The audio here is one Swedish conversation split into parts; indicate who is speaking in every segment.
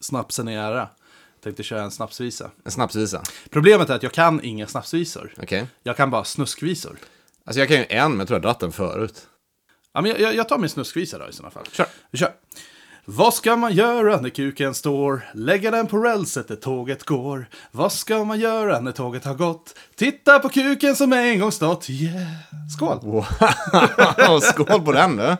Speaker 1: snapsen i ära. Jag tänkte köra en snapsvisa.
Speaker 2: En snapsvisa.
Speaker 1: Problemet är att jag kan inga snapsvisor.
Speaker 2: Okej.
Speaker 1: Jag kan bara snuskvisor.
Speaker 2: Alltså jag kan ju en, men jag tror jag dratt den förut.
Speaker 1: Ja, men jag- jag, jag tar min snuskvisa då i sådana fall.
Speaker 2: Kör.
Speaker 1: Vi kör. Vad ska man göra när kuken står? Lägga den på rälset där tåget går. Vad ska man göra när tåget har gått? Titta på kuken som en gång stått. Yeah. Skål!
Speaker 2: Wow, skål på den du.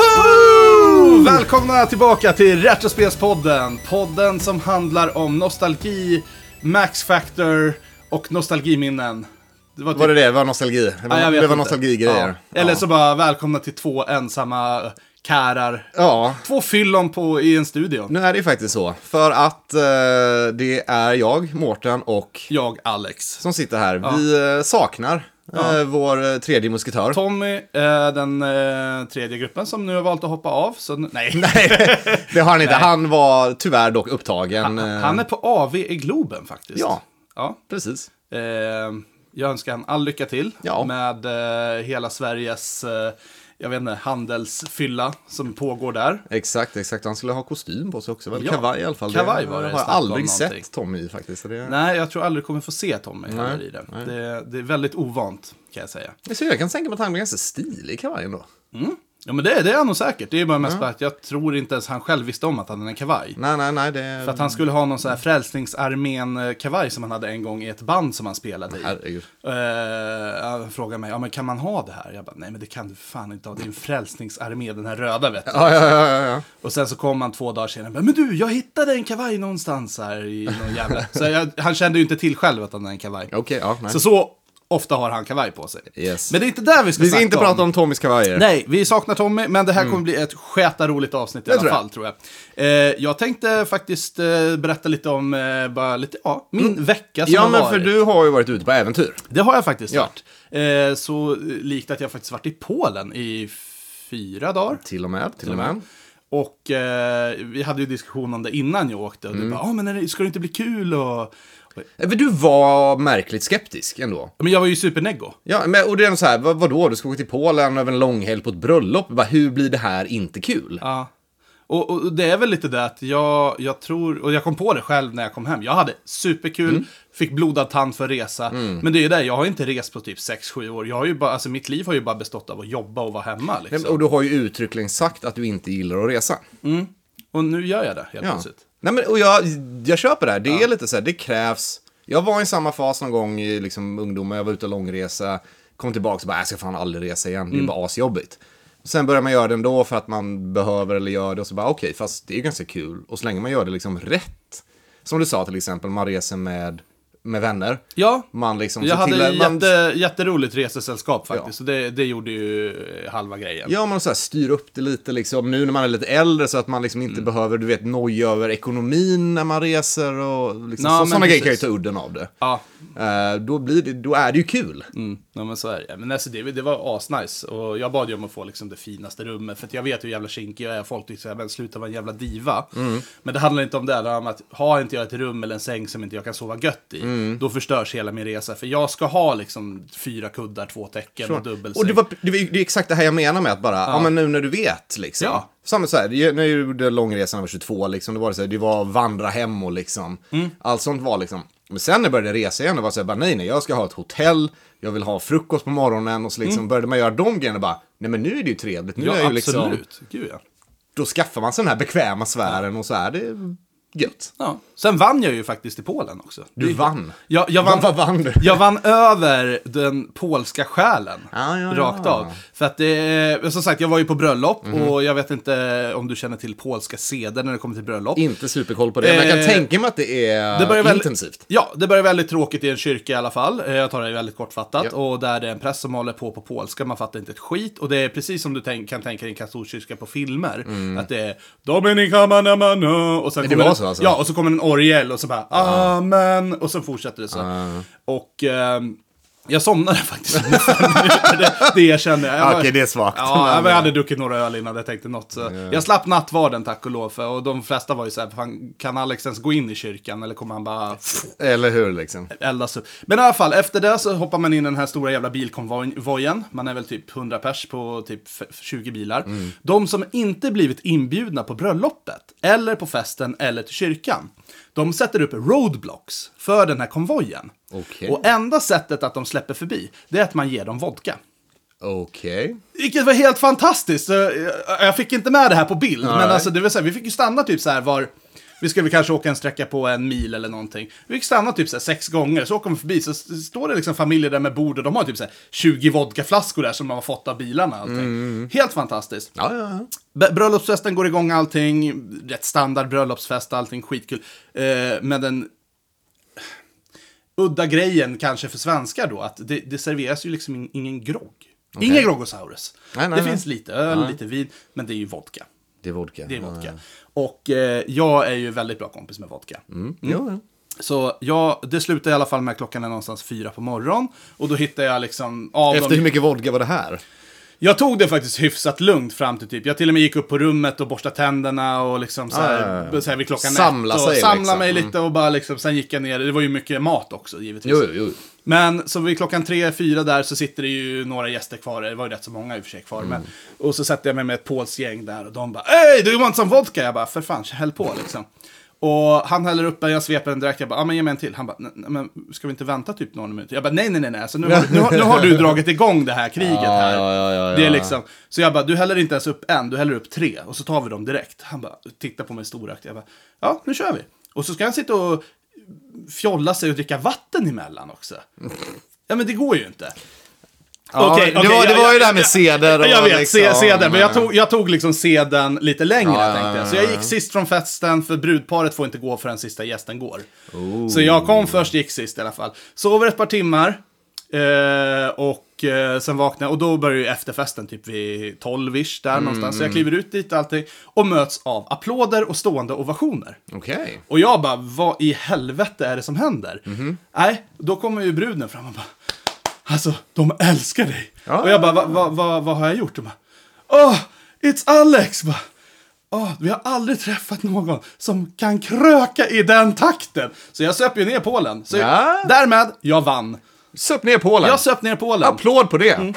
Speaker 1: Woho! Välkomna tillbaka till Retrospelspodden. Podden som handlar om nostalgi, Max Factor och nostalgiminnen. Det var typ-
Speaker 2: Var det det? Det var nostalgi. Det var,
Speaker 1: Ja, jag vet
Speaker 2: det var
Speaker 1: inte.
Speaker 2: nostalgigrejer.
Speaker 1: Ja. Eller så bara välkomna till två ensamma kärar.
Speaker 2: Ja.
Speaker 1: Två fyllon på i en studio.
Speaker 2: Nu är det ju faktiskt så. För att eh, det är jag, Mårten och
Speaker 1: Jag, Alex.
Speaker 2: som sitter här. Vi eh, saknar eh, vår eh, tredje musketör.
Speaker 1: Tommy, eh, den eh, tredje gruppen som nu har valt att hoppa av. Så nu, nej.
Speaker 2: Det har han inte. Han var tyvärr dock upptagen. eh,
Speaker 1: Han är på AV i Globen faktiskt.
Speaker 2: Ja.
Speaker 1: ja.
Speaker 2: Precis.
Speaker 1: Eh, jag önskar han all lycka till
Speaker 2: Ja.
Speaker 1: med eh, hela Sveriges eh, jag vet inte, handelsfylla som pågår där.
Speaker 2: Exakt, exakt. Han skulle ha kostym på sig också. Väl?
Speaker 1: Ja.
Speaker 2: Kavaj i alla fall.
Speaker 1: Kavaj var det
Speaker 2: har jag
Speaker 1: snack om
Speaker 2: aldrig
Speaker 1: någonting.
Speaker 2: sett Tommy i faktiskt. så Det...
Speaker 1: Nej, jag tror aldrig kommer få se Tommy heller
Speaker 2: Nej,
Speaker 1: i den.
Speaker 2: nej.
Speaker 1: Det, det är väldigt ovant kan jag säga. Mm.
Speaker 2: Så jag kan tänka mig att han blir ganska stilig i kavajen då.
Speaker 1: Ja, men det, det är han nog säkert. Det är bara mest bara att jag tror inte ens han själv visste om att han hade en kavaj.
Speaker 2: Nej, nej, nej. Det...
Speaker 1: För att han skulle ha någon sån här Frälsningsarmén-kavaj som han hade en gång i ett band som han spelade i.
Speaker 2: Herregud.
Speaker 1: Eh, han frågade mig, ja, men kan man ha det här? Jag bara, nej men det kan du fan inte ha, det är en frälsningsarmé, den här röda vet du.
Speaker 2: Ja, ja, ja, ja, ja.
Speaker 1: Och sen så kom han två dagar senare, men du, jag hittade en kavaj någonstans här i någon jävla... Så jag, han kände ju inte till själv att han hade en kavaj.
Speaker 2: Okej, ja. Nej.
Speaker 1: Så så ofta har han kavaj på sig.
Speaker 2: Yes.
Speaker 1: Men det är inte där vi ska
Speaker 2: Vi ska
Speaker 1: snacka
Speaker 2: inte
Speaker 1: om.
Speaker 2: prata om Tommys kavajer.
Speaker 1: Nej, vi saknar Tommy, men det här kommer bli ett skäta roligt avsnitt i alla
Speaker 2: tror jag.
Speaker 1: fall, tror jag. Eh, jag tänkte faktiskt eh, berätta lite om, eh, bara lite, ja, min vecka som
Speaker 2: Mm. Ja,
Speaker 1: har
Speaker 2: men
Speaker 1: varit.
Speaker 2: för du har ju varit ute på äventyr.
Speaker 1: Det har jag faktiskt
Speaker 2: Ja.
Speaker 1: varit. Eh, så eh, likt att jag faktiskt varit i Polen i fyra dagar.
Speaker 2: Till och med. Till och med.
Speaker 1: Och eh, vi hade ju diskussion om det innan jag åkte. Och
Speaker 2: Mm.
Speaker 1: du bara, ah, men är det, ska det inte bli kul? Och, och,
Speaker 2: Men Eh, du var märkligt skeptisk ändå.
Speaker 1: men jag var ju superneggo.
Speaker 2: Ja, men, och det är ändå så här, vad, vadå, du ska åka till Polen över en långhelg på ett bröllop. Bara, hur blir det här inte kul?
Speaker 1: Ja. Och, och det är väl lite det att jag, jag tror, och jag kom på det själv när jag kom hem. Jag hade superkul,
Speaker 2: Mm.
Speaker 1: fick blodad tand för resa. Men det är ju det, jag har inte rest på typ 6-7 år. Jag har ju bara, alltså mitt liv har ju bara bestått av att jobba och vara hemma.
Speaker 2: Nej, men-
Speaker 1: Liksom.
Speaker 2: Och du har ju uttryckligen sagt att du inte gillar att resa.
Speaker 1: Och nu gör jag det helt
Speaker 2: Ja.
Speaker 1: plötsligt.
Speaker 2: Nej, men, och jag, jag köper det här. Det är lite så här, det krävs. Jag var i samma fas någon gång i liksom, ungdomen, jag var ute och långresa, kom tillbaka och bara, "Äh, jag ska fan aldrig resa igen, det
Speaker 1: Mm.
Speaker 2: är bara asjobbigt. Sen börjar man göra det ändå för att man behöver eller gör det och så bara, okej, fast det är ju ganska kul. Och så länge man gör det liksom rätt, som du sa till exempel, man reser med, med vänner.
Speaker 1: Ja,
Speaker 2: Man liksom
Speaker 1: jag
Speaker 2: ser till
Speaker 1: hade
Speaker 2: att man-
Speaker 1: jätte, jätteroligt resesällskap faktiskt. Och det, det gjorde ju eh, halva grejen.
Speaker 2: Ja, man så här styr upp det lite liksom nu när man är lite äldre så att man liksom
Speaker 1: Mm.
Speaker 2: inte behöver, du vet, noja över ekonomin när man reser och liksom,
Speaker 1: Ja,
Speaker 2: så,
Speaker 1: men
Speaker 2: sådana grejer kan ju
Speaker 1: precis.
Speaker 2: ta udden av det.
Speaker 1: Ja.
Speaker 2: Eh, då, blir det, då är det ju kul.
Speaker 1: Mm, ja, men så är det. Men alltså, det, det var asnice. Och jag bad ju om att få liksom, det finaste rummet. För att jag vet hur jävla kinkig jag är. Folk tycker såhär, men sluta vara en jävla diva.
Speaker 2: Mm.
Speaker 1: Men det handlar inte om det. Det handlar om att har inte jag ett rum eller en säng som inte jag kan sova gött i.
Speaker 2: Mm.
Speaker 1: Då förstörs hela min resa. För jag ska ha liksom fyra kuddar, två täcken och dubbelsäng.
Speaker 2: Och det, var, det, var, det är exakt det här jag menar med att bara, ja, men nu när du vet liksom.
Speaker 1: Ja.
Speaker 2: Samma så här, det- när jag gjorde långresan när jag var 22, liksom, då var det så här, det var vandra hem och liksom, allt sånt var liksom. Men sen när jag började resa igen, då var det så här, bara, nej, nej, jag ska ha ett hotell, jag vill ha frukost på morgonen och så liksom började man göra de grejerna och bara, nej men nu är det ju trevligt, nu
Speaker 1: ja,
Speaker 2: är jag ju
Speaker 1: absolut.
Speaker 2: liksom,
Speaker 1: Gud, ja.
Speaker 2: då skaffar man sig den här bekväma sfären och så är det gött.
Speaker 1: Ja. Sen vann jag ju faktiskt i Polen också.
Speaker 2: Du
Speaker 1: Det-
Speaker 2: vann.
Speaker 1: Ja, jag vann,
Speaker 2: Vad vann du?
Speaker 1: Jag vann över den polska själen.
Speaker 2: Ja, ja, ja.
Speaker 1: rakt av. För att det, som sagt, jag var ju på bröllop
Speaker 2: Mhm.
Speaker 1: och jag vet inte om du känner till polska seder när det kommer till bröllop.
Speaker 2: Inte superkoll på det, men jag
Speaker 1: Eh,
Speaker 2: kan tänka mig att det är
Speaker 1: Det börjar väl-
Speaker 2: intensivt.
Speaker 1: Ja, det börjar väldigt tråkigt i en kyrka i alla fall. Eh, Jag tar det väldigt kortfattat.
Speaker 2: Ja.
Speaker 1: Och där det är en präst som håller på på polska, man fattar inte ett skit. Och det är precis som du tänk, kan tänka dig en katolsk kyrka på filmer. Att det är Dominika manamano. Och sen
Speaker 2: Mm. Men det
Speaker 1: kommer
Speaker 2: var
Speaker 1: en-
Speaker 2: så alltså?
Speaker 1: Ja, och så kommer en orgel och så bara Amen. Och så fortsätter det så. Och ehm, Jag somnade faktiskt under fem minuter, det, det erkänner jag. jag
Speaker 2: Okej,
Speaker 1: var-
Speaker 2: det är svagt.
Speaker 1: Ja, jag hade druckit några öl innan jag tänkte något. Så Jag slapp nattvarden tack och lov. För, och de flesta var ju så här, fan, kan Alex ens gå in i kyrkan? Eller kommer han bara
Speaker 2: Eller hur liksom.
Speaker 1: eldas upp? Men i alla fall, efter det så hoppar man in i den här stora jävla bilkonvojen. Man är väl typ 100 pers på typ f- 20 bilar.
Speaker 2: Mm.
Speaker 1: De som inte blivit inbjudna på bröllopet, eller på festen, eller till kyrkan. De sätter upp roadblocks för den här konvojen.
Speaker 2: Okej.
Speaker 1: Och enda sättet att de släpper förbi, det är att man ger dem vodka.
Speaker 2: Okej.
Speaker 1: Vilket var helt fantastiskt. Så, eh, Jag fick inte med det här på bild, men
Speaker 2: Nej.
Speaker 1: alltså, det vill säga, vi fick ju stanna typ så här var... Vi skulle kanske åka en sträcka på en mil eller någonting. Vi fick stanna typ så här sex gånger, så åker vi förbi, så s- står det liksom familjer där med bord och de har typ så här 20 vodkaflaskor där som de har fått av bilarna. och Allting. Helt fantastiskt.
Speaker 2: Ja, ja, ja.
Speaker 1: B- Bröllopsfesten går igång, allting. Rätt standard bröllopsfest, allting skitkul. Eh, men den udda grejen kanske för svenskar då, att det, det serveras ju liksom in, ingen grogg. Ingen groggosaurus.
Speaker 2: Nej, nej,
Speaker 1: det
Speaker 2: nej.
Speaker 1: finns lite öl, lite vin, men det är ju vodka.
Speaker 2: Det är vodka.
Speaker 1: Det är vodka. Och eh, jag är ju väldigt bra kompis med vodka.
Speaker 2: Jo, jo.
Speaker 1: Så jag, det slutar i alla fall med att klockan är någonstans fyra på morgonen. Och då hittar jag liksom av
Speaker 2: Efter
Speaker 1: de-
Speaker 2: hur mycket vodka var det här?
Speaker 1: jag tog det faktiskt hyfsat lugnt fram till typ, jag till och med gick upp på rummet och borstade tänderna och liksom så här,
Speaker 2: Ah, ja, ja.
Speaker 1: så här vid klockan
Speaker 2: Samla
Speaker 1: ett. Och
Speaker 2: sig,
Speaker 1: samla
Speaker 2: liksom.
Speaker 1: mig lite och bara liksom, sen gick jag ner, det var ju mycket mat också givetvis.
Speaker 2: Jo, jo, jo.
Speaker 1: Men så vid klockan tre, fyra där så sitter det ju några gäster kvar, det var ju rätt så många i och för sig kvar.
Speaker 2: Mm.
Speaker 1: Men, och så sätter jag mig med ett polskt gäng där och de bara Hej, du want some vodka? Jag bara, för fan, häll på liksom. Och han häller upp en, jag sveper en direkt, jag bara, ja men ge mig en till. Han bara, "Nej, nej, men ska vi inte vänta typ någon minut? Jag bara, nej nej nej, nej. Så nu, har- nu, har- nu har du dragit igång det här kriget här.
Speaker 2: ja, ja, ja, ja.
Speaker 1: Det är liksom, så jag bara, du häller inte ens upp en, du häller upp tre och så tar vi dem direkt. Han bara, tittar på mig storögt, jag bara, ja nu kör vi. Och så ska han sitta och fjolla sig och dricka vatten emellan också. Ja men det går ju inte.
Speaker 2: Ja,
Speaker 1: Okej,
Speaker 2: det,
Speaker 1: okej,
Speaker 2: var, det
Speaker 1: jag-
Speaker 2: var ju
Speaker 1: jag-
Speaker 2: det här med seder och
Speaker 1: Jag vet, se, seden. Men jag
Speaker 2: tog.
Speaker 1: tog, jag tog liksom seden lite längre
Speaker 2: Ja, ja,
Speaker 1: tänkte jag. Så
Speaker 2: ja,
Speaker 1: jag gick sist från festen, för brudparet får inte gå förrän sista gästen går. Så jag kom först, gick sist i alla fall. Sover ett par timmar. Eh, och eh, sen vaknar jag och då börjar ju efterfesten typ vid 12-ish där någonstans.
Speaker 2: Mm,
Speaker 1: Så jag kliver ut dit och allting och möts av applåder och stående ovationer.
Speaker 2: Okej.
Speaker 1: Och jag bara, vad i helvete är det som händer?
Speaker 2: Mhm.
Speaker 1: Nej, då kommer ju bruden fram och bara, alltså de älskar dig.
Speaker 2: Ja.
Speaker 1: Och jag bara, "Va- va- va- vad har jag gjort? Och bara, åh, it's Alex! Bara, åh, vi har aldrig träffat någon som kan kröka i den takten. Så jag söp ju ner Polen. Så
Speaker 2: Ja.
Speaker 1: därmed, jag vann.
Speaker 2: Söp ner Polen.
Speaker 1: Jag söp Mm. ner Polen.
Speaker 2: Applåd på det.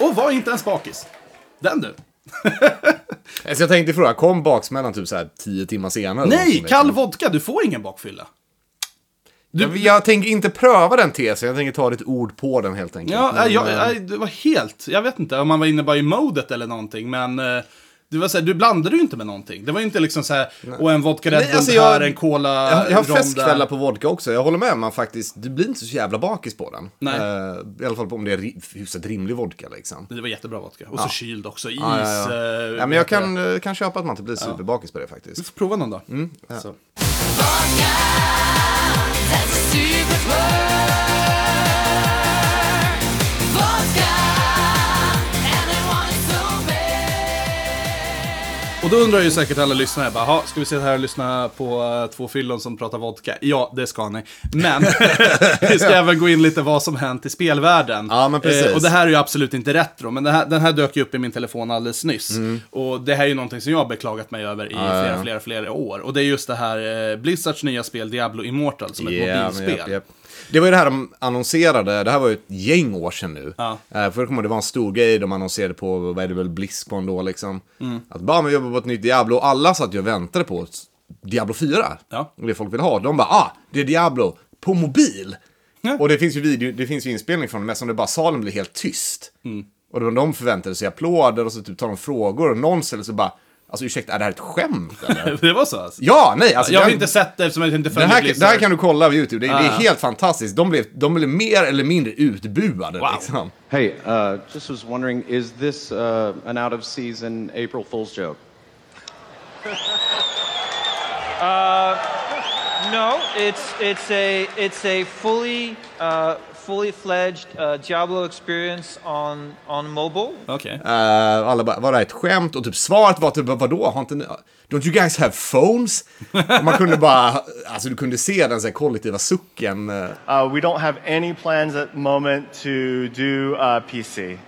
Speaker 1: Och var inte ens bakis. Den du.
Speaker 2: Alltså jag tänkte fråga, kom baksmällan typ så här tio timmar senare? eller
Speaker 1: Nej,
Speaker 2: något
Speaker 1: kall
Speaker 2: sånt
Speaker 1: vodka, du får ingen bakfylla.
Speaker 2: där? Jag, jag tänker inte pröva den tesen, jag tänker ta ditt ord på den helt enkelt.
Speaker 1: Ja, äh,
Speaker 2: Men,
Speaker 1: jag,
Speaker 2: eh,
Speaker 1: jag, det var helt, jag vet inte om man var inne bara i modet eller någonting, men eh, det var så här, du blandade ju inte med någonting. Det var ju inte liksom så här, och en vodka Red
Speaker 2: Nej,
Speaker 1: Bull
Speaker 2: alltså jag-
Speaker 1: här, en cola
Speaker 2: Jag, jag har
Speaker 1: rom där."
Speaker 2: festkvällar på vodka också, jag håller med. Man faktiskt, du blir inte så jävla bakis på den.
Speaker 1: Nej.
Speaker 2: Eh, I alla fall på om det är ri- hyfsat rimlig vodka liksom.
Speaker 1: Det var jättebra vodka. Och så kyld också, is.
Speaker 2: Ja, ja, ja.
Speaker 1: eh,
Speaker 2: ja, men jag kan, eh, kan köpa att man inte blir superbakis på det faktiskt.
Speaker 1: Vi får prova någon dag.
Speaker 2: Mm,
Speaker 1: Så.
Speaker 3: Vodka, that's a secret word. Vodka, and they want it so bad.
Speaker 1: Och då undrar ju säkert alla lyssnare, bara, "Ha, ska vi sitta här och lyssna på eh, två fyllon som pratar vodka? Ja, det ska ni. Men vi ska även gå in lite vad som hänt i spelvärlden. Eh,
Speaker 2: Ja, men precis.
Speaker 1: och det här är ju absolut inte retro, men den här, den här dök ju upp i min telefon alldeles nyss.
Speaker 2: Mm.
Speaker 1: Och det här är ju någonting som jag har beklagat mig över i flera, flera, flera år. Och det är just det här eh, Blizzards nya spel Diablo Immortal som
Speaker 2: Ja,
Speaker 1: ett
Speaker 2: men
Speaker 1: mobilspel.
Speaker 2: japp, japp. Det var ju det här de annonserade, det här var ju ett gäng år sedan nu.
Speaker 1: Ja.
Speaker 2: Eh, För jag kommer ihåg, det var en stor grej de annonserade på, vad är det väl, Blizzcon då liksom.
Speaker 1: Mm.
Speaker 2: Att bara, men vi jobbar på ett nytt Diablo, och alla satt ju och väntade på ett Diablo 4.
Speaker 1: Ja.
Speaker 2: Och det folk vill ha, de bara, ah, det är Diablo på mobil.
Speaker 1: Ja.
Speaker 2: Och det finns ju video, det finns ju inspelning från det, men som det bara salen blir helt tyst.
Speaker 1: Mm.
Speaker 2: Och då de förväntade sig applåder och så typ tar de frågor och någon ställer sig bara, alltså ursäkta, är det här ett skämt eller?
Speaker 1: det var så alltså.
Speaker 2: ja, nej, alltså
Speaker 1: Jag har
Speaker 2: den-
Speaker 1: inte sett det eftersom jag inte
Speaker 2: det
Speaker 1: följer
Speaker 2: här,
Speaker 1: Blizzard.
Speaker 2: det här kan du kolla på YouTube, det, det
Speaker 1: Ja,
Speaker 2: är
Speaker 1: Ah, ja.
Speaker 2: helt fantastiskt. De blev, de blev mer eller mindre utbuade
Speaker 1: Wow.
Speaker 2: liksom.
Speaker 4: Hey, uh, just was wondering, is this uh, an out of season April Fool's joke?
Speaker 5: No, it's it's a it's a fully uh, fully fledged uh, Diablo experience on on mobile.
Speaker 1: Okej.
Speaker 2: Eh, alla bara, var det här ett skämt? Och typ svaret var typ, vadå? Har inte ni, don't you guys have phones? Och man kunde bara, alltså du kunde se den så här kollektiva sucken. eh,
Speaker 6: Uh, we don't have any plans at the moment to do uh, PC.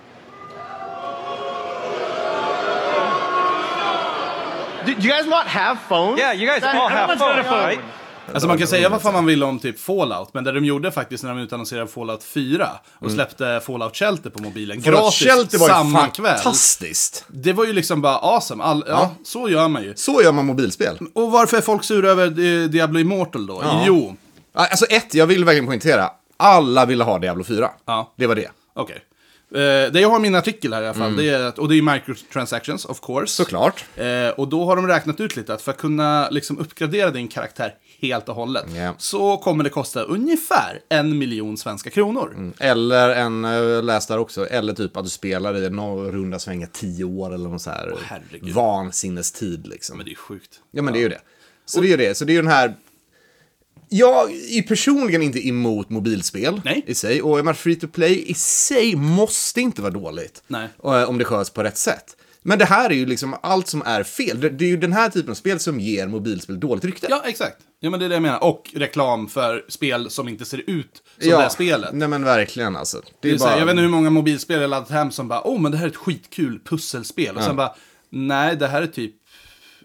Speaker 6: Do, do you guys not have phones?
Speaker 5: Yeah, you guys all have
Speaker 6: everyone's got a
Speaker 5: phones, right?
Speaker 1: Alltså man kan säga vad fan man vill om typ Fallout, men det de gjorde faktiskt när de utannonserade Fallout 4 och släppte Fallout Shelter på mobilen
Speaker 2: Mm. Fallout Shelter
Speaker 1: gratis
Speaker 2: var ju
Speaker 1: samma kväll.
Speaker 2: fantastiskt.
Speaker 1: Det var ju liksom bara awesome. All, ja. så gör man ju.
Speaker 2: Så gör man mobilspel.
Speaker 1: Och varför är folk sura över eh, Diablo Immortal då? Jo,
Speaker 2: Alltså ett, jag vill verkligen poängtera. Alla ville ha Diablo 4.
Speaker 1: Ja.
Speaker 2: Det var det.
Speaker 1: okej. Eh, det jag har i min artikel här i alla fall, det är, att- och det är microtransactions of course.
Speaker 2: Mm. Såklart.
Speaker 1: Eh, och då har de räknat ut lite att för att kunna liksom, uppgradera din karaktär helt och hållet
Speaker 2: Ja.
Speaker 1: så kommer det kosta ungefär en miljon svenska kronor.
Speaker 2: Mm. Eller en, eh, läs där också, eller typ att du spelar i någon runda svänga 10 år eller någon så här
Speaker 1: herregud.
Speaker 2: vansinnestid liksom.
Speaker 1: Men det är sjukt.
Speaker 2: Ja, men det är ju det. Så det är ju det. Så det är ju den här... Jag är personligen inte emot mobilspel
Speaker 1: Nej.
Speaker 2: i sig. Och jag menar, free to play i sig måste inte vara dåligt.
Speaker 1: Nej.
Speaker 2: Eh, Om det sköts på rätt sätt. Men det här är ju liksom allt som är fel. Det, det är ju den här typen av spel som ger mobilspel dåligt rykte.
Speaker 1: Ja, exakt. Ja, men det är det jag menar. Och reklam för spel som inte ser ut som det här spelet.
Speaker 2: Nej men verkligen alltså.
Speaker 1: Det är så här,
Speaker 2: bara-
Speaker 1: jag vet inte hur många mobilspel jag laddat hem som bara, oh men det här är ett skitkul pusselspel. Och sen bara, nej det här är typ,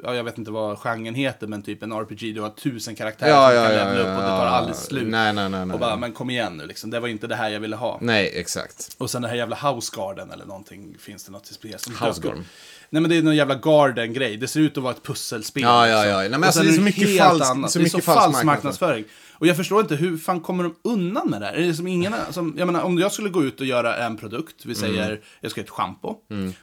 Speaker 1: ja, jag vet inte vad genren heter, men typ en RPG, du har tusen karaktärer
Speaker 2: Ja,
Speaker 1: som du
Speaker 2: ja,
Speaker 1: kan
Speaker 2: ja,
Speaker 1: levla
Speaker 2: ja,
Speaker 1: upp och det
Speaker 2: ja.
Speaker 1: tar aldrig slut.
Speaker 2: Nej, nej, nej, nej.
Speaker 1: Och bara, men kom igen nu liksom, det var inte det här jag ville ha.
Speaker 2: Nej, exakt.
Speaker 1: Och sen det här jävla Housegarden eller någonting, finns det något till spel som heter?
Speaker 2: Housegarden?
Speaker 1: Nej men det är någon jävla Garden-grej, det ser ut att vara ett pusselspel.
Speaker 2: Ja, ja,
Speaker 1: liksom.
Speaker 2: ja. Nej, men
Speaker 1: Och
Speaker 2: alltså,
Speaker 1: sen
Speaker 2: det är så
Speaker 1: helt
Speaker 2: mycket falsk-
Speaker 1: annat.
Speaker 2: så
Speaker 1: det är så
Speaker 2: mycket
Speaker 1: falsk
Speaker 2: falsk
Speaker 1: marknadsföring.
Speaker 2: marknadsföring.
Speaker 1: Och jag förstår inte, hur fan kommer de undan med det här? Är det som ingen, som, jag menar, om jag skulle gå ut och göra en produkt,
Speaker 2: Mm.
Speaker 1: vi säger, jag ska göra ett schampo,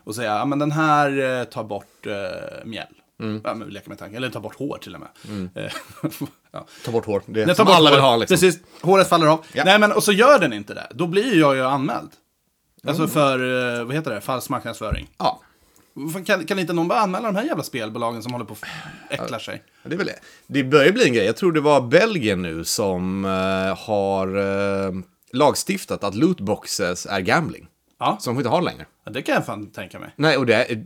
Speaker 1: och säga, ja men den här eh, tar bort eh, mjäll.
Speaker 2: Mm.
Speaker 1: Ja, men vi leker med tanken. Eller tar bort hår till och med. Eh, ja.
Speaker 2: Ta bort hår. Det är
Speaker 1: Nej,
Speaker 2: som
Speaker 1: ta bort
Speaker 2: alla vill
Speaker 1: hår.
Speaker 2: ha liksom.
Speaker 1: Precis, håret faller av.
Speaker 2: Ja.
Speaker 1: Nej, men och så gör den inte det. Då blir jag ju anmäld. Alltså
Speaker 2: Mm.
Speaker 1: för, eh, vad heter det, falsk marknadsföring.
Speaker 2: Ja.
Speaker 1: Fan, Kan, kan inte någon bara anmäla de här jävla spelbolagen som håller på och äcklar sig?
Speaker 2: Ja, Det är väl det. Det börjar bli en grej. Jag tror det var Belgien nu som eh, har eh, lagstiftat att lootboxes är gambling.
Speaker 1: Ja.
Speaker 2: Som de inte har längre.
Speaker 1: Ja, det kan jag fan tänka mig.
Speaker 2: Nej, och det är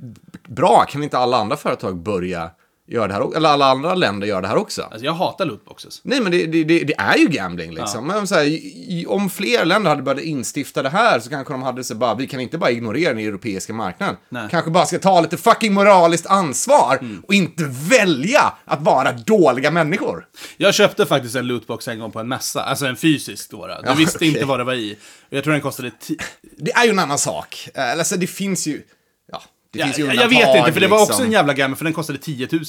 Speaker 2: bra. Kan inte alla andra företag börja göra det här också? Eller alla andra länder göra det här också?
Speaker 1: Alltså jag hatar lootboxes.
Speaker 2: Nej, men det, det, det, det är ju gambling liksom. Men så här, i- i- om fler länder hade börjat instifta det här så kanske de hade så bara, vi kan inte bara ignorera den europeiska marknaden.
Speaker 1: Nej. Mm.
Speaker 2: Kanske bara ska ta lite fucking moraliskt ansvar och inte välja att vara dåliga människor.
Speaker 1: Jag köpte faktiskt en lootbox en gång på en mässa, alltså en fysisk då. då. Du
Speaker 2: Ja,
Speaker 1: visste
Speaker 2: okej.
Speaker 1: inte vad det var i. Jag tror den kostade ti-
Speaker 2: Det är ju en annan sak. Eh, Alltså det finns ju... Ja, det
Speaker 1: ja,
Speaker 2: finns ju
Speaker 1: jag,
Speaker 2: undantag.
Speaker 1: jag vet inte, för det var också en
Speaker 2: liksom.
Speaker 1: jävla gammal, för den kostade 10 000.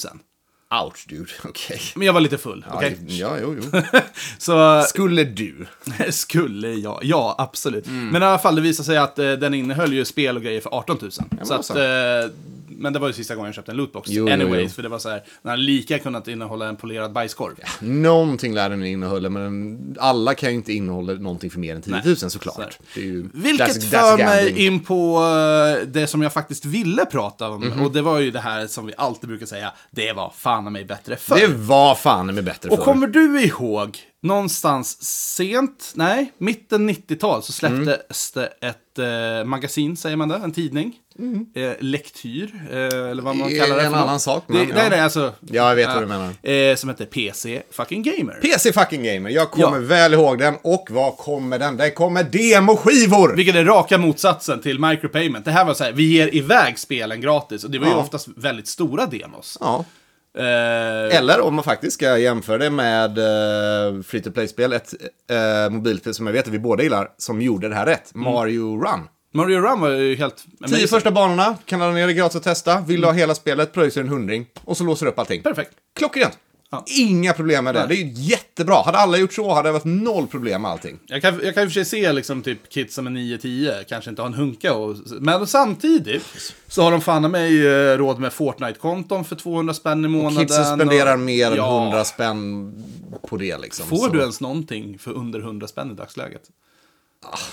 Speaker 2: Ouch dude, okej.
Speaker 1: Men jag var lite full, okej?
Speaker 2: Ja, det- ja, jo, jo.
Speaker 1: Så
Speaker 2: Skulle du?
Speaker 1: Skulle jag, ja absolut.
Speaker 2: Mm.
Speaker 1: Men i alla fall, det visade sig att eh, den innehöll ju spel och grejer för 18 000. så
Speaker 2: vad
Speaker 1: att,
Speaker 2: fan.
Speaker 1: eh, men det var ju sista gången jag köpte en lootbox.
Speaker 2: Jo, jo,
Speaker 1: Anyways,
Speaker 2: jo.
Speaker 1: för det var så här, den hade lika kunnat innehålla en polerad bajskorv.
Speaker 2: Någonting lär den innehålla, men den- alla kan ju inte innehålla någonting för mer än 10 000
Speaker 1: Så här.
Speaker 2: såklart. Det är ju,
Speaker 1: Vilket
Speaker 2: that's- that's
Speaker 1: för
Speaker 2: gambling.
Speaker 1: mig in på eh, det som jag faktiskt ville prata om.
Speaker 2: Mhm.
Speaker 1: Och det var ju det här som vi alltid brukar säga, det var fan i mig bättre förr.
Speaker 2: Det var fan med bättre
Speaker 1: Och
Speaker 2: förr.
Speaker 1: kommer du ihåg, någonstans sent, nej, mitten 90-tal så släpptes
Speaker 2: Mm.
Speaker 1: det ett eh, magasin, säger man det, en tidning. Eh, lektyr, eh, eller vad man
Speaker 2: Det är
Speaker 1: kallar det.
Speaker 2: en
Speaker 1: för något.
Speaker 2: annan sak,
Speaker 1: Det,
Speaker 2: men
Speaker 1: Nej,
Speaker 2: ja.
Speaker 1: nej, alltså.
Speaker 2: Ja, jag vet vad du
Speaker 1: menar. Eh, som heter PC Fucking Gamer.
Speaker 2: PC fucking gamer, jag kommer
Speaker 1: Ja.
Speaker 2: väl ihåg den. Och vad kommer den? Den kommer demoskivor!
Speaker 1: vilket är raka motsatsen till micropayment. Det här var så här, vi ger iväg spelen gratis. Och det var ju
Speaker 2: Ja.
Speaker 1: oftast väldigt stora demos.
Speaker 2: Ja.
Speaker 1: Eh,
Speaker 2: Eller om man faktiskt ska jämföra det med eh, free to play-spel, ett eh, mobilspel som jag vet att vi båda gillar, som gjorde det här rätt.
Speaker 1: Mm.
Speaker 2: Mario Run.
Speaker 1: Mario Run var ju helt...
Speaker 2: Tio
Speaker 1: amazing.
Speaker 2: första banorna, kan ladda ner det gratis och testa. Vill du ha hela spelet, pröjsar en hundring. Och så låser du upp allting.
Speaker 1: Mm. Perfekt.
Speaker 2: Klockrent. Inga problem med det. Det är ju jättebra. Hade alla gjort så hade det varit noll problem med allting.
Speaker 1: Jag kan, jag kan i och för sig se liksom typ kids som är 9-10 kanske inte har en hunka och, Men samtidigt så har de fan i mig eh, råd med Fortnite-konton för 200 spänn i månaden.
Speaker 2: Kidsen spenderar
Speaker 1: och-
Speaker 2: mer än
Speaker 1: Ja,
Speaker 2: 100 spänn på det liksom.
Speaker 1: Får
Speaker 2: Så-
Speaker 1: du ens någonting för under 100 spänn i dagsläget?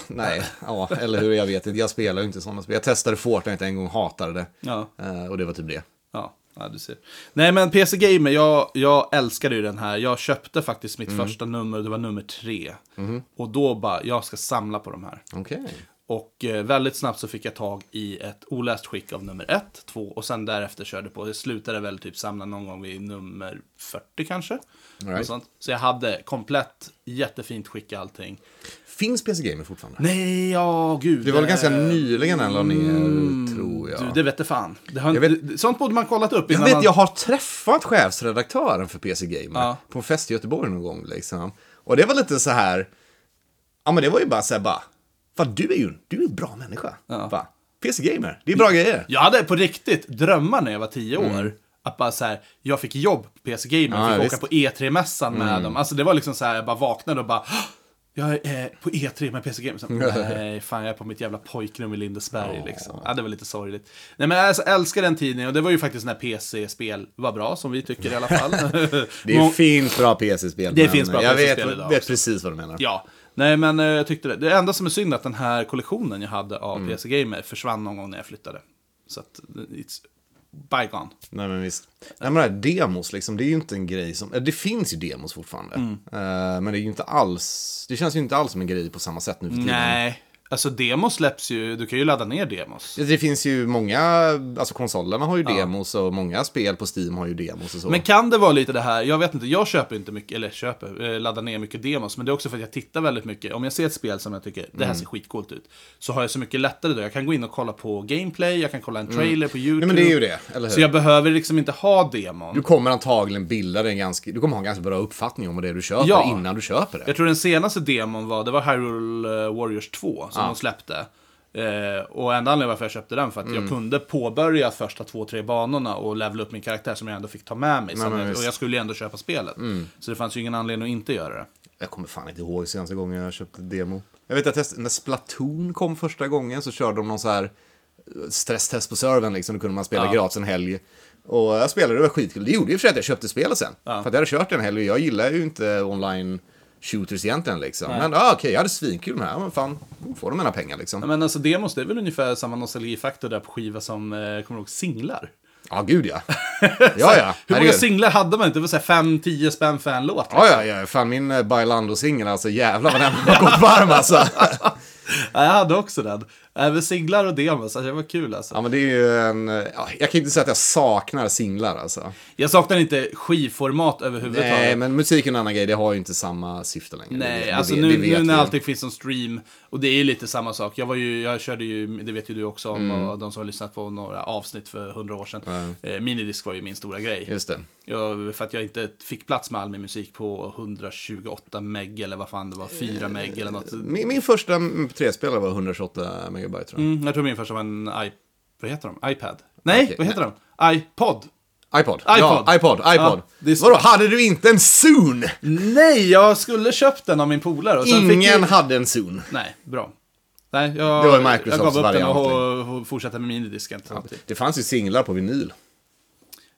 Speaker 2: Nej, ja, eller hur, jag vet inte. Jag spelar ju inte sådana spel. Jag testade Fortnite en gång, hatade det.
Speaker 1: Ja.
Speaker 2: Eh, och det var typ det.
Speaker 1: Ja. Ja, du ser. Nej, men PC Gamer, jag, jag älskade ju den här. Jag köpte faktiskt mitt
Speaker 2: Mm.
Speaker 1: första nummer, det var nummer tre.
Speaker 2: Mm-hmm.
Speaker 1: Och då bara, jag ska samla på de här.
Speaker 2: Okej.
Speaker 1: Och eh, väldigt snabbt så fick jag tag i ett oläst skick av nummer ett, två och sen därefter körde på. Jag slutade väl typ samla någon gång vid nummer 40 kanske.
Speaker 2: right.
Speaker 1: Något sånt. Så jag hade komplett, jättefint skick allting.
Speaker 2: Finns PC Gamer fortfarande?
Speaker 1: Nej, ja gud.
Speaker 2: Det var väl
Speaker 1: eh,
Speaker 2: ganska nyligen den la ner, eh, tror jag.
Speaker 1: Mm. Du, det vette fan. Det har,
Speaker 2: Jag vet-
Speaker 1: det- Sånt borde man kollat upp
Speaker 2: Jag
Speaker 1: innan
Speaker 2: vet,
Speaker 1: man-
Speaker 2: jag har träffat chefsredaktören för PC Gamer
Speaker 1: Ja.
Speaker 2: på en fest i Göteborg någon gång. Liksom. Och det var lite så här, ja men det var ju bara så här bara, fan du är ju du är ju en bra människa. Bara, PC Gamer, det är bra grejer.
Speaker 1: Jag hade på riktigt drömmar när jag var tio år. Att bara så här, jag fick jobb på PC Gamer,
Speaker 2: Ja,
Speaker 1: fick
Speaker 2: visst. Mm.
Speaker 1: åka på E3-mässan med dem. Alltså det var liksom så här, jag bara vaknade och bara "Hå! jag är eh, på E3 med PC Gamer. Så, Liksom, Nej, fan jag är på mitt jävla pojkrum i Lindesberg liksom. Ja, det var lite sorgligt. Nej men jag alltså, älskar den tiden och det var ju faktiskt när PC-spel var bra, som vi tycker i alla fall.
Speaker 2: Det
Speaker 1: Mång-
Speaker 2: finns bra PC-spel.
Speaker 1: Det
Speaker 2: men
Speaker 1: finns bra
Speaker 2: Jag vet,
Speaker 1: PC-spel idag
Speaker 2: vet
Speaker 1: också.
Speaker 2: precis vad du menar.
Speaker 1: Ja, nej men eh, jag tyckte det. Det enda som är synd är att den här kollektionen jag hade av
Speaker 2: Mm.
Speaker 1: PC Gamer försvann någon gång när jag flyttade. Så att, eh, it's bygone.
Speaker 2: Nej men visst. Nej men det här demos liksom, det är ju inte en grej som, eller det finns ju demos fortfarande.
Speaker 1: Mm.
Speaker 2: Eh, men det är ju inte alls, det känns ju inte alls som en grej på samma sätt nu för tiden.
Speaker 1: Nej, alltså demos släpps ju, du kan ju ladda ner demos.
Speaker 2: Det finns ju många, alltså konsolerna har ju demos och många spel på Steam har ju demos och så.
Speaker 1: Men kan det vara lite det här, jag vet inte, jag köper inte mycket, eller köper, eh, laddar ner mycket demos, men det är också för att jag tittar väldigt mycket. Om jag ser ett spel som jag tycker, det
Speaker 2: Mm.
Speaker 1: här ser skitcoolt ut, så har jag så mycket lättare då. Jag kan gå in och kolla på gameplay, jag kan kolla en trailer på YouTube.
Speaker 2: Nej Mm. men det är ju det, eller hur?
Speaker 1: Så jag behöver liksom inte ha demon.
Speaker 2: Du kommer antagligen bilda dig en ganska, du kommer ha en ganska bra uppfattning om vad det är du köper
Speaker 1: Ja.
Speaker 2: innan du köper det.
Speaker 1: Jag tror den senaste demon var, det var Hyrule eh, Warriors 2 som de släppte. Eh, och enda anledningen varför jag köpte den för att
Speaker 2: Mm.
Speaker 1: jag kunde påbörja första två, tre banorna och levela upp min karaktär som jag ändå fick ta med mig.
Speaker 2: Nej,
Speaker 1: Som
Speaker 2: men
Speaker 1: jag,
Speaker 2: visst. Mm.
Speaker 1: och jag skulle ju ändå köpa spelet. Så det fanns ju ingen anledning att inte göra det.
Speaker 2: Jag kommer fan inte ihåg senaste gången jag köpte demo. Jag vet att test, när Splatoon kom första gången så körde de någon så här eh, stresstest på servern liksom. Då kunde man spela gratis en helg. Och jag spelade, det var skitkul. Det gjorde ju för sig att jag köpte spelet sen. För att jag hade kört en helg och jag gillar ju inte online shooters egentligen liksom. Men ah, okej, jag hade svinkul med det här. Men fan, då får de mina pengar liksom.
Speaker 1: Nej, Men alltså demos, det är väl ungefär samma nostalgifaktor där på skiva som, eh, kommer du ihåg, singlar?
Speaker 2: Ja, gud ja. Ja, ja.
Speaker 1: Hur många
Speaker 2: Herregud.
Speaker 1: singlar hade man inte? Det var såhär 5-10 spänn för en låt. liksom.
Speaker 2: Ja, ja, ja. Fan, min eh, Bailando-singel, alltså jävlar vad den har gått varm alltså.
Speaker 1: Ja, jag hade också den. Även singlar och demos, alltså, det var kul alltså.
Speaker 2: Ja, men det är ju en... eh, Ja, jag kan inte säga att jag saknar singlar alltså.
Speaker 1: Jag saknar inte skivformat överhuvudtaget.
Speaker 2: Nej, Eh, men musik är en annan grej. Det har ju inte samma syfte längre.
Speaker 1: Nej,
Speaker 2: det, det,
Speaker 1: alltså
Speaker 2: det,
Speaker 1: nu,
Speaker 2: det vet
Speaker 1: nu när
Speaker 2: vi.
Speaker 1: allting finns som stream, och det är ju lite samma sak. Jag, var ju, jag körde ju, det vet ju du också om,
Speaker 2: Mm.
Speaker 1: och de som har lyssnat på några avsnitt för hundra år sedan. Eh, minidisk var ju min stora grej.
Speaker 2: Just det.
Speaker 1: Jag, för att jag inte fick plats med all min musik på 128 meg eller vad fan det var, 4 meg eller något.
Speaker 2: Min, min första MP3-spelare var 128 megabyte tror jag.
Speaker 1: Mm, jag tror min första var en i, vad heter de? iPad? Nej,
Speaker 2: Okej,
Speaker 1: vad heter de? iPod?
Speaker 2: iPod.
Speaker 1: iPod.
Speaker 2: Ja, iPod. iPod.
Speaker 1: Ja, det är så-
Speaker 2: Vadå, hade du inte en Zoon?
Speaker 1: Nej, jag skulle köpt den av min polare. och sen fick
Speaker 2: Ingen
Speaker 1: ju-
Speaker 2: hade en Zoon.
Speaker 1: Nej, bra. Nej, jag,
Speaker 2: Det var ju Microsofts
Speaker 1: jag gav upp den
Speaker 2: variant,
Speaker 1: och, och fortsatte med minidisken. Ja.
Speaker 2: Det fanns ju singlar på vinyl.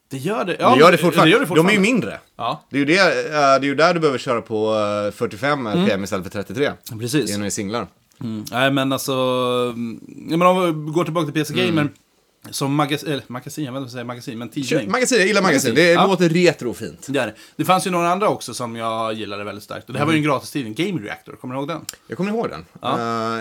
Speaker 1: Det gör det.
Speaker 2: Ja,
Speaker 1: Ja,
Speaker 2: det gör det fortfarande.
Speaker 1: det gör det
Speaker 2: De
Speaker 1: fortfarande.
Speaker 2: är ju mindre.
Speaker 1: Ja.
Speaker 2: Det är ju, det, eh, det är ju där du behöver köra på eh, 45 PM istället för 33.
Speaker 1: Mm. Precis.
Speaker 2: Det är när det är singlar.
Speaker 1: Nej, men alltså... mm, Ja, men om vi går tillbaka till PC Gamer. Som magasin, eller magasin, jag vet inte vad jag säger, magasin, men tidning.
Speaker 2: Magasin, jag gillar magasin. Det
Speaker 1: ja.
Speaker 2: låter retrofint.
Speaker 1: Det, är det. det fanns ju några andra också som jag gillade väldigt starkt. Och det här var
Speaker 2: Mm.
Speaker 1: ju en gratistidning, Game Reactor, kommer du ihåg den?
Speaker 2: Jag kommer ihåg den.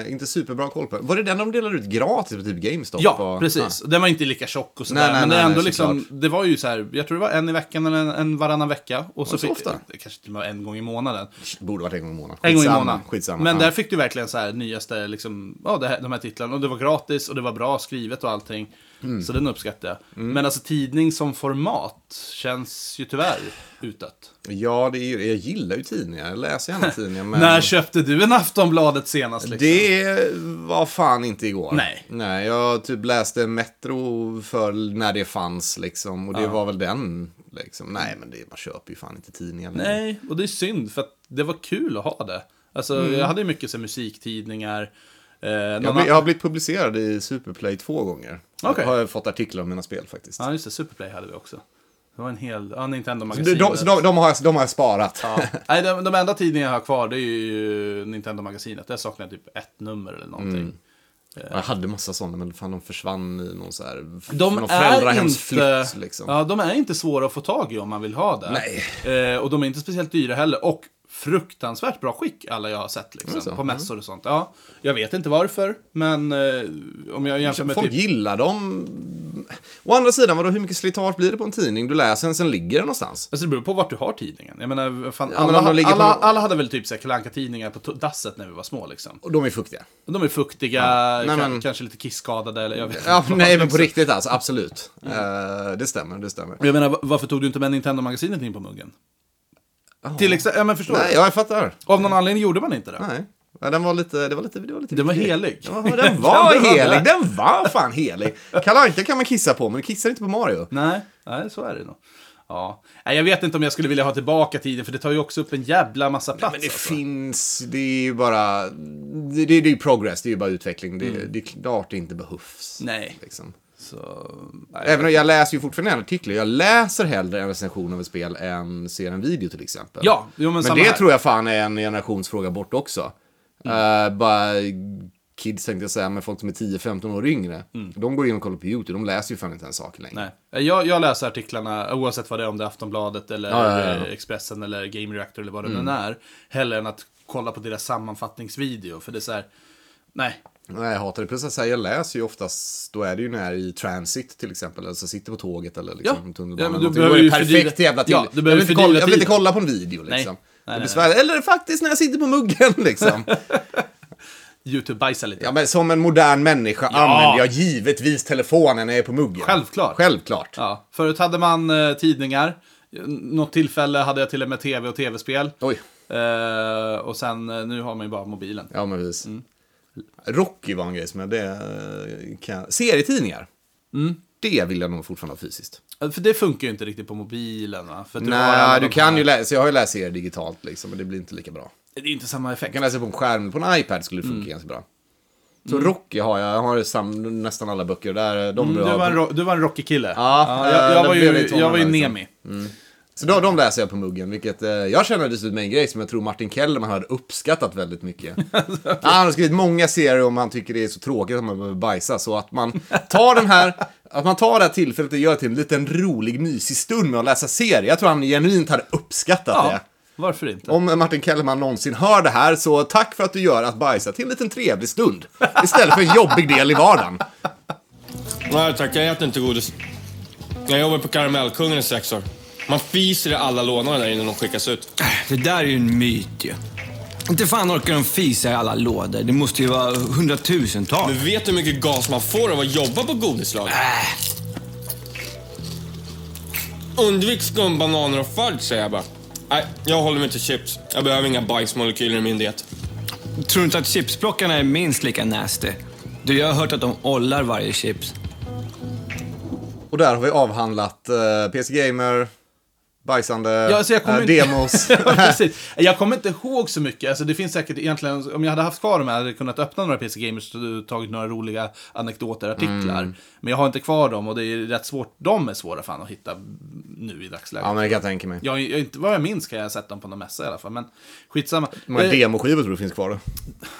Speaker 2: Eh, inte superbra koll på den. Var det den de delade ut gratis på typ GameStop? Ah,
Speaker 1: Ja,
Speaker 2: och,
Speaker 1: precis. Den var inte lika tjock och sådär,
Speaker 2: Nej, nej,
Speaker 1: men det, är
Speaker 2: nej,
Speaker 1: ändå
Speaker 2: nej,
Speaker 1: liksom,
Speaker 2: såklart.
Speaker 1: det var ju så här, jag tror det var en i veckan eller en, en varannan vecka. Och så,
Speaker 2: så
Speaker 1: fick,
Speaker 2: ofta?
Speaker 1: Det kanske till och med var en gång i månaden.
Speaker 2: Ah, borde varit en gång i månaden.
Speaker 1: En gång i
Speaker 2: Skitsamma,
Speaker 1: månaden.
Speaker 2: Skitsamma.
Speaker 1: Men
Speaker 2: Ja.
Speaker 1: där fick du verkligen så här nyaste, liksom, ja, det här, de här titlarna. Och det var gratis och det var bra skrivet och allting.
Speaker 2: Mm.
Speaker 1: Så den uppskattar jag. Men alltså tidning som format känns ju tyvärr utdött.
Speaker 2: Ja, det är, ju- jag gillar ju tidningar. Jag läser gärna tidningar. Men
Speaker 1: När köpte du en Aftonbladet senast? Liksom?
Speaker 2: det var fan inte igår.
Speaker 1: Nej.
Speaker 2: Nej, jag typ läste Metro för när det fanns liksom. Och det var väl den liksom. Nej, men det, man köper ju fan inte tidningar längre.
Speaker 1: Nej, och det är synd för att det var kul att ha det. Alltså, jag hade ju mycket så här, musiktidningar. Eh, någon
Speaker 2: Mm. Jag, blir,
Speaker 1: annan-
Speaker 2: jag har blivit publicerad i Superplay två gånger.
Speaker 1: Okej.
Speaker 2: Jag har fått artiklar om mina spel faktiskt.
Speaker 1: Ja, just det. Superplay hade vi också. Det var en hel... Ja,
Speaker 2: De,
Speaker 1: Nintendo-magasinet.
Speaker 2: de, så de, de, har, jag- de har jag sparat.
Speaker 1: Ja. Nej, de, de
Speaker 2: Mm.
Speaker 1: enda tidningar jag har kvar det är ju Nintendo-magasinet. Där saknar jag typ ett nummer eller någonting.
Speaker 2: Jag hade massa sådana, men fan de försvann i någon så här... f-
Speaker 1: De
Speaker 2: någon
Speaker 1: är, inte,
Speaker 2: flytt, liksom.
Speaker 1: ja, de är inte svåra att få tag i om man vill ha det. Eh, och de är inte speciellt dyra heller. Och fruktansvärt bra skick, alla jag har sett liksom,
Speaker 2: så? Mm.
Speaker 1: på mässor och sånt. Ja, jag vet inte varför, men eh, om jag jämför med
Speaker 2: Folk
Speaker 1: typ...
Speaker 2: gillar dem. Å andra sidan, vadå, hur mycket slitage blir det på en tidning? Du läser den, sen ligger den någonstans.
Speaker 1: Alltså det beror på vart du har tidningen. Jag menar, fan,
Speaker 2: men
Speaker 1: alla,
Speaker 2: om de ligger
Speaker 1: alla,
Speaker 2: på-
Speaker 1: alla hade väl typ så här Kalle Anka-tidningar på to- dasset när vi var små liksom.
Speaker 2: Och de är fuktiga.
Speaker 1: De är fuktiga,
Speaker 2: Nej,
Speaker 1: kan,
Speaker 2: men-
Speaker 1: kanske lite kisskadade eller jag vet inte.
Speaker 2: Ja,
Speaker 1: vad,
Speaker 2: nej, men
Speaker 1: liksom. Mm.
Speaker 2: på riktigt alltså, absolut. Eh, det stämmer, det stämmer.
Speaker 1: Jag menar, va- varför tog du inte med Nintendo-magasinet in på muggen? Till exempel, ja men förstår
Speaker 2: Nej,
Speaker 1: du?
Speaker 2: jag fattar.
Speaker 1: Av någon anledning gjorde man inte det.
Speaker 2: Nej. Ja, den var lite, det var lite, det var lite
Speaker 1: Den var
Speaker 2: vidrig.
Speaker 1: helig.
Speaker 2: Ja, den var helig, den var fan helig. Kalle Anka kan man kissa på, men du kissar inte på Mario.
Speaker 1: Nej, nej, så är det nog. Ja. Nej, jag vet inte om jag skulle vilja ha tillbaka tiden, för det tar ju också upp en jävla massa plats.
Speaker 2: Men det
Speaker 1: alltså.
Speaker 2: finns, det är ju bara, det, det, det är ju progress, det är ju bara utveckling. Det, det är klart det inte behövs.
Speaker 1: Mm. Nej.
Speaker 2: Liksom.
Speaker 1: alltså. Så, nej.
Speaker 2: Även om jag läser ju fortfarande en artikel, jag läser hellre en recension av ett spel än ser en video till exempel.
Speaker 1: Ja, jo, men samma
Speaker 2: det
Speaker 1: här.
Speaker 2: tror jag fan är en generationsfråga bort också.
Speaker 1: Mm.
Speaker 2: Eh, bara kids tänkte jag säga, men folk som är 10-15 år yngre,
Speaker 1: Mm.
Speaker 2: de går in och kollar på YouTube, de läser ju fan inte ens saker längre.
Speaker 1: nej. Jag, jag läser artiklarna, oavsett vad det är, om det är Aftonbladet eller
Speaker 2: Ja, ja, Mm. ja.
Speaker 1: eh, Expressen eller Game Reactor eller vad det nu är, hellre än att kolla på deras sammanfattningsvideo, för det är så här, nej.
Speaker 2: Nej, jag hatar det. Plus att så här, jag läser ju oftast, då är det ju när jag är i transit till exempel, eller så sitter på tåget eller
Speaker 1: Ja.
Speaker 2: liksom
Speaker 1: Ja, men
Speaker 2: tunnelbanan.
Speaker 1: du
Speaker 2: eller någonting.
Speaker 1: behöver
Speaker 2: Då är det
Speaker 1: ju
Speaker 2: perfekt
Speaker 1: fördriva-
Speaker 2: jävla till.
Speaker 1: Ja, du behöver
Speaker 2: jag, vill inte
Speaker 1: fördriva
Speaker 2: kolla, jag vill inte
Speaker 1: tiden.
Speaker 2: kolla på en video liksom.
Speaker 1: Nej, nej,
Speaker 2: det
Speaker 1: nej.
Speaker 2: besvär, Eller faktiskt när jag sitter på muggen liksom.
Speaker 1: YouTube bajsar lite.
Speaker 2: ja, men som en modern människa använder jag givetvis telefonen när jag är på muggen.
Speaker 1: Självklart.
Speaker 2: Självklart.
Speaker 1: Ja, förut hade man eh, tidningar. Något tillfälle hade jag till och med tv och tv-spel.
Speaker 2: Oj.
Speaker 1: Eh, och sen, eh, nu har man ju bara mobilen.
Speaker 2: Ja, men precis.
Speaker 1: Mm.
Speaker 2: Rocky var en grej som jag... Det, eh, kan... Serietidningar.
Speaker 1: Mm.
Speaker 2: Det vill jag nog fortfarande ha fysiskt.
Speaker 1: Eh, För det funkar ju inte riktigt på mobilen va? För att har alla
Speaker 2: Nej, du
Speaker 1: de
Speaker 2: kan
Speaker 1: här-
Speaker 2: ju läsa. Jag har ju läst serier digitalt liksom, men det blir inte lika bra.
Speaker 1: Det är inte samma effekt.
Speaker 2: Jag kan läsa på en skärm, på en iPad skulle det
Speaker 1: Mm.
Speaker 2: funka ganska bra. Så Rocky har jag, jag har sam, nästan alla böcker där. De
Speaker 1: Mm, Du
Speaker 2: jag har-
Speaker 1: var, en, ro- du var en rockig kille.
Speaker 2: Ja,
Speaker 1: jag,
Speaker 2: eh,
Speaker 1: jag,
Speaker 2: det
Speaker 1: var
Speaker 2: blev
Speaker 1: ju,
Speaker 2: lite sådana
Speaker 1: jag var ju
Speaker 2: där, liksom.
Speaker 1: Nemi.
Speaker 2: Så då, de läser jag på muggen, vilket eh, jag känner dessutom är en grej som jag tror Martin Kellerman hade uppskattat väldigt mycket. Ja, han har skrivit många serier om han tycker det är så tråkigt att man behöver bajsa, så att man tar den här, att man tar det här tillfället och gör till en liten rolig, mysig stund med att läsa serier. Jag tror han genuint hade uppskattat
Speaker 1: Ja,
Speaker 2: det.
Speaker 1: varför inte?
Speaker 2: Om Martin Kellerman någonsin hör det här, så tack för att du gör att bajsa till en liten trevlig stund. Istället för en jobbig del i vardagen.
Speaker 7: Nej tack, jag äter inte godis. Jag jobbar på Karamellkungen i sex år. Man fiser i alla lådorna innan de skickas ut.
Speaker 8: Det där är ju en myt ju. Inte fan orkar de fisa i alla lådor. Det måste ju vara hundratusentals.
Speaker 7: Men vet du hur mycket gas man får av att jobba på godislager? Undvik skumbananer och fudge säger jag bara. Nej, jag håller mig till chips. Jag behöver inga bajsmolekyler i min diet.
Speaker 8: Tror du inte att chipsplockarna är minst lika nasty? Du, jag har hört att de ollar varje chips.
Speaker 2: Och där har vi avhandlat eh, PC Gamer, bajsande,
Speaker 1: Ja, alltså jag kommer
Speaker 2: eh,
Speaker 1: inte-
Speaker 2: demos.
Speaker 1: Ja, precis. Jag kommer inte ihåg så mycket. Alltså, det finns säkert egentligen, om jag hade haft kvar dem här, hade jag kunnat öppna några PC Gamers och tagit några roliga anekdoter, artiklar.
Speaker 2: Mm.
Speaker 1: Men jag har inte kvar dem och det är rätt svårt. De är svåra fan att hitta nu i dagsläget.
Speaker 2: ja, men det kan jag tänka mig.
Speaker 1: Jag, jag, inte- vad jag minns kan jag ha sett dem på någon mässa i alla fall, men skitsamma.
Speaker 2: Hur många
Speaker 1: Eh,
Speaker 2: demoskivor tror du finns kvar då?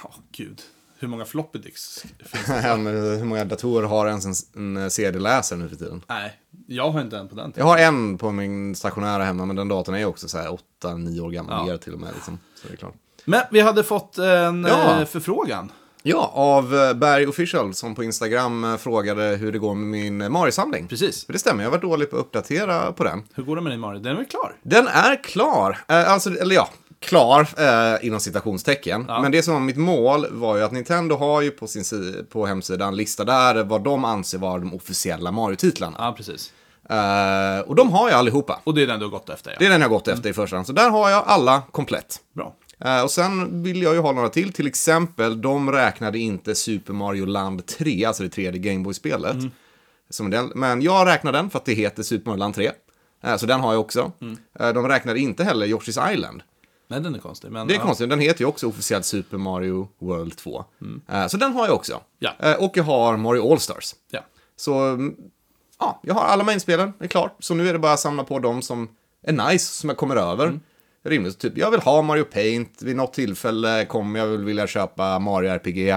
Speaker 1: åh, gud, hur många floppy dicks finns det?
Speaker 2: Ja, men Hur många datorer har ens en, eh, en CD-läsare nu för tiden?
Speaker 1: Nej, jag har inte en på den
Speaker 2: Jag
Speaker 1: tiden.
Speaker 2: har en på min stationära hemma, men den datorn är ju också så här 8-9 år gammal,
Speaker 1: Ja.
Speaker 2: mer till och med. Liksom. Så det är klart.
Speaker 1: Men vi hade fått en
Speaker 2: Ja.
Speaker 1: eh, förfrågan.
Speaker 2: Ja, av eh, Berg Official som på Instagram eh, frågade hur det går med min eh, Mario-samling.
Speaker 1: Precis.
Speaker 2: För det stämmer, jag var dålig på att uppdatera på den.
Speaker 1: Hur går det med din Mario? Den är väl klar?
Speaker 2: Den är klar. Eh, alltså, eller ja, klar eh, inom citationstecken. Men det som var mitt mål var ju att Nintendo har ju på sin si- på hemsidan en lista där vad de anser vara de officiella Mario-titlarna.
Speaker 1: Ja, precis.
Speaker 2: Eh, och de har jag allihopa.
Speaker 1: Och det är den du har gått efter, ja.
Speaker 2: Det är den jag har gått efter i första hand. Så där har jag alla komplett.
Speaker 1: Bra.
Speaker 2: Eh, och sen vill jag ju ha några till. Till exempel, de räknade inte Super Mario Land 3, alltså det tredje Gameboy-spelet.
Speaker 1: Mm.
Speaker 2: Som en del. Men jag räknar den för att det heter Super Mario Land 3. Eh, så den har jag också.
Speaker 1: Mm.
Speaker 2: Eh, de räknade inte heller Yoshi's Island.
Speaker 1: Nej, den är konstig. Men,
Speaker 2: Det är
Speaker 1: ja.
Speaker 2: konstigt, den heter ju också officiellt Super Mario World 2. Eh, Så den har jag också.
Speaker 1: Mm. Ja.
Speaker 2: Eh, Och jag har Mario All-Stars.
Speaker 1: Ja.
Speaker 2: Så mm, ja, jag har alla mainspelen, det är klart. Så nu är det bara att samla på dem som är nice, som jag kommer över.
Speaker 1: Mm.
Speaker 2: Rimligt, typ jag vill ha Mario Paint, vid något tillfälle kommer jag väl vilja köpa Mario RPG. Eh,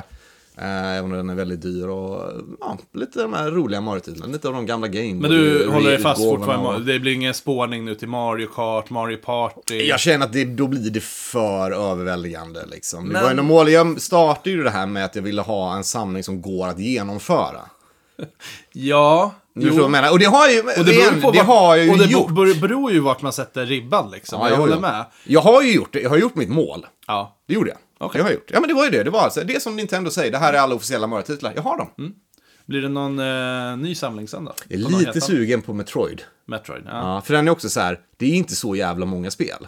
Speaker 2: Även om den är väldigt dyr och ja, lite de här roliga Mario-titlarna. Lite av de gamla Game
Speaker 1: Men du håller dig fast
Speaker 2: Boy-utgåvorna
Speaker 1: fortfarande?
Speaker 2: och-
Speaker 1: Det blir ingen spårning nu till Mario Kart, Mario Party?
Speaker 2: Jag känner att det, då blir det för överväldigande liksom. Det var ju något mål, jag startade ju det här med att jag ville ha en samling som går att genomföra.
Speaker 1: Ja.
Speaker 2: Du förstår vad jag menar? Och det har jag ju,
Speaker 1: Och det, beror ju på
Speaker 2: det
Speaker 1: vart-
Speaker 2: har jag ju
Speaker 1: och det
Speaker 2: gjort.
Speaker 1: beror- beror ju vart man sätter ribban liksom.
Speaker 2: Ja,
Speaker 1: jag
Speaker 2: jo,
Speaker 1: håller
Speaker 2: jo.
Speaker 1: med.
Speaker 2: Jag har ju gjort det, jag har gjort mitt mål.
Speaker 1: Ja.
Speaker 2: Det gjorde jag. Det har jag gjort. Ja men det var ju det, det var alltså, det som Nintendo säger, det här är alla officiella Mario-titlar. Jag har dem.
Speaker 1: Mm. Blir det någon eh, ny samling sen då? På
Speaker 2: Jag
Speaker 1: någon
Speaker 2: är lite
Speaker 1: heta?
Speaker 2: sugen på Metroid.
Speaker 1: Metroid? Ja.
Speaker 2: Ja, för den är också så här, det är inte så jävla många spel.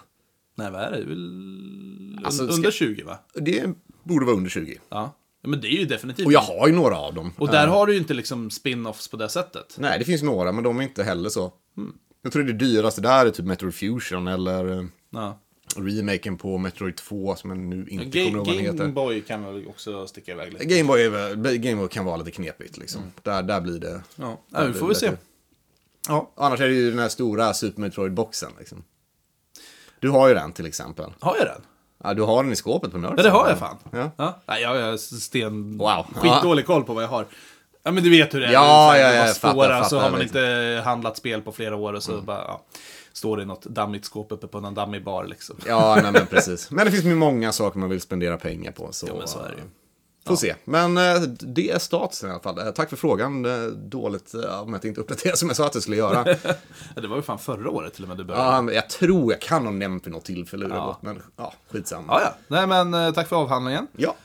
Speaker 1: Nej, vad är det? Det är väl
Speaker 2: Alltså,
Speaker 1: un-
Speaker 2: ska-
Speaker 1: under 20 va?
Speaker 2: Det borde vara under 20.
Speaker 1: Ja. Ja, Men det är ju definitivt.
Speaker 2: Och jag har ju några av dem.
Speaker 1: Och där har du ju inte liksom spin-offs på det sättet.
Speaker 2: Nej, det finns några, men de är inte heller så.
Speaker 1: Mm.
Speaker 2: Jag tror det dyraste där är typ Metroid Fusion eller eh,
Speaker 1: Ja.
Speaker 2: remaken på Metroid 2 som jag nu inte kommer
Speaker 1: Game,
Speaker 2: ihåg vad den heter.
Speaker 1: Boy kan väl också sticka iväg lite.
Speaker 2: Gameboy är väl- Gameboy kan vara lite knepigt liksom. Där, där blir det...
Speaker 1: Ja, ja vi får väl se. Ja.
Speaker 2: Annars är det ju den här stora Super Metroid-boxen liksom. Du har ju den till exempel.
Speaker 1: Har jag den?
Speaker 2: Ja, du har den i skåpet på Nörd.
Speaker 1: Ja, det har jag fan.
Speaker 2: Ja.
Speaker 1: Ja. Nej, jag har sten...
Speaker 2: Wow.
Speaker 1: Skitdålig koll på vad jag har. Ja, men du vet hur det är.
Speaker 2: Ja,
Speaker 1: Det är så här,
Speaker 2: ja,
Speaker 1: det
Speaker 2: ja,
Speaker 1: var
Speaker 2: jag fattar,
Speaker 1: spårar,
Speaker 2: fattar,
Speaker 1: så har man
Speaker 2: liksom.
Speaker 1: inte handlat spel på flera år och
Speaker 2: Mm.
Speaker 1: så bara, ja, står det i något dammigt skåp uppe på någon dammig bar liksom.
Speaker 2: Ja, nej, men precis. Men det finns ju många saker man vill spendera pengar på. Så,
Speaker 1: Ja, men så är det ju.
Speaker 2: eh, Får se. Men eh, det är statusen i alla fall. Eh, Tack för frågan. Eh, Dåligt eh, om jag inte uppdaterar som jag sa att jag skulle göra.
Speaker 1: Ja, det var ju fan förra året till och med du började.
Speaker 2: ja, men jag tror jag kan ha nämnt vid något tillfälle hur det gått, men ja, skitsamma.
Speaker 1: Ja, ja. Nej, men eh, tack för avhandlingen.
Speaker 2: Ja.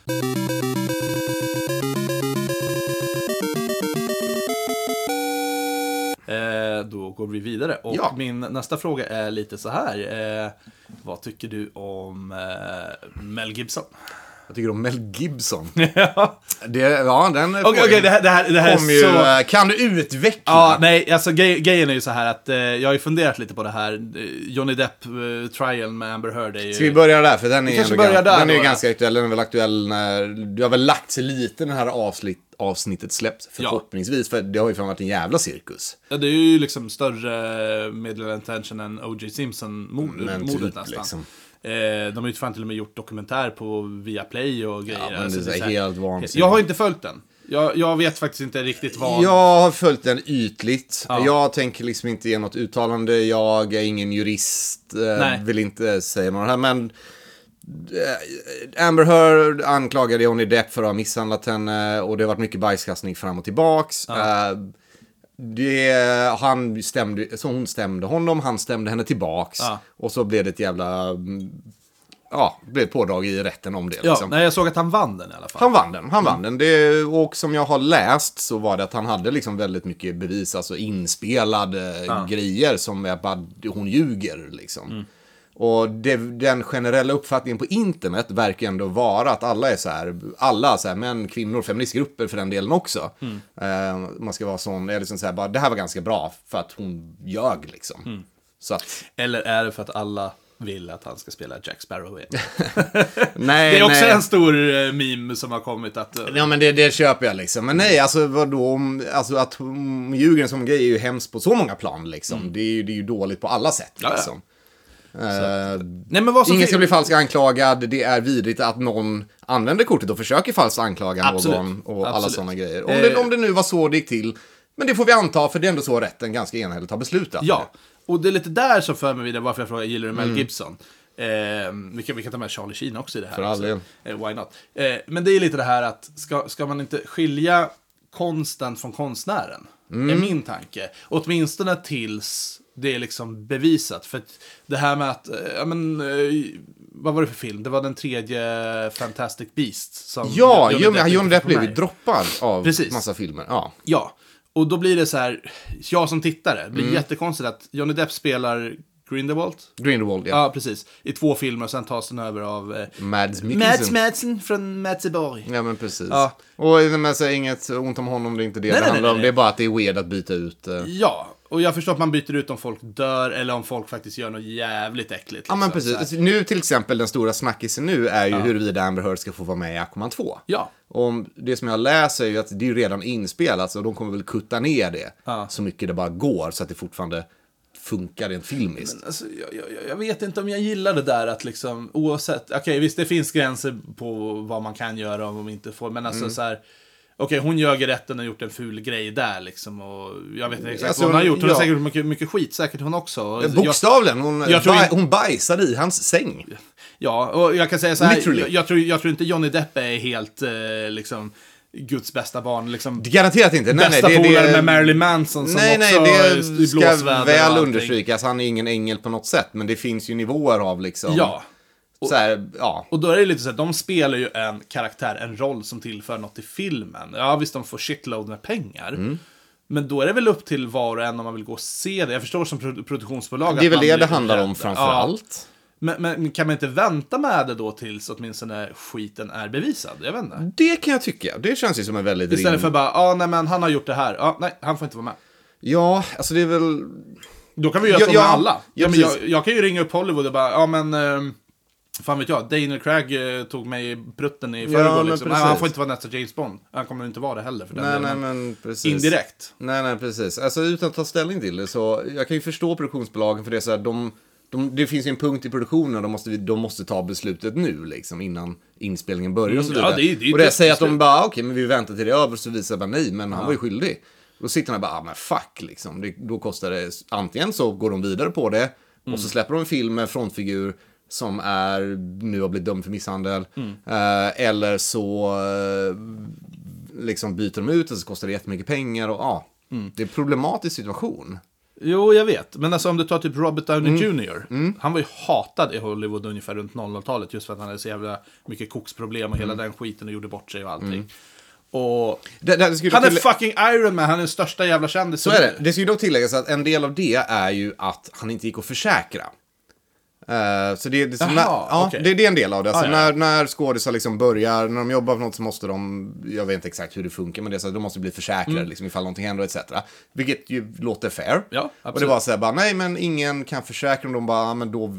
Speaker 1: Eh, då går vi vidare. Och
Speaker 2: Ja.
Speaker 1: min nästa fråga är lite så här. Eh, vad tycker du om eh, Mel Gibson?
Speaker 2: Jag tycker om Mel Gibson.
Speaker 1: Ja.
Speaker 2: Det, ja, den eh,
Speaker 1: Okej, okej, det här, det här, det här
Speaker 2: kom
Speaker 1: är
Speaker 2: ju,
Speaker 1: så...
Speaker 2: eh, Kan du utveckla?
Speaker 1: Ja, nej, alltså grej, grejen är ju så här att eh, jag har ju funderat lite på det här. Eh, Johnny Depp-trialen med Amber Heard är ju...
Speaker 2: Ska vi börja där? För den är,
Speaker 1: kanske
Speaker 2: ändå
Speaker 1: börjar
Speaker 2: ganska-
Speaker 1: där
Speaker 2: den är ju
Speaker 1: då,
Speaker 2: ganska aktuell. Den är väl aktuell när... Du har väl lagt sig lite när det här avsnitt, avsnittet släpps, förhoppningsvis. För det har ju fan varit en jävla cirkus.
Speaker 1: Ja, det är ju liksom större meddelande attention än O.J. Simpson-mordet
Speaker 2: Men
Speaker 1: mordet
Speaker 2: typ,
Speaker 1: nästan.
Speaker 2: liksom.
Speaker 1: Eh, de har ju fan till och med gjort dokumentär på Viaplay och grejer.
Speaker 2: Ja, men
Speaker 1: Alltså,
Speaker 2: det är
Speaker 1: så här-
Speaker 2: helt vansinnigt.
Speaker 1: Jag har inte följt den. Jag, jag vet faktiskt inte riktigt vad...
Speaker 2: Jag har följt den ytligt.
Speaker 1: Ja.
Speaker 2: Jag tänker liksom inte ge något uttalande. Jag är ingen jurist. eh,
Speaker 1: Nej.
Speaker 2: Vill inte säga något här, men... eh, Amber Heard anklagade Johnny Depp för att ha misshandlat henne och det har varit mycket bajskastning fram och tillbaks. Eh, Det, han stämde, så hon stämde honom, han stämde henne tillbaks.
Speaker 1: Ja.
Speaker 2: Och så blev det ett jävla... mm, Ja, det blev ett pådrag i rätten om det.
Speaker 1: Ja,
Speaker 2: liksom.
Speaker 1: nej, jag såg att han vann den i alla fall.
Speaker 2: Han vann den,
Speaker 1: Mm.
Speaker 2: han vann den. Det, och som jag har läst så var det att han hade liksom väldigt mycket bevis, alltså inspelade grejer som är bara, hon ljuger liksom.
Speaker 1: Mm.
Speaker 2: Och det, den generella uppfattningen på internet verkar ändå vara att alla är så här, alla så här, män, kvinnor, feministgrupper för den delen också.
Speaker 1: Mm.
Speaker 2: Eh, man ska vara sån, eller liksom så här, bara, det här var ganska bra för att hon ljög liksom.
Speaker 1: Mm.
Speaker 2: Så att,
Speaker 1: Eller är det för att alla vill att han ska spela Jack Sparrow igen?
Speaker 2: nej,
Speaker 1: Det är också
Speaker 2: nej.
Speaker 1: en stor eh, meme som har kommit att... eh,
Speaker 2: Ja men det, det köper jag liksom. Men nej, alltså vadå om, alltså att hon ljuger som grej är ju hemskt på så många plan liksom. Det, är ju, det är ju dåligt på alla sätt
Speaker 1: Mm. Ja, ja.
Speaker 2: liksom. Eh,
Speaker 1: Nej, men vad som
Speaker 2: ingen ska bli falskt anklagad, det är vidrigt att någon använder kortet och försöker falskt anklaga
Speaker 1: Absolut.
Speaker 2: någon och alla
Speaker 1: Absolut.
Speaker 2: sådana grejer. Om det,
Speaker 1: Eh.
Speaker 2: om det nu var så det gick till, men det får vi anta för det är ändå så rätten ganska enhälligt har beslutat.
Speaker 1: Ja, och det är lite där som för mig vidare varför jag frågar gillar du
Speaker 2: Mm.
Speaker 1: Mel Gibson? Eh, vi, kan, vi kan ta med Charlie Sheen också i det här.
Speaker 2: För all
Speaker 1: också.
Speaker 2: del.
Speaker 1: Eh, why not? Eh, men det är lite det här att ska, ska man inte skilja konsten från konstnären?
Speaker 2: Mm.
Speaker 1: Är min tanke. Åtminstone tills det är liksom bevisat. För att det här med att, eh, ja men, eh, vad var det för film? Det var den tredje Fantastic Beast. Som
Speaker 2: Ja,
Speaker 1: Johnny
Speaker 2: jo, men
Speaker 1: inte
Speaker 2: John Depp
Speaker 1: fick
Speaker 2: blev
Speaker 1: vara
Speaker 2: ju
Speaker 1: med i.
Speaker 2: droppad av
Speaker 1: Precis.
Speaker 2: massa filmer. Ja.
Speaker 1: Ja, och då blir det så här, jag som tittare, det blir
Speaker 2: Mm.
Speaker 1: jättekonstigt att Johnny Depp spelar Grindelwald.
Speaker 2: Grindelwald, ja.
Speaker 1: Ja, precis. I två filmer, sen tas den över av eh,
Speaker 2: Mads
Speaker 1: Mads
Speaker 2: Mikkelsen.
Speaker 1: Madsen från Matseborg.
Speaker 2: Ja men precis.
Speaker 1: Ja.
Speaker 2: Och men, så, inget ont om honom, det är inte det
Speaker 1: Nej,
Speaker 2: det
Speaker 1: nej,
Speaker 2: handlar
Speaker 1: nej,
Speaker 2: om.
Speaker 1: nej.
Speaker 2: Det är bara att det är weird att byta ut. eh.
Speaker 1: Ja, och jag förstår att man byter ut om folk dör eller om folk faktiskt gör något jävligt äckligt.
Speaker 2: Ja men
Speaker 1: liksom. Så här.
Speaker 2: precis. Nu till exempel den stora snackisen nu är ju huruvida Amber Heard ska få vara med i Aquaman 2.
Speaker 1: Ja.
Speaker 2: Om det som jag läser är ju att det är ju redan inspelat så de kommer väl kutta ner det så mycket det bara går så att det fortfarande funkar rent filmiskt.
Speaker 1: Alltså, jag, jag, jag vet inte om jag gillar det där att liksom, oavsett, okej visst det finns gränser på vad man kan göra och vad man inte får, men
Speaker 2: Mm.
Speaker 1: alltså så här, okej hon gör rätten och gjort en ful grej där liksom, och jag vet inte exakt
Speaker 2: Alltså,
Speaker 1: vad hon har gjort, hon har
Speaker 2: ja.
Speaker 1: säkert gjort mycket, mycket skit, säkert hon också. Och alltså, jag-
Speaker 2: Bokstavligen, hon,
Speaker 1: jag tror
Speaker 2: baj,
Speaker 1: inte-
Speaker 2: hon bajsade i hans säng.
Speaker 1: Ja, och jag kan säga så här,
Speaker 2: Literally.
Speaker 1: jag, jag, tror, jag tror inte Johnny Depp är helt eh, liksom Guds bästa barn, liksom.
Speaker 2: Garanterat inte. Nej, nej,
Speaker 1: Bästa
Speaker 2: det,
Speaker 1: polare
Speaker 2: det,
Speaker 1: med Marilyn Manson som
Speaker 2: Nej, nej,
Speaker 1: också är i
Speaker 2: det
Speaker 1: blåsväder och
Speaker 2: ska väl
Speaker 1: allting.
Speaker 2: understrykas. Han är ingen ängel på något sätt, men det finns ju nivåer av liksom...
Speaker 1: Ja.
Speaker 2: Så här, ja.
Speaker 1: Och då är det lite så att de spelar ju en karaktär, en roll som tillför något till filmen. Ja, visst de får shitload med pengar.
Speaker 2: Mm.
Speaker 1: Men då är det väl upp till var och en om man vill gå och se det. Jag förstår som produ- produktionsbolag
Speaker 2: Det är
Speaker 1: att
Speaker 2: väl
Speaker 1: man
Speaker 2: det det
Speaker 1: blir
Speaker 2: handlar om
Speaker 1: rädd.
Speaker 2: framför
Speaker 1: Ja.
Speaker 2: allt.
Speaker 1: Men, men kan man inte vänta med det då tills åtminstone skiten är bevisad? Jag vet inte.
Speaker 2: Det kan jag tycka. Det känns ju som en väldigt
Speaker 1: Istället
Speaker 2: rim-
Speaker 1: för bara, ja, nej men han har gjort det här. Ja, nej, han får inte vara med.
Speaker 2: Ja, alltså det är väl...
Speaker 1: Då kan vi göra
Speaker 2: Ja,
Speaker 1: så
Speaker 2: ja.
Speaker 1: med alla.
Speaker 2: Ja,
Speaker 1: Ja, men
Speaker 2: precis.
Speaker 1: jag, jag kan ju ringa upp Hollywood och bara, ja men... ehm, Fan vet jag, Daniel Craig eh, tog mig i prutten i förrgår liksom.
Speaker 2: men
Speaker 1: Nej,
Speaker 2: precis.
Speaker 1: han får inte vara nästa James Bond. Han kommer inte vara det heller för den
Speaker 2: Nej,
Speaker 1: delen.
Speaker 2: nej,
Speaker 1: Men
Speaker 2: men precis.
Speaker 1: Indirekt.
Speaker 2: Nej, nej, precis. Alltså utan att ta ställning till det så, jag kan ju förstå produktionsbolagen för det är så här, de, de, det finns ju en punkt i produktionen, de måste, de måste ta beslutet nu liksom innan inspelningen börjar och så
Speaker 1: Mm,
Speaker 2: vidare.
Speaker 1: ja, det är- det är ju
Speaker 2: och det
Speaker 1: ett
Speaker 2: säger att de
Speaker 1: beslut.
Speaker 2: bara, "Ah, okej, men vi väntar till det är över, så visar bara nej, men han var ju skyldig. Då sitter han där bara, ah, men fuck liksom. Det, då kostar det, antingen så går de vidare på det och
Speaker 1: Mm.
Speaker 2: så släpper de en film med en frontfigur som är, nu har blivit dömd för misshandel.
Speaker 1: Mm.
Speaker 2: Eh, eller så eh, liksom byter de ut och så kostar det jättemycket pengar och ja.
Speaker 1: Mm.
Speaker 2: Det är en problematisk situation.
Speaker 1: Jo, jag vet. Men alltså om du tar typ Robert
Speaker 2: Mm.
Speaker 1: Downey Jr. Han var ju hatad i Hollywood ungefär runt 00-talet just för att han hade så jävla mycket koksproblem och
Speaker 2: Mm.
Speaker 1: hela den skiten och gjorde bort sig och allting. Och...
Speaker 2: Det, Mm. det skulle
Speaker 1: Han är
Speaker 2: till-
Speaker 1: fucking Iron Man, han är den största jävla kändisen.
Speaker 2: så är det. Det ska ju dock tilläggas att en del av det är ju att han inte gick att försäkra. Eh, så det, det, så
Speaker 1: Jaha,
Speaker 2: när, ja,
Speaker 1: okej.
Speaker 2: det, det är en del av det. Alltså
Speaker 1: Ah, ja.
Speaker 2: när, när skådisar liksom börjar, när de jobbar för något så måste de, jag vet inte exakt hur det funkar, men det är så att de måste bli försäkrade liksom, ifall någonting händer etc. Vilket ju låter fair.
Speaker 1: Mm. Ja,
Speaker 2: och det
Speaker 1: absolut.
Speaker 2: var så här bara, nej men ingen kan försäkra om de bara, "Ah, men då,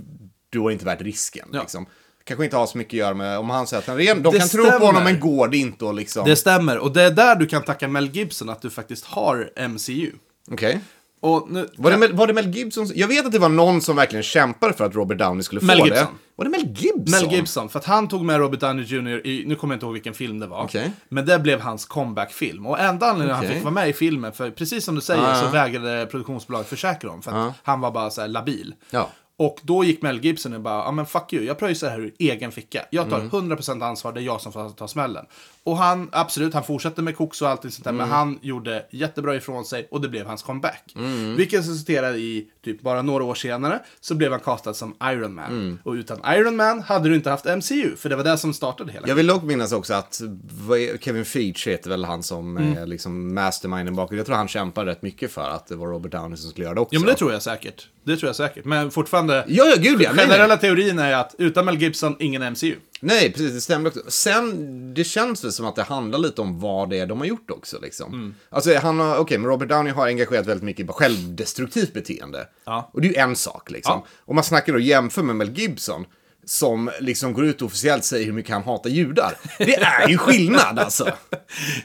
Speaker 2: då är inte värt risken.
Speaker 1: Ja.
Speaker 2: Liksom. Kanske inte har så mycket att göra med, om han säger att han är ren, de
Speaker 1: Det
Speaker 2: kan tro på honom
Speaker 1: stämmer.
Speaker 2: men går det inte att liksom...
Speaker 1: Det stämmer. Och det är där du kan tacka Mel Gibson att du faktiskt har MCU.
Speaker 2: Okej.
Speaker 1: Och nu...
Speaker 2: Var det, Mel, var det Mel Gibson? Jag vet att det var någon som verkligen kämpade för att Robert Downey skulle få
Speaker 1: Mel Gibson.
Speaker 2: det. Var det Mel Gibson?
Speaker 1: Mel Gibson, för att han tog med Robert Downey Jr. i, nu kommer jag inte ihåg vilken film det var,
Speaker 2: Okej.
Speaker 1: men det blev hans comeback-film. Och enda anledningen
Speaker 2: Okej. Ah.
Speaker 1: han fick vara med i filmen, för precis som du säger
Speaker 2: Ja, ja.
Speaker 1: så vägrade produktionsbolaget försäkra om, för att han var bara så här labil.
Speaker 2: Ah. Ja.
Speaker 1: Och då gick Mel Gibson och bara, ja men fuck you, jag pröjsar det här ur egen ficka. Jag
Speaker 2: Mm.
Speaker 1: tar 100% ansvar, det är jag som får ta smällen. Och han, absolut, han fortsatte med koks och allt sånt där,
Speaker 2: Mm.
Speaker 1: men han gjorde jättebra ifrån sig och det blev hans comeback.
Speaker 2: Mm.
Speaker 1: Vilket resulterade i, typ bara några år senare, så blev han castad som Iron Man.
Speaker 2: Mm.
Speaker 1: Och utan Iron Man hade du inte haft MCU, för det var det som startade hela.
Speaker 2: Jag vill dock minnas också att vad är- Kevin Feige heter väl han som
Speaker 1: Mm.
Speaker 2: är liksom masterminden bakom. Jag tror han kämpade rätt mycket för att det var Robert Downey som skulle göra det också.
Speaker 1: Ja men det tror jag säkert. Det tror jag säkert. Men fortfarande,
Speaker 2: Ja, ja, gud ja. Nej, nej.
Speaker 1: generella teorin är att utan Mel Gibson, ingen MCU.
Speaker 2: Nej, precis. Det stämde också. Sen, det känns väl som att det handlar lite om vad det är de har gjort också. Liksom.
Speaker 1: Mm.
Speaker 2: Alltså, han har, okej, men Robert Downey har engagerat väldigt mycket i självdestruktivt beteende.
Speaker 1: Ja.
Speaker 2: Och det är ju en sak, liksom.
Speaker 1: Ja.
Speaker 2: Om man snackar och jämför med Mel Gibson, som liksom går ut och officiellt säger hur mycket han hatar judar. Det är ju skillnad, alltså.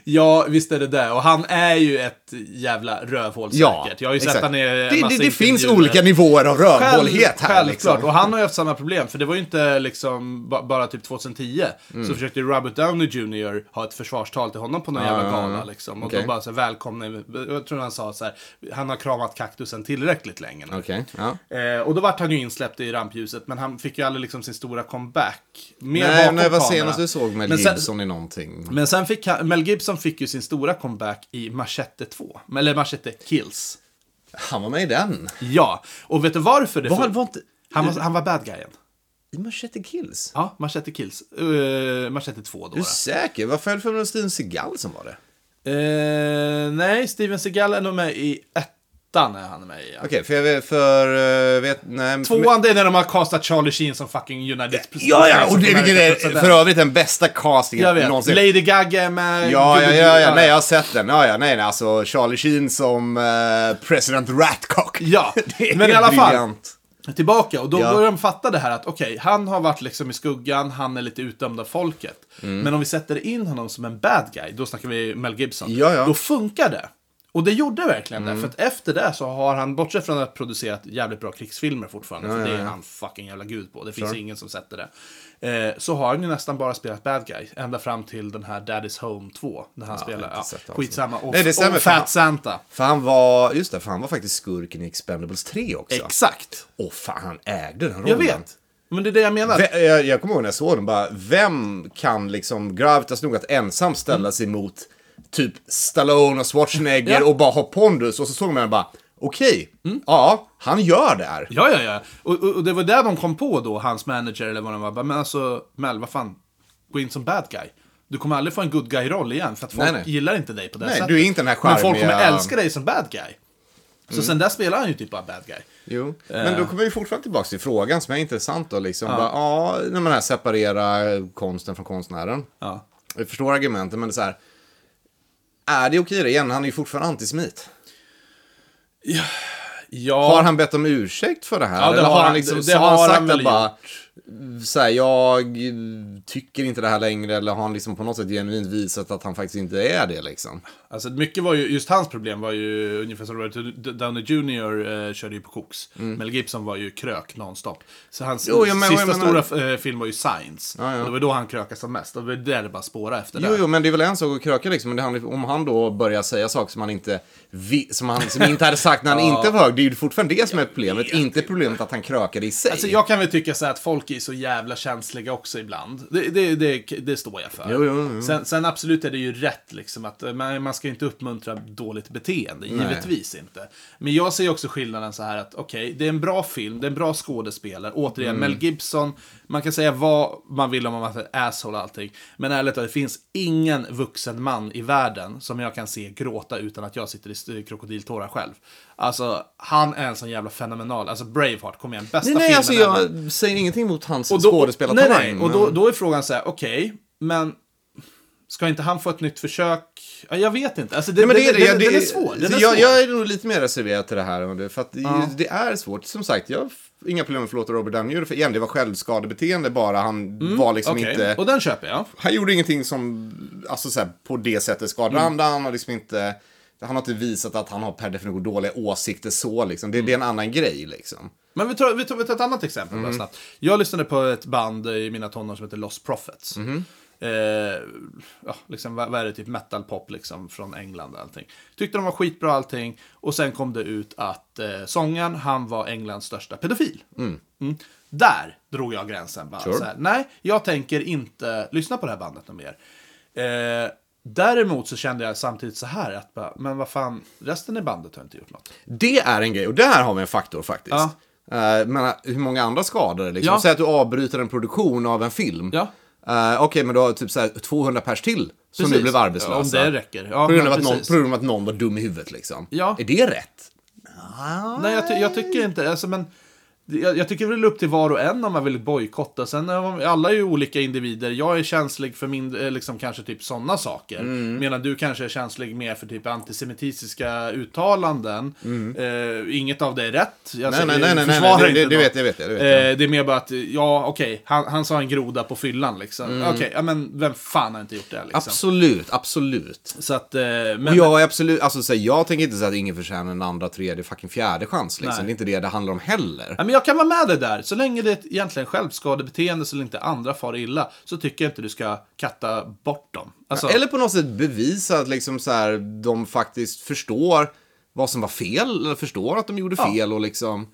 Speaker 1: Ja, visst är det det. Och han är ju ett jävla rövhål säkert.
Speaker 2: Ja,
Speaker 1: Jag har ju sett
Speaker 2: exakt.
Speaker 1: han i en
Speaker 2: Det,
Speaker 1: massa
Speaker 2: det, det finns
Speaker 1: intervjuer.
Speaker 2: olika nivåer av rövhålighet här.
Speaker 1: Självklart,
Speaker 2: liksom.
Speaker 1: och han har ju haft samma problem. För det var ju inte liksom ba- bara typ 2010.
Speaker 2: Mm.
Speaker 1: Så försökte ju Robert Downey Jr. ha ett försvarstal till honom på någon jävla gala. Liksom. Och
Speaker 2: Ah, Okej.
Speaker 1: då bara så här, välkomna, jag tror han sa så här, han har kramat kaktusen tillräckligt länge nu.
Speaker 2: Okej, ja.
Speaker 1: Eh, och då vart han ju insläppt i rampljuset, men han fick ju aldrig liksom sin stora comeback. Mer
Speaker 2: Nej,
Speaker 1: bakom
Speaker 2: när var
Speaker 1: kameran.
Speaker 2: senast du såg Mel
Speaker 1: Men sen-
Speaker 2: Gibson i någonting?
Speaker 1: men sen fick han, Mel Gibson fick ju sin stora comeback i Machete 2. Eller Machete Kills.
Speaker 2: Han var med i den.
Speaker 1: Ja, och vet du varför det
Speaker 2: Var,
Speaker 1: får-
Speaker 2: var inte...
Speaker 1: han, var, han var bad guyen.
Speaker 2: I Machete Kills?
Speaker 1: Ja, Machete Kills. Uh, machete 2 då.
Speaker 2: Är
Speaker 1: då.
Speaker 2: du säker? Varför höll för mig Steven Seagal som var det?
Speaker 1: Eh, nej, Steven Seagal är nog med i ettan. Är han med i, ja.
Speaker 2: Okej, för jag vet, för, eh, vet, nej. men-
Speaker 1: Tvåan, det är när de har castat Charlie Sheen som fucking United
Speaker 2: Ja, ja, och det, vilket
Speaker 1: America
Speaker 2: är
Speaker 1: president.
Speaker 2: för övrigt den bästa castingen
Speaker 1: Jag vet.
Speaker 2: någonsin.
Speaker 1: Lady Gaga är med.
Speaker 2: Ja, ja, ja, ja, nej, jag har sett den. Ja, ja, nej, nej, alltså Charlie Sheen som eh, President Ratcock.
Speaker 1: Ja,
Speaker 2: Det är
Speaker 1: men i alla fall.
Speaker 2: briljant.
Speaker 1: tillbaka. Och då
Speaker 2: Ja.
Speaker 1: börjar de fatta det här att okej, han har varit liksom i skuggan, han är lite utdömd av folket.
Speaker 2: Mm.
Speaker 1: Men om vi sätter in honom som en bad guy, då snackar vi Mel Gibson,
Speaker 2: Ja, Mm. ja.
Speaker 1: då funkar det. Och det gjorde verkligen det, för att efter det så har han, bortsett från att ha producerat jävligt bra krigsfilmer fortfarande, för det är han fucking jävla gud på, det finns ingen som sätter det. Eh, så har han ju nästan bara spelat bad guy, ända fram till den här Daddy's Home 2, när han
Speaker 2: jag
Speaker 1: spelar,
Speaker 2: har inte
Speaker 1: ja,
Speaker 2: sett det alltså.
Speaker 1: skitsamma, och,
Speaker 2: Nej, det stämmer,
Speaker 1: och
Speaker 2: för han-
Speaker 1: Fat Santa.
Speaker 2: För han var, just det, för han var faktiskt skurken i Expendables 3 också.
Speaker 1: Exakt,
Speaker 2: Åh fan, han ägde den rollen.
Speaker 1: jag vet. Men det är det jag menar.
Speaker 2: Ve- jag, jag kommer ihåg när jag såg den bara, vem kan liksom gravitas nog att ensam ställa sig mot typ Stallone och Schwarzenegger
Speaker 1: Ja. Mm.
Speaker 2: och bara ha pondus och så såg man den bara, okej, ja, han gör det här.
Speaker 1: Ja, ja, ja. Och, och, och det var där de kom på då, hans manager eller vad det var. bara, Men alltså, Mel, vad fan, gå in som bad guy. Du kommer aldrig få en good guy-roll igen, för att folk
Speaker 2: Nej, nej.
Speaker 1: gillar inte dig på det
Speaker 2: Nej,
Speaker 1: sättet.
Speaker 2: du är inte den här
Speaker 1: Men folk kommer
Speaker 2: charmiga-
Speaker 1: älska dig som bad guy. Så sen där spelar han ju typ bara bad guy.
Speaker 2: Jo, men då kommer vi fortfarande tillbaka till frågan som är intressant då liksom. Ja, bara, ja när man här separerar konsten från konstnären.
Speaker 1: Ja.
Speaker 2: Jag förstår argumenten, men det är så här, är det okej det igen? Han är ju fortfarande antisemit.
Speaker 1: Ja,
Speaker 2: Har han bett om ursäkt för det här?
Speaker 1: Ja, det
Speaker 2: Eller
Speaker 1: har
Speaker 2: har han
Speaker 1: han-
Speaker 2: liksom,
Speaker 1: det-
Speaker 2: så
Speaker 1: det
Speaker 2: har
Speaker 1: har
Speaker 2: han
Speaker 1: han
Speaker 2: sagt
Speaker 1: väl
Speaker 2: att bara, så här, jag tycker inte det här längre, eller har han liksom på något sätt genuint visat att han faktiskt inte är det liksom?
Speaker 1: alltså mycket var ju, just hans problem var ju ungefär som Robert Downey Jr. Eh, körde ju på koks. Mel Gibson var ju krök nonstop. Så hans
Speaker 2: Mm. Jo, jag menar-
Speaker 1: sista
Speaker 2: jag menar-
Speaker 1: stora eh, film var ju Science.
Speaker 2: Ja, ja.
Speaker 1: Och det var då han krökade som mest. Och det var där det bara spårade efter
Speaker 2: Jo,
Speaker 1: det.
Speaker 2: jo, men det är väl en sak att kröka liksom, men det handlar, om han då börjar säga saker som han inte, vi, som han som inte hade sagt när han inte var hög, det är ju fortfarande det som är problemet, inte problemet att han krökade i sig.
Speaker 1: Alltså, jag kan väl tycka så här att folk är så jävla känsliga också ibland. Det, det, det, det står jag för.
Speaker 2: Jo, jo, jo.
Speaker 1: Sen, sen absolut är det ju rätt liksom att eh, man, man ska ju inte uppmuntra dåligt beteende. Givetvis inte. Men jag ser ju också skillnaden så här att okej, det är en bra film, det är en bra skådespelare. Återigen,
Speaker 2: Mm.
Speaker 1: Mel Gibson. Man kan säga vad man vill om att han är ett asshole och allting. Men ärligt talat, det finns ingen vuxen man i världen som jag kan se gråta utan att jag sitter i st- krokodiltårar själv. Alltså, han är en sån jävla fenomenal. Alltså, Braveheart, kom igen. Bästa
Speaker 2: Nej, nej,
Speaker 1: filmen
Speaker 2: alltså
Speaker 1: ever.
Speaker 2: jag säger ingenting mot hans
Speaker 1: Och då-
Speaker 2: skådespelartalang. Mm.
Speaker 1: Nej, nej. Och då,
Speaker 2: men-
Speaker 1: då är frågan så här, okej, men ska inte han få ett nytt försök? Ja, jag vet inte. Alltså, det,
Speaker 2: Nej, men det, är det,
Speaker 1: den,
Speaker 2: det,
Speaker 1: den är svår. Den
Speaker 2: så
Speaker 1: är
Speaker 2: jag,
Speaker 1: svår.
Speaker 2: jag är nog lite mer reserverad till det här. än du, För att det- det är svårt. Som sagt, jag har f- inga problem med att förlåta Robert Downey Jr. För igen, det var självskadebeteende bara. Han var liksom
Speaker 1: Mm, Okej,
Speaker 2: inte...
Speaker 1: Och den köper jag.
Speaker 2: Han gjorde ingenting som, alltså så här, på det sättet skadade
Speaker 1: Mm.
Speaker 2: andra. Han har liksom inte... Han har inte visat att han har per definition dåliga åsikter så liksom. Det, det är en annan grej liksom.
Speaker 1: Men vi tar, vi tar, vi tar ett annat exempel bara snabbt. Jag lyssnade på ett band i mina tonår som heter Lost Prophets. Eh, ja, liksom, vad, vad är det? Typ metal pop liksom, från England och allting. Tyckte de var skitbra allting. Och sen kom det ut att eh, sångaren, han var Englands största pedofil. Mm. Där drog jag gränsen. Bara,
Speaker 2: Sure.
Speaker 1: så här, nej, jag tänker inte lyssna på det här bandet något mer. Eh, däremot så kände jag samtidigt så här att, bara, men vad fan, resten i bandet har inte gjort något.
Speaker 2: Det är en grej, och där har vi en faktor faktiskt.
Speaker 1: Ja.
Speaker 2: Eh, men hur många andra skadade liksom.
Speaker 1: Ja.
Speaker 2: Säg att du avbryter en produktion av en film.
Speaker 1: Ja.
Speaker 2: Eh, Okej, men du har typ så här 200 pers till som
Speaker 1: Precis.
Speaker 2: nu blev arbetslösa.
Speaker 1: Om det räcker. Ja,
Speaker 2: på, grund
Speaker 1: men
Speaker 2: av att någon,
Speaker 1: precis.
Speaker 2: på grund av att någon var dum i huvudet liksom.
Speaker 1: Ja.
Speaker 2: Är det rätt? Liksom?
Speaker 1: Nej, jag, ty jag tycker inte alltså, men jag, jag tycker väl upp till var och en om man vill bojkotta. Sen är man- alla är ju olika individer. Jag är känslig för min, eh, liksom, kanske typ sådana saker.
Speaker 2: Mm.
Speaker 1: Medan du kanske är känslig mer för typ antisemitiska uttalanden. Eh, inget av det är rätt. Jag
Speaker 2: Mm. Nej, nej,
Speaker 1: jag
Speaker 2: nej, nej, nej,
Speaker 1: försvarar
Speaker 2: nej, det-
Speaker 1: inte
Speaker 2: det- det
Speaker 1: något.
Speaker 2: vet jag, det vet jag, det vet jag.
Speaker 1: Eh, det är mer bara att, ja okej, han, han sa en groda på fyllan liksom.
Speaker 2: Mm.
Speaker 1: Okej, ja, men vem fan har inte gjort det liksom?
Speaker 2: Absolut, absolut.
Speaker 1: Så att, eh, men...
Speaker 2: Och jag är absolut, alltså så här, jag tänker inte säga att ingen förtjänar en andra, tredje, fucking fjärde chans liksom.
Speaker 1: Nej.
Speaker 2: Det är inte det det handlar om heller.
Speaker 1: Ja, men jag kan vara med dig där. Så länge det är ett egentligen självskadebeteende så länge inte andra far illa så tycker jag inte du ska katta bort dem. Alltså,
Speaker 2: Eller på något sätt bevisa att liksom så här, de faktiskt förstår vad som var fel, eller förstår att de gjorde
Speaker 1: Ja.
Speaker 2: fel och liksom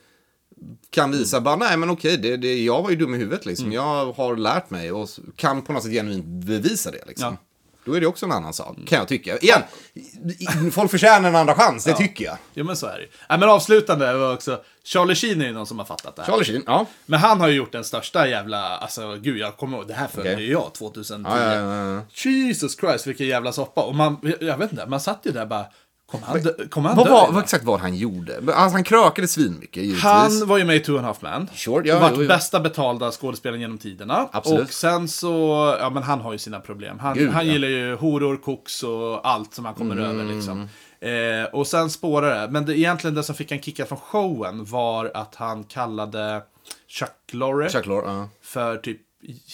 Speaker 2: kan visa bara, nej men okej, det, det, jag var ju dum i huvudet
Speaker 1: Mm.
Speaker 2: liksom. Jag har lärt mig och s- kan på något sätt genuint bevisa det liksom.
Speaker 1: Ja.
Speaker 2: Då är det också en annan sak, kan jag tycka. Igen, i- i- folk förtjänar en andra chans, det tycker jag.
Speaker 1: Jo men så är det ju. ja, men avslutande var också, Charlie Sheen är ju någon som har fattat det här.
Speaker 2: Charlie Sheen, ja.
Speaker 1: Men han har ju gjort den största jävla, alltså gud jag kommer ihåg, det här följde
Speaker 2: Okej.
Speaker 1: ju jag 2010.
Speaker 2: Ja, ja, ja, ja.
Speaker 1: Jesus Christ vilken jävla soppa. Och man, jag vet inte, man satt ju där bara, kom han, dö- kom han
Speaker 2: Vad,
Speaker 1: dö
Speaker 2: var,
Speaker 1: redan?
Speaker 2: vad exakt vad han gjorde? Alltså, han krökade svinmycket givetvis.
Speaker 1: Han var ju med i Two and a half man.
Speaker 2: Sure, ja,
Speaker 1: Vart
Speaker 2: jo, jo.
Speaker 1: bästa betalda skådespelaren genom tiderna.
Speaker 2: Absolut.
Speaker 1: Och sen så, ja men han har ju sina problem. Han,
Speaker 2: Gud,
Speaker 1: han
Speaker 2: ja. Mm.
Speaker 1: gillar ju horor, koks och allt som han kommer över liksom. Eh, och sen spårar det. Men det, egentligen det som fick han kicka från showen var att han kallade Chuck Lorre
Speaker 2: Chuck Lorre, ja.
Speaker 1: för typ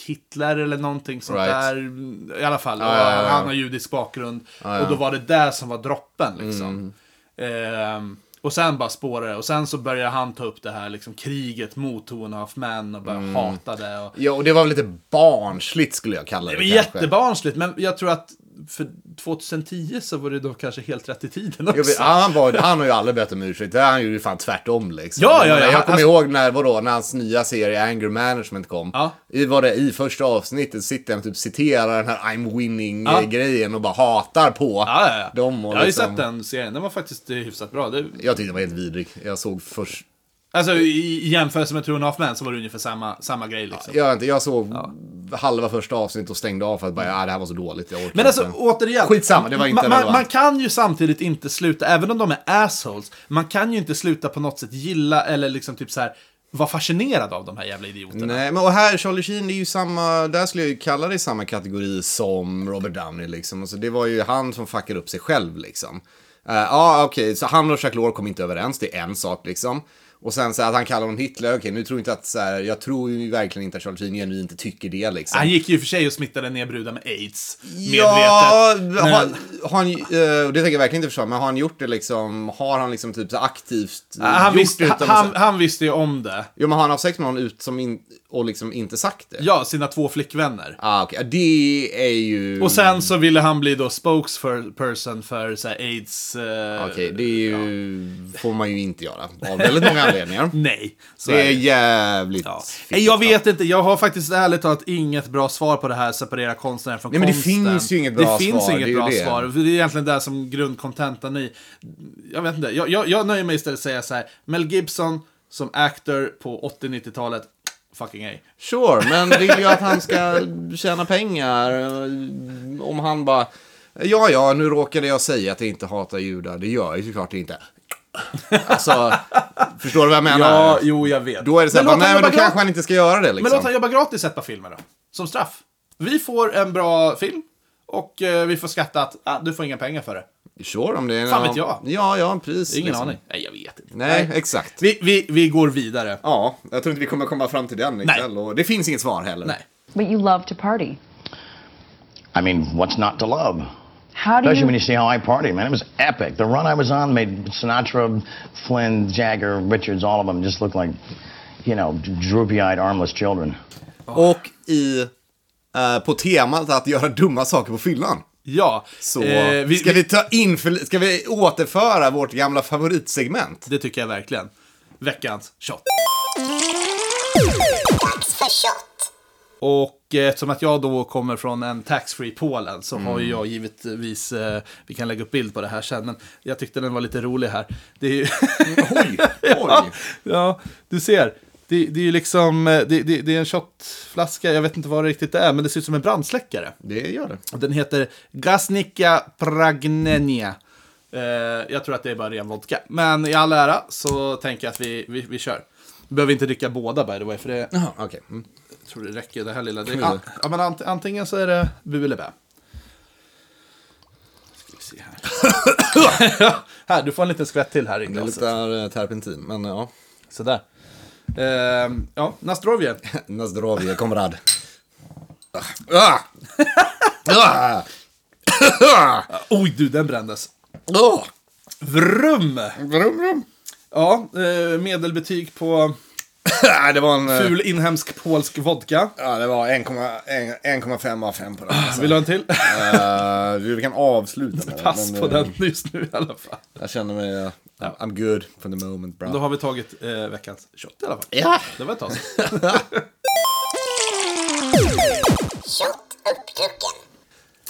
Speaker 1: Hitler eller någonting sånt
Speaker 2: Right.
Speaker 1: där. I alla fall,
Speaker 2: Ja, ja, ja, ja.
Speaker 1: han har judisk bakgrund.
Speaker 2: ja. Mm.
Speaker 1: Och då var det där som var droppen liksom. Ehm, och sen bara spårar det. Och sen så börjar han ta upp det här liksom, kriget mot Two and a half men och börjar
Speaker 2: Mm.
Speaker 1: hata det. Och...
Speaker 2: Ja, och det var väl lite barnsligt skulle jag kalla det.
Speaker 1: Det var
Speaker 2: kanske.
Speaker 1: jättebarnsligt, men jag tror att för 2010 så var det då kanske helt rätt i tiden också.
Speaker 2: Jag vet, han, var, han har ju aldrig bett om ursäkt, det har han gjorde ju fan tvärtom liksom.
Speaker 1: Ja, ja, Alltså- ja,
Speaker 2: jag
Speaker 1: han-
Speaker 2: kommer
Speaker 1: han-
Speaker 2: ihåg när, vadå, när hans nya serie Anger Management kom.
Speaker 1: Ja.
Speaker 2: I, var det, I första avsnittet sitter han och typ citerar den här I'm
Speaker 1: Ja.
Speaker 2: winning-grejen och bara hatar på
Speaker 1: Ja, ja, ja.
Speaker 2: dem. Och
Speaker 1: jag har ju
Speaker 2: liksom,
Speaker 1: sett den serien, den var faktiskt eh, hyfsat bra. Det,
Speaker 2: Jag tyckte den var helt vidrig. Jag såg först...
Speaker 1: alltså i, i jämförelse med Two and a half men så var det ungefär samma, samma grej liksom.
Speaker 2: Jag, vet inte, jag såg halva första avsnittet och stängde av för att bara, ja, det här var så dåligt. Jag orkar
Speaker 1: Men alltså
Speaker 2: inte.
Speaker 1: återigen.
Speaker 2: Skitsamma, det var inte
Speaker 1: man, man,
Speaker 2: relevant.
Speaker 1: man kan ju samtidigt inte sluta, även om de är assholes, man kan ju inte sluta på något sätt gilla eller liksom typ så här vara fascinerad av de här jävla idioterna.
Speaker 2: Nej, men och här, Charlie Sheen, det är ju samma, där skulle jag ju kalla det i samma kategori som Robert Downey liksom. Alltså, det var ju han som fuckade upp sig själv liksom. Eh, Ja, okej, så han och Jacques Lore kom inte överens, det är en sak liksom. Och sen så här, att han kallar honom Hitler, okej, nu tror jag inte att så här, jag tror ju verkligen inte att Charlie Sheen genuint inte tycker det liksom.
Speaker 1: Han gick ju i och för sig och smittade ner brudar med aids.
Speaker 2: Ja,
Speaker 1: medvetet.
Speaker 2: har,
Speaker 1: Men-
Speaker 2: har han, eh, och det tänker jag verkligen inte försvara, men har han gjort det liksom, har han liksom typ så här aktivt eh,
Speaker 1: Han
Speaker 2: gjort
Speaker 1: visste,
Speaker 2: det utan att-
Speaker 1: han, han visste ju om det.
Speaker 2: Jo, men har han haft sex med någon ut som in, och liksom inte sagt det?
Speaker 1: Ja, sina två flickvänner.
Speaker 2: Ah, okej. Ja, Det är ju...
Speaker 1: Och sen så ville han bli då spokesperson för så här, aids... eh,
Speaker 2: Okej, det är ju... får man ju inte göra. Av väldigt många anledningar.
Speaker 1: Nej. Så
Speaker 2: Det
Speaker 1: är
Speaker 2: är
Speaker 1: det.
Speaker 2: jävligt...
Speaker 1: Ja.
Speaker 2: fiffigt.
Speaker 1: Nej, Jag vet inte, jag har faktiskt ärligt talat inget bra svar på det här separera konstnären från
Speaker 2: Nej, men det
Speaker 1: konsten.
Speaker 2: finns ju inget bra
Speaker 1: Det finns
Speaker 2: svar,
Speaker 1: inget
Speaker 2: det är ju
Speaker 1: bra
Speaker 2: det.
Speaker 1: svar. Det är egentligen det som grundkontentan i. Jag vet inte, jag, jag, jag nöjer mig istället att säga så här. Mel Gibson som actor på 80-90-talet, fucking A.
Speaker 2: Sure, men vill ju att han ska tjäna pengar. Om han bara... Ja, ja, nu råkade jag säga att jag inte hatar judar. Det gör jag ju såklart inte. Alltså, förstår du vad jag menar?
Speaker 1: Ja, jo jag vet.
Speaker 2: Då är det så här, bara,
Speaker 1: låt han
Speaker 2: nej men då
Speaker 1: jobba
Speaker 2: kanske han inte ska göra det liksom.
Speaker 1: Men låt han jobba gratis ett par filmer då. Som straff. Vi får en bra film. Och eh, vi får skratta att ah, du får inga pengar för det.
Speaker 2: Sure, om det är...
Speaker 1: Fan vet jag.
Speaker 2: Ja, ja, precis.
Speaker 1: Ingen
Speaker 2: liksom.
Speaker 1: aning. Nej, jag vet inte.
Speaker 2: Nej, exakt.
Speaker 1: Vi, vi, vi går vidare.
Speaker 2: Ja, jag tror inte vi kommer komma fram till den ikväll. Och det finns inget svar heller.
Speaker 1: Nej.
Speaker 9: But you love to party.
Speaker 10: I mean, what's not to love?
Speaker 9: How do
Speaker 10: Especially
Speaker 9: you?
Speaker 10: when you see how I party, man. It was epic. The run I was on made Sinatra, Flynn, Jagger, Richards, all of them just look like, you know, droopy-eyed, armless children.
Speaker 2: Och i, eh, på temat att göra dumma saker på fyllan.
Speaker 1: Ja.
Speaker 2: Så
Speaker 1: eh, vi,
Speaker 2: ska
Speaker 1: vi,
Speaker 2: vi ta in, för- ska vi återföra vårt gamla favoritsegment?
Speaker 1: det tycker jag verkligen. Veckans shot. Och eh, eftersom att jag då kommer från en taxfree Polen så
Speaker 2: Mm.
Speaker 1: har ju jag givetvis, eh, vi kan lägga upp bild på det här sen, men jag tyckte den var lite rolig här. Det är ju...
Speaker 2: Oj,
Speaker 1: Ja, ja, du ser. Det, det är ju liksom, eh, det, det, det är en shotflaska, jag vet inte vad det riktigt är, men det ser ut som en brandsläckare.
Speaker 2: Det gör det.
Speaker 1: Och Den heter Gasnica Pragnenia. Eh, jag tror att det är bara ren vodka. Men i all ära så tänker jag att vi, vi, vi kör. Vi behöver inte dricka båda by the way, för det, jag
Speaker 2: Okej. Mm.
Speaker 1: tror det räcker det här lilla. Det,
Speaker 2: Ja.
Speaker 1: ja, men ant, antingen så är det bu eller bä. Ska vi se här. här, du får en liten skvätt till här i
Speaker 2: Det
Speaker 1: glaset.
Speaker 2: luktar eh, terpentin, men ja.
Speaker 1: Sådär. Eh, ja, Nastrovje.
Speaker 2: Nazdrovje, komrad. Ah! Ah!
Speaker 1: Oj, du, den brändes.
Speaker 2: Ah!
Speaker 1: Vrum!
Speaker 2: Vrum, vrum.
Speaker 1: Ja, eh, medelbetyg på
Speaker 2: Ah, Det var en... eh,
Speaker 1: ful inhemsk polsk vodka.
Speaker 2: Ja, det var 1,1 1,5 av 5 på den.
Speaker 1: Vill du ha en till?
Speaker 2: Eh, vi kan avsluta med den,
Speaker 1: Pass
Speaker 2: men,
Speaker 1: på
Speaker 2: eh,
Speaker 1: den just nu i alla fall.
Speaker 2: Jag känner mig... eh, I'm- I'm good for the moment, bro.
Speaker 1: Då har vi tagit eh, veckans shot i alla fall.
Speaker 2: Ja!
Speaker 1: Det var ett tag sedan.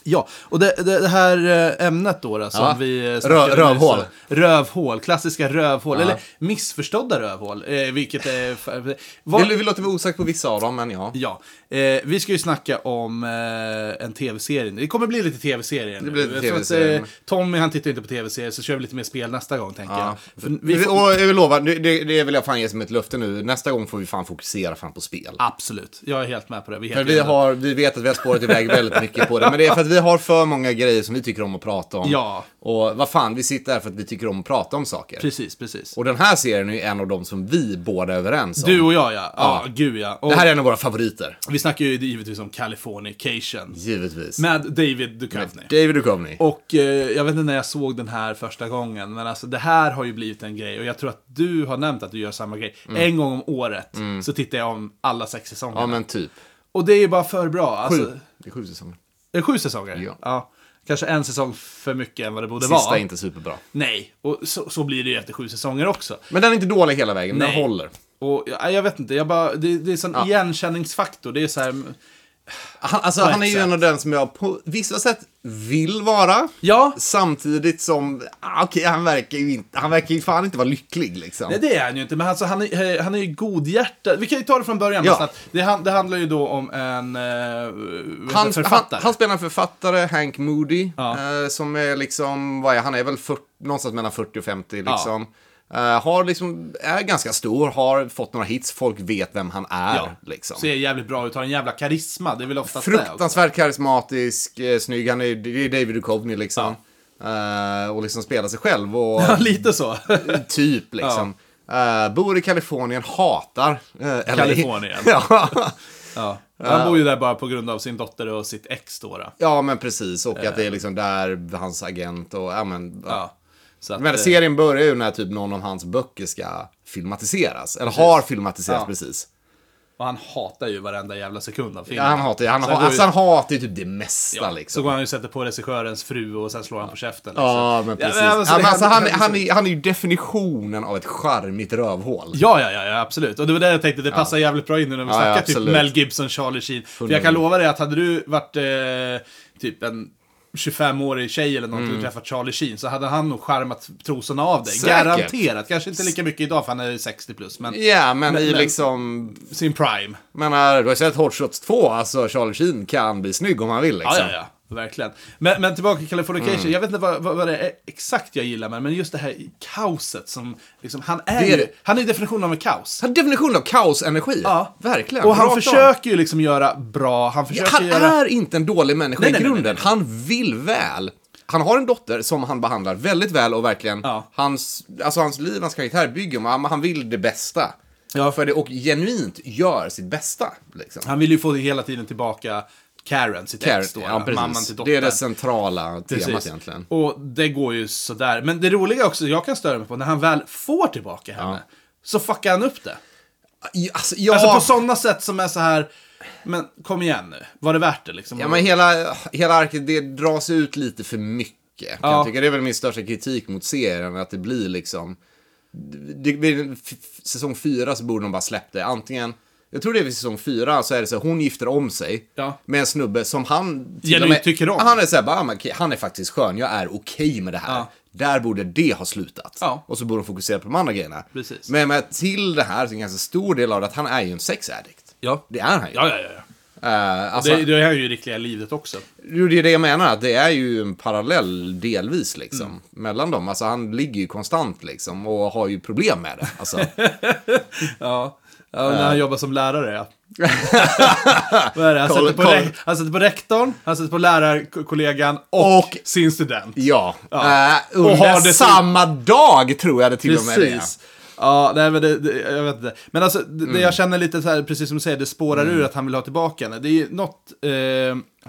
Speaker 1: Ja, och det, det, det här eh, ämnet då, då som
Speaker 2: Ja.
Speaker 1: vi... eh,
Speaker 2: Rö-
Speaker 1: snackade nyss,
Speaker 2: rövhål.
Speaker 1: eh, Rövhål, klassiska rövhål. Eller missförstådda rövhål, eh, vilket är... fa- vad-
Speaker 2: Vi, vi låter vara osagt på vissa av dem, men ja.
Speaker 1: Ja, eh, vi ska ju snacka om eh, en tv-serie. nu. Det kommer bli lite tv-serier nu.
Speaker 2: blir lite
Speaker 1: Jag tror att,
Speaker 2: TV-serier.
Speaker 1: eh, Tommy han tittar inte på tv-serier, så kör vi lite mer spel nästa gång tänker
Speaker 2: Ja.
Speaker 1: jag. För
Speaker 2: Vi
Speaker 1: vi får...
Speaker 2: Och jag vill lova, det, det det vill jag fan ge som ett löfte nu. Nästa gång får vi fan fokusera fan på spel.
Speaker 1: Absolut, jag är helt med på det. Vi, är
Speaker 2: För
Speaker 1: helt
Speaker 2: vi,
Speaker 1: eniga.
Speaker 2: har, vi vet att vi har spårat iväg väldigt mycket på det, men det är för att vi har för många grejer som vi tycker om att prata om.
Speaker 1: Ja.
Speaker 2: Och vad fan, vi sitter här för att vi tycker om att prata om saker.
Speaker 1: Precis, precis.
Speaker 2: Och den här serien är ju en av de som vi båda är överens om.
Speaker 1: Du och jag ja. Ja,
Speaker 2: Ja.
Speaker 1: gud ja. Och
Speaker 2: Det här är en av våra favoriter.
Speaker 1: Vi snackar ju givetvis om Californication.
Speaker 2: Givetvis.
Speaker 1: Med David Duchovny.
Speaker 2: David Duchovny.
Speaker 1: Och eh, jag vet inte när jag såg den här första gången, men alltså det här har ju blivit en grej. Och jag tror att du har nämnt att du gör samma grej. En gång om året så tittar jag om alla sex säsonger.
Speaker 2: Mm. Ja, men typ.
Speaker 1: Och det är ju bara för bra. Alltså,
Speaker 2: Sju. Det är sju säsonger.
Speaker 1: Är det sju säsonger? Ja. Kanske en säsong för mycket än vad det borde
Speaker 2: Sista
Speaker 1: vara.
Speaker 2: är inte superbra.
Speaker 1: Nej, och så, så blir det ju efter sju säsonger också.
Speaker 2: Men den är inte dålig hela vägen, men
Speaker 1: Nej.
Speaker 2: den håller.
Speaker 1: Och jag, jag vet inte, jag bara, det, det är en sån
Speaker 2: Ja.
Speaker 1: igenkänningsfaktor. Det är så här,
Speaker 2: Han, alltså,
Speaker 1: På
Speaker 2: han är
Speaker 1: ett
Speaker 2: ju
Speaker 1: sätt.
Speaker 2: en av den som jag på vissa sätt vill vara.
Speaker 1: ja,
Speaker 2: Samtidigt som, ah, okej, han verkar ju inte, han verkar ju fan inte vara lycklig liksom.
Speaker 1: Nej, det är han ju inte, men alltså, han, är, eh, han är ju godhjärtad. Vi kan ju ta det från början.
Speaker 2: Ja.
Speaker 1: Ja. Att det, han- det handlar ju då om en eh,
Speaker 2: han,
Speaker 1: författare.
Speaker 2: Han, han spelar en författare, Hank Moody,
Speaker 1: Ja.
Speaker 2: eh, som är liksom, vad är han, är väl 40, någonstans mellan 40 och 50 liksom. Eh, har liksom, är ganska stor, har fått några hits, folk vet vem han är
Speaker 1: ja.
Speaker 2: liksom.
Speaker 1: Ser jävligt bra ut, har en jävla karisma. Det är väl oftast det. också.
Speaker 2: Fruktansvärt karismatisk, eh, snygg, han är, det är David Duchovny liksom. Eh, och liksom spelar sig själv och
Speaker 1: Ja, Lite så.
Speaker 2: typ liksom. Eh, bor i Kalifornien, hatar... eh, eller-
Speaker 1: Kalifornien.
Speaker 2: ja.
Speaker 1: ja. Han bor ju där bara på grund av sin dotter och sitt ex då. då.
Speaker 2: ja, men precis. Och att det är liksom där hans agent och... Ja, men, ja.
Speaker 1: Ja. Så att,
Speaker 2: Men
Speaker 1: eh,
Speaker 2: serien börjar ju när typ någon av hans böcker ska filmatiseras. Eller har filmatiserats
Speaker 1: Ja.
Speaker 2: precis.
Speaker 1: Och han hatar ju varenda jävla sekund av
Speaker 2: Ja,
Speaker 1: filmen.
Speaker 2: han hatar ju, han,
Speaker 1: Så
Speaker 2: ha,
Speaker 1: går ju-
Speaker 2: alltså, han hatar ju typ det mesta
Speaker 1: ja,
Speaker 2: liksom.
Speaker 1: Så går han ju och sätter på regissörens fru och sen slår han på käften. liksom.
Speaker 2: Ja, men precis.
Speaker 1: men alltså,
Speaker 2: Ja,
Speaker 1: det
Speaker 2: men alltså,
Speaker 1: händer-
Speaker 2: han, han, är, han är ju definitionen av ett charmigt rövhål.
Speaker 1: Ja, ja, ja, ja, absolut. Och det var det jag tänkte, det passar jävligt bra in nu när vi
Speaker 2: Ja, ja,
Speaker 1: snackar typ
Speaker 2: absolut.
Speaker 1: Mel Gibson, Charlie Sheen. För jag kan
Speaker 2: Hundra.
Speaker 1: lova dig att hade du varit eh, typ en 25-årig tjej eller någonting och träffat Charlie Sheen så hade han nog charmat trosorna av dig.
Speaker 2: Mm. Säkert.
Speaker 1: Garanterat. Kanske inte lika mycket idag för han är 60 plus, men
Speaker 2: Ja, men,
Speaker 1: Men-
Speaker 2: i
Speaker 1: men-
Speaker 2: liksom...
Speaker 1: sin prime.
Speaker 2: Men eh, du har sett Hot Shots 2, alltså Charlie Sheen kan bli snygg om han vill liksom. Mm.
Speaker 1: Ja, ja, ja. Verkligen. Men, men tillbaka till Californication. Jag vet inte vad, vad, vad det är exakt jag gillar, men men just det här kaoset som... Liksom, han är,
Speaker 2: Det är
Speaker 1: ju-
Speaker 2: det.
Speaker 1: Han är definitionen av en kaos.
Speaker 2: Han är definitionen av kaosenergi.
Speaker 1: Ja.
Speaker 2: Verkligen.
Speaker 1: Och han
Speaker 2: Rakt av.
Speaker 1: försöker ju liksom göra bra, han
Speaker 2: Ja,
Speaker 1: försöker
Speaker 2: han
Speaker 1: göra...
Speaker 2: är inte en dålig människa
Speaker 1: Nej,
Speaker 2: i
Speaker 1: nej, nej,
Speaker 2: grunden.
Speaker 1: nej, nej.
Speaker 2: Han vill väl. Han har en dotter som han behandlar väldigt väl och verkligen
Speaker 1: Ja.
Speaker 2: hans, alltså hans liv, hans karaktär bygger om, han han vill det bästa.
Speaker 1: Ja.
Speaker 2: För det, och genuint gör sitt bästa. Liksom.
Speaker 1: Han vill ju få hela tiden tillbaka Karen, sitt
Speaker 2: Care-
Speaker 1: ex då,
Speaker 2: ja, precis.
Speaker 1: mamman till dottern.
Speaker 2: Det är det centrala temat
Speaker 1: Precis.
Speaker 2: egentligen.
Speaker 1: Och det går ju sådär. Men det roliga också, jag kan störa mig på, när han väl får tillbaka henne, så fuckar han upp det.
Speaker 2: I- Alltså, ja,
Speaker 1: Alltså på sådana sätt som är så här. men kom igen nu, var det värt det liksom?
Speaker 2: ja, men hela, hela arket, det dras ut lite för mycket. kan
Speaker 1: Ja.
Speaker 2: Jag tycker det är väl min största kritik mot serien, att det blir liksom... det blir, f- f- säsong fyra så borde de bara släppt det. Antingen, jag tror det är vid säsong fyra, så är det så här, hon gifter om sig
Speaker 1: Ja.
Speaker 2: med en snubbe som han... till
Speaker 1: Genuint
Speaker 2: och med-
Speaker 1: tycker om.
Speaker 2: Han är så här, bara, "Ah, men okej, han är faktiskt skön, jag är okej med det här.
Speaker 1: Ja.
Speaker 2: Där borde det ha slutat.
Speaker 1: Ja.
Speaker 2: Och så borde de fokusera på de andra grejerna.
Speaker 1: Precis.
Speaker 2: Men med till det här så är en ganska stor del av det att han är ju en sexaddict.
Speaker 1: Ja.
Speaker 2: Det är han ju.
Speaker 1: Ja, ja, ja. ja.
Speaker 2: Eh, alltså-
Speaker 1: Det, det är ju i riktiga livet också.
Speaker 2: Jo, det är det jag menar. Att det är ju en parallell delvis liksom.
Speaker 1: Mm.
Speaker 2: Mellan dem. Alltså han ligger ju konstant liksom. Och har ju problem med det. Alltså,
Speaker 1: Ja. Ja, när han jobbar som lärare, ja. Vad är det? Han
Speaker 2: Kolla-
Speaker 1: sätter, på
Speaker 2: kolla.
Speaker 1: re- han sätter på rektorn, han sätter på lärarkollegan och,
Speaker 2: Och-
Speaker 1: sin student.
Speaker 2: ja.
Speaker 1: Ja.
Speaker 2: Eh,
Speaker 1: Och har
Speaker 2: under
Speaker 1: det till-
Speaker 2: samma dag tror jag det till och med är.
Speaker 1: Precis. Ja, nej, men det, det, jag vet inte. Men alltså, det, det
Speaker 2: Mm.
Speaker 1: jag känner lite så här, precis som du säger, det spårar ur att han vill ha tillbaka henne. Det är ju något, eh,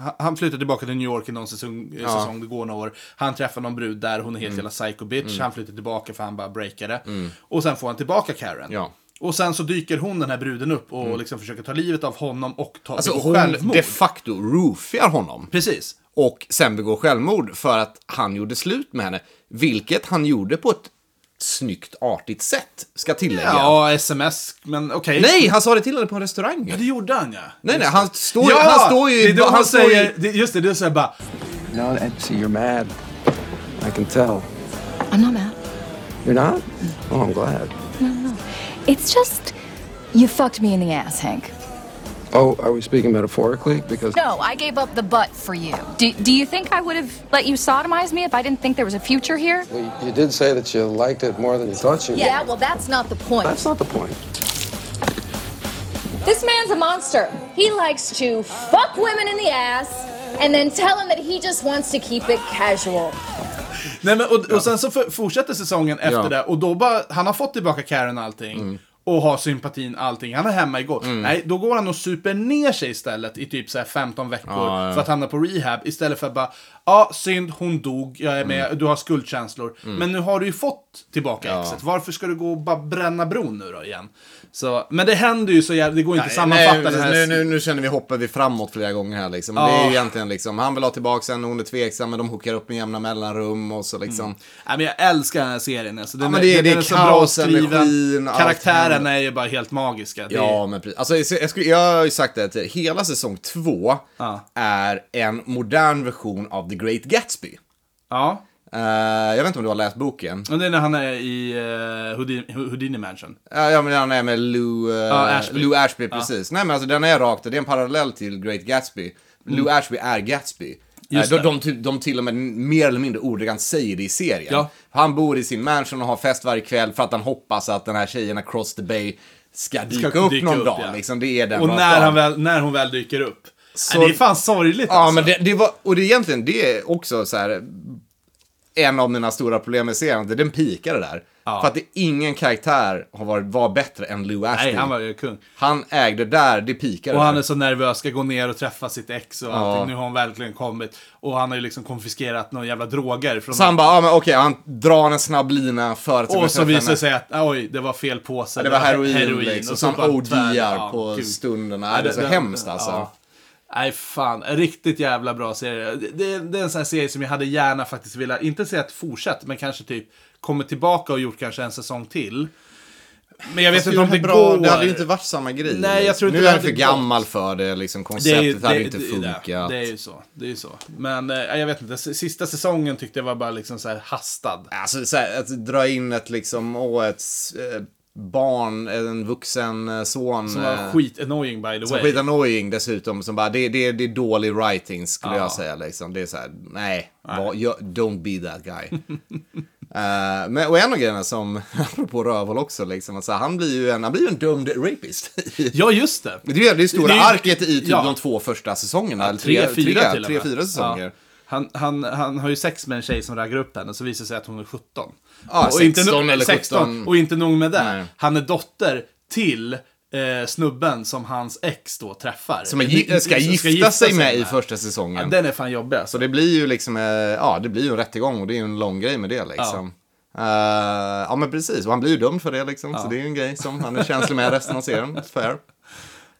Speaker 1: han- han flyttar tillbaka till New York i någon säsong, eh, säsong, det går några år. Han träffar någon brud där, hon är
Speaker 2: Mm.
Speaker 1: helt jävla psycho bitch. Han flyttar tillbaka för han bara breakade. Och sen får han tillbaka Karen.
Speaker 2: Ja. Mm.
Speaker 1: Och sen så dyker hon, den här bruden, upp och liksom försöker ta livet av honom och ta
Speaker 2: Alltså
Speaker 1: begå
Speaker 2: hon
Speaker 1: självmord.
Speaker 2: de facto roofiar honom.
Speaker 1: Precis.
Speaker 2: Och sen begår självmord för att han gjorde slut med henne. Vilket han gjorde på ett snyggt, artigt sätt. Ska tillägga.
Speaker 1: Ja, sms, men okej.
Speaker 2: Nej, han sa det till henne på en restaurang.
Speaker 1: Ja, det gjorde han ja.
Speaker 2: Nej, nej,
Speaker 1: Just
Speaker 2: han
Speaker 1: det.
Speaker 2: står ju- han står ju i-
Speaker 1: det är då
Speaker 2: han
Speaker 1: han
Speaker 2: står ju-
Speaker 1: säger, det, just det, det är så här bara,
Speaker 11: No, that, see, you're mad. I can tell.
Speaker 9: I'm not mad.
Speaker 11: You're not? Oh, I'm glad.
Speaker 9: It's just you fucked me in the ass, Hank.
Speaker 11: Oh, are we speaking metaphorically? Because
Speaker 9: No, I gave up the butt for you. Do, do you think I would have let you sodomize me if I didn't think there was a future here?
Speaker 11: Well, you- you did say that you liked it more than you thought you
Speaker 9: Yeah, well, that's not the point.
Speaker 11: That's not the point.
Speaker 9: This man's a monster. He likes to fuck women in the ass,
Speaker 12: and then tell him that he just wants to keep it casual.
Speaker 1: Nej, men, och, och sen så för, fortsätter säsongen efter
Speaker 2: Ja. Mm.
Speaker 1: det och då bara, han har fått tillbaka Karen och allting. Och har sympatin, allting. Han är hemma igår. Nej, då går han och super ner sig istället i typ så här 15 veckor
Speaker 2: Ja, ja.
Speaker 1: för att hamna på rehab. Istället för att bara, ja, synd, hon dog, jag är med, du har skuldkänslor.
Speaker 2: Mm.
Speaker 1: Men nu har du ju fått tillbaka
Speaker 2: Ja.
Speaker 1: exet. Varför ska du gå och bara bränna bron nu då igen? Så, men det händer ju så jävla, det går inte att sammanfatta
Speaker 2: nej,
Speaker 1: den här...
Speaker 2: nu, nu, nu känner vi hoppar vi framåt flera gånger här liksom. Men Det är
Speaker 1: Ja.
Speaker 2: ju egentligen liksom, han vill ha tillbaka henne, hon är tveksam, men de hookar upp med jämna mellanrum och så liksom.
Speaker 1: Nej, men jag älskar den här serien. Alltså, den
Speaker 2: Ja, men
Speaker 1: är,
Speaker 2: det är-
Speaker 1: den
Speaker 2: det är
Speaker 1: är så bra
Speaker 2: kaos,
Speaker 1: skriven.
Speaker 2: energin, allt
Speaker 1: Karaktärerna
Speaker 2: händer.
Speaker 1: är ju bara helt magiska. Det
Speaker 2: Ja,
Speaker 1: är...
Speaker 2: men precis. Alltså, jag, jag, skulle- jag har ju sagt det, att hela säsong två är en modern version av The Great Gatsby. Eh,
Speaker 1: Ja.
Speaker 2: jag vet inte om du har läst boken.
Speaker 1: Och det är när han är i eh, Houdini, Houdini Mansion.
Speaker 2: Ja, ja, men han är med Lou, eh,
Speaker 1: Ja, Ashby.
Speaker 2: Lou Ashby,
Speaker 1: Ja.
Speaker 2: precis. Nej, men alltså den är rakt, det är en parallell till Great Gatsby. Lou
Speaker 1: Mm.
Speaker 2: Ashby är Gatsby.
Speaker 1: Just
Speaker 2: Eh,
Speaker 1: det.
Speaker 2: de, de, till- de till och med mer eller mindre ordagrant säger det i serien.
Speaker 1: Ja.
Speaker 2: Han bor i sin mansion och har fest varje kväll för att han hoppas att den här tjejen across the bay ska dyka upp någon dag.
Speaker 1: ja.
Speaker 2: Liksom, det är den
Speaker 1: och
Speaker 2: rakt
Speaker 1: när,
Speaker 2: av.
Speaker 1: han väl, när hon väl dyker upp.
Speaker 2: Så-
Speaker 1: Nej, det är fan sorgligt alltså.
Speaker 2: Ja, men det, det var, och det är egentligen det är också så här, en av mina stora problem med serien, att den pikade där.
Speaker 1: Ja.
Speaker 2: För att det, ingen karaktär har varit, var bättre än Lou Ashby.
Speaker 1: Nej, han var ju kung.
Speaker 2: Han ägde där, det pikade.
Speaker 1: Och han
Speaker 2: där.
Speaker 1: är så nervös, ska gå ner och träffa sitt ex och
Speaker 2: Ja.
Speaker 1: allting. Nu har hon verkligen kommit. Och han har ju liksom konfiskerat några jävla droger. Från
Speaker 2: Så han bara, ja men okej, han drar en snabb lina för att...
Speaker 1: och så
Speaker 2: träffa
Speaker 1: visar
Speaker 2: henne.
Speaker 1: det sig att oj, det var fel påse.
Speaker 2: Ja, det var heroin,
Speaker 1: och
Speaker 2: liksom.
Speaker 1: så
Speaker 2: Så han
Speaker 1: bara
Speaker 2: OD'ar
Speaker 1: tvär-
Speaker 2: på
Speaker 1: gud.
Speaker 2: stunderna.
Speaker 1: Ja,
Speaker 2: Det är så hemskt, alltså.
Speaker 1: Nej, fan. En Riktigt jävla bra serie. Det, det, det är en sån här serie som jag hade gärna faktiskt velat, inte säga att fortsätta, men kanske typ kommit tillbaka och gjort kanske en säsong till. Men jag vet
Speaker 2: Fast
Speaker 1: inte om det
Speaker 2: hade
Speaker 1: går.
Speaker 2: Det hade ju inte varit samma grej. liksom.
Speaker 1: Nej, jag tror inte
Speaker 2: nu
Speaker 1: det
Speaker 2: är han
Speaker 1: hade
Speaker 2: för
Speaker 1: gått.
Speaker 2: gammal för det, liksom. Konceptet
Speaker 1: ju-
Speaker 2: hade ju inte
Speaker 1: det-
Speaker 2: funkat.
Speaker 1: Det, det är ju så. Det är ju så. Men eh, jag vet inte, s- sista säsongen tyckte jag var bara liksom så här hastad.
Speaker 2: Alltså så här, att dra in ett liksom, åh, ett eh, barn, en vuxen eh, son.
Speaker 1: Som var
Speaker 2: eh,
Speaker 1: skit-annoying by the
Speaker 2: Som
Speaker 1: way.
Speaker 2: skit-annoying dessutom, som bara, det, det, det är dålig writing skulle
Speaker 1: Ja.
Speaker 2: jag säga liksom. Det är så här, nej, Var, jag, don't be that guy. Eh, men, och en av grejerna som, apropå rövhål också, liksom, att så här, han blir ju en, han blir ju en dömd rapist.
Speaker 1: ja, just det.
Speaker 2: Det är ju det är ju stora
Speaker 1: Det är ju-
Speaker 2: arket i typ
Speaker 1: ja.
Speaker 2: de två första säsongerna. eller
Speaker 1: Tre, fyra
Speaker 2: tre,
Speaker 1: till och
Speaker 2: tre,
Speaker 1: med.
Speaker 2: fyra säsonger.
Speaker 1: Ja. Han, han, han har ju sex med en tjej som raggar upp henne, så visar det sig att hon är 17.
Speaker 2: Ja,
Speaker 1: och inte
Speaker 2: 16
Speaker 1: no-
Speaker 2: eller 17.
Speaker 1: Och inte nog med det,
Speaker 2: Nej.
Speaker 1: han är dotter till eh, snubben som hans ex då träffar.
Speaker 2: Som är, gi- ska, gifta sig med i första säsongen.
Speaker 1: Ja, den är fan jobbig alltså.
Speaker 2: Så det blir ju liksom, eh, ja det blir ju en rättegång och det är ju en lång grej med det liksom. Eh, ja men precis, och han blir ju dömd för det liksom. Så det är ju en grej som han är känslig med resten av serien. Fair.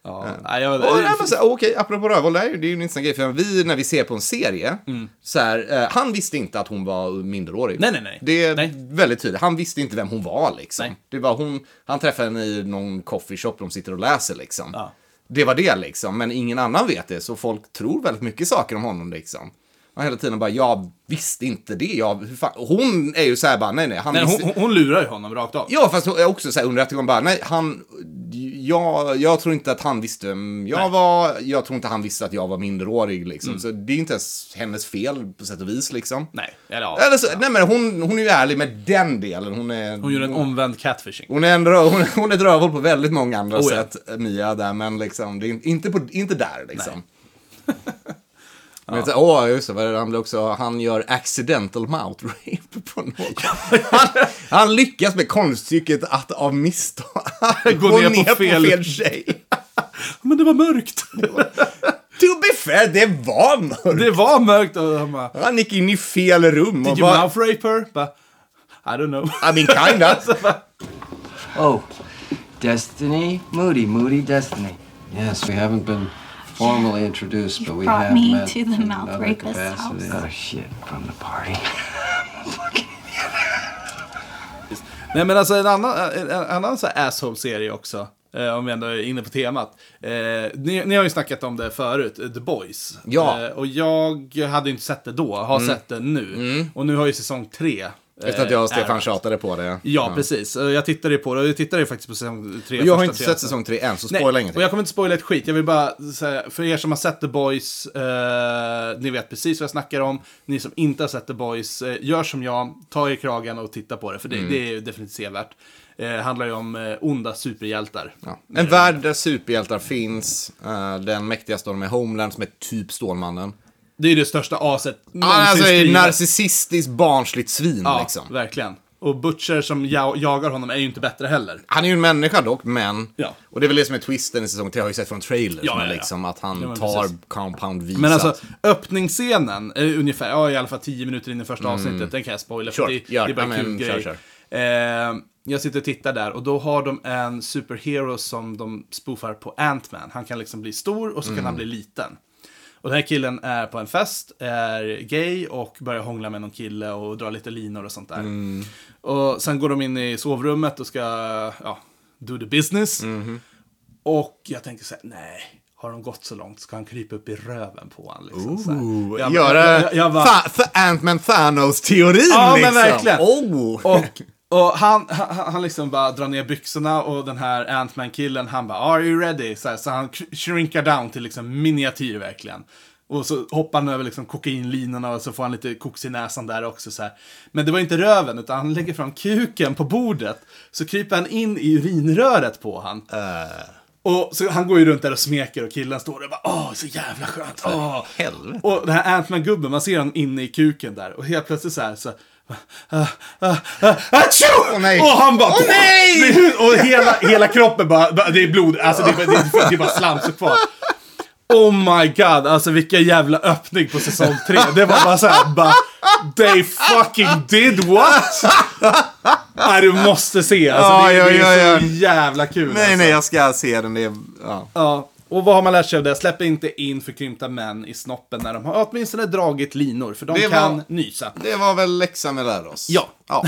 Speaker 1: Ja,
Speaker 2: Eh.
Speaker 1: nej, jag-
Speaker 2: Och, nej, men så här, Okej, apropå rövhål, det här är ju- det är ju en intressant grej. För vi, när vi ser på en serie, så här, eh, han visste inte att hon var minderårig.
Speaker 1: Mm. Nej, nej, nej.
Speaker 2: Det är väldigt tydligt. Han visste inte vem hon var liksom. Det var hon, han träffade henne i någon coffeeshop, de sitter och läser liksom. Det var det liksom, men ingen annan vet det. Så folk tror väldigt mycket saker om honom liksom. Och hela tiden bara, jag visste inte det. Jag, hur fan? Och Hon är ju så här bara, nej nej. Han
Speaker 1: Nej,
Speaker 2: visste...
Speaker 1: hon, hon- hon lurar ju honom rakt av.
Speaker 2: Ja, fast jag också så här under rättegången bara, nej, han, jag, jag tror inte att han visste vem jag
Speaker 1: Nej. Mm.
Speaker 2: var, jag tror inte han visste att jag var minderårig liksom. Så det är inte ens hennes fel på sätt och vis liksom.
Speaker 1: Nej, eller ja.
Speaker 2: Eller så, nej men hon, hon är ju ärlig med den delen. Hon är...
Speaker 1: Hon gör en omvänd catfishing.
Speaker 2: Hon är, en rö, hon, hon är ett rövhål på väldigt många andra
Speaker 1: Oh, ja.
Speaker 2: sätt, Mia, där, men liksom, det är inte, på, inte där liksom. Men så, åh, just det, vad är det, han blir också, han gör accidental mouth rape på någon. Han, han lyckas med konststycket att av misstag gå, ner, på, fel. tjej.
Speaker 1: Men det var mörkt.
Speaker 2: to be fair, det var mörkt.
Speaker 1: Det var mörkt och han bara...
Speaker 2: Han gick in i fel rum
Speaker 1: Did
Speaker 2: och
Speaker 1: you
Speaker 2: bara-
Speaker 1: mouth rape her? Bara, I don't know.
Speaker 2: I mean, kinda.
Speaker 13: Oh, Destiny, Moody, Moody Destiny. Yes, we haven't been formally introduced, but we
Speaker 14: brought
Speaker 13: have
Speaker 14: me
Speaker 13: met
Speaker 14: to the
Speaker 13: in
Speaker 14: mouth
Speaker 13: other
Speaker 14: rapist
Speaker 13: capacity.
Speaker 14: house.
Speaker 13: Oh shit, from the party.
Speaker 1: Nej men alltså en annan, en en annan så här asshole-serie också. eh, Om vi ändå är inne på temat. Eh, ni, ni har ju snackat om det förut, eh, The Boys.
Speaker 2: Ja.
Speaker 1: Eh, och jag hade inte sett det då, har
Speaker 2: Mm.
Speaker 1: sett det nu. Och nu har ju säsong tre. eh,
Speaker 2: Efter att jag och Stefan
Speaker 1: är-
Speaker 2: tjatade på det.
Speaker 1: Ja, precis. Eh, Jag tittade ju på det och jag tittade ju faktiskt på säsong tre.
Speaker 2: Och jag har
Speaker 1: första
Speaker 2: inte
Speaker 1: serien.
Speaker 2: sett säsong tre än, så
Speaker 1: Nej,
Speaker 2: spoila ingenting.
Speaker 1: Och jag kommer inte spoila ett skit. Jag vill bara säga, för er som har sett The Boys, eh, ni vet precis vad jag snackar om. Ni som inte har sett The Boys, eh, gör som jag, ta er kragen och titta på det, för det,
Speaker 2: Mm.
Speaker 1: det är ju definitivt sevärt. Eh, handlar ju om eh, onda superhjältar.
Speaker 2: En värld där superhjältar finns. eh, den mäktigaste av dem är Homeland som är typ Stålmannen.
Speaker 1: Det är det största aset någonsin
Speaker 2: Han alltså är
Speaker 1: skrivet.
Speaker 2: narcissistiskt barnsligt svin
Speaker 1: Mm. Ja,
Speaker 2: liksom.
Speaker 1: verkligen. Och Butcher som ja- jagar honom är ju inte bättre heller.
Speaker 2: Han är ju en människa dock, men...
Speaker 1: Ja.
Speaker 2: Och det är väl det som är twisten i säsong 3, har ju sett från trailers.
Speaker 1: Ja,
Speaker 2: men
Speaker 1: ja, ja.
Speaker 2: Liksom, att
Speaker 1: Ja, men
Speaker 2: han tar
Speaker 1: precis.
Speaker 2: compound-visat.
Speaker 1: Men alltså, öppningsscenen är ungefär, ja i alla fall 10 minuter in i första
Speaker 2: Mm.
Speaker 1: avsnittet, den kan jag spoila
Speaker 2: Kör,
Speaker 1: för det,
Speaker 2: gör.
Speaker 1: det är bara en
Speaker 2: Ja,
Speaker 1: kul
Speaker 2: men,
Speaker 1: grej.
Speaker 2: kör, kör.
Speaker 1: Eh, jag sitter och tittar där och då har de en superhero som de spoofar på Ant-Man. Han kan liksom bli stor och så kan
Speaker 2: Mm.
Speaker 1: han bli liten. Och den här killen är på en fest, är gay och börjar hångla med någon kille och dra lite linor och sånt där.
Speaker 2: Mm.
Speaker 1: Och sen går de in i sovrummet och ska, ja, do the business.
Speaker 2: Mm.
Speaker 1: Och jag tänker så här, nej, har de gått så långt ska han krypa upp i röven på honom. Liksom, så här.
Speaker 2: Ooh,
Speaker 1: Jag-
Speaker 2: göra
Speaker 1: jag- jag- jag bara-
Speaker 2: Fa- för Ant-Man Thanos-teorin
Speaker 1: Ja,
Speaker 2: liksom.
Speaker 1: men verkligen.
Speaker 2: Oh.
Speaker 1: Och, och han, han, han liksom bara drar ner byxorna och den här Ant-Man-killen, han bara “Are you ready?” så, här, så han sh- shrinkar down till liksom miniatyr verkligen. Och så hoppar han över liksom kokainlinorna och så får han lite koks i näsan där också. Så här. Men det var inte röven, utan han lägger fram kuken på bordet. Så kryper han in i urinröret på han.
Speaker 2: Äh.
Speaker 1: Och så han går ju runt där och smeker och killen står där och bara åh, så jävla skönt. Åh.
Speaker 2: Helvete.
Speaker 1: Och den här Ant-Man-gubben, man ser honom inne i kuken där. Och helt plötsligt så här så... Ah, ah, ah, Achoo!
Speaker 2: Åh, nej.
Speaker 1: Och han bara...
Speaker 2: Åh, nej!
Speaker 1: Det är- Och hela, hela kroppen bara, bara- det är blod, alltså det är, bara- det är, det är bara slamsor kvar. Oh my god, alltså vilken jävla öppning på säsong 3. Det var bara såhär, bara... They fucking did what? Nej, du måste se. Alltså, det,
Speaker 2: Oj, oj,
Speaker 1: det är så
Speaker 2: oj, oj.
Speaker 1: jävla kul.
Speaker 2: Nej,
Speaker 1: alltså.
Speaker 2: nej, jag ska se den. Det är, ja.
Speaker 1: Ja, och vad har man lärt sig av det? Släpp inte in förkrympta män i snoppen när de har åtminstone dragit linor, för de
Speaker 2: Det var-
Speaker 1: kan nysa.
Speaker 2: Det var väl läxan vi lärde oss.
Speaker 1: Ja.
Speaker 2: ja.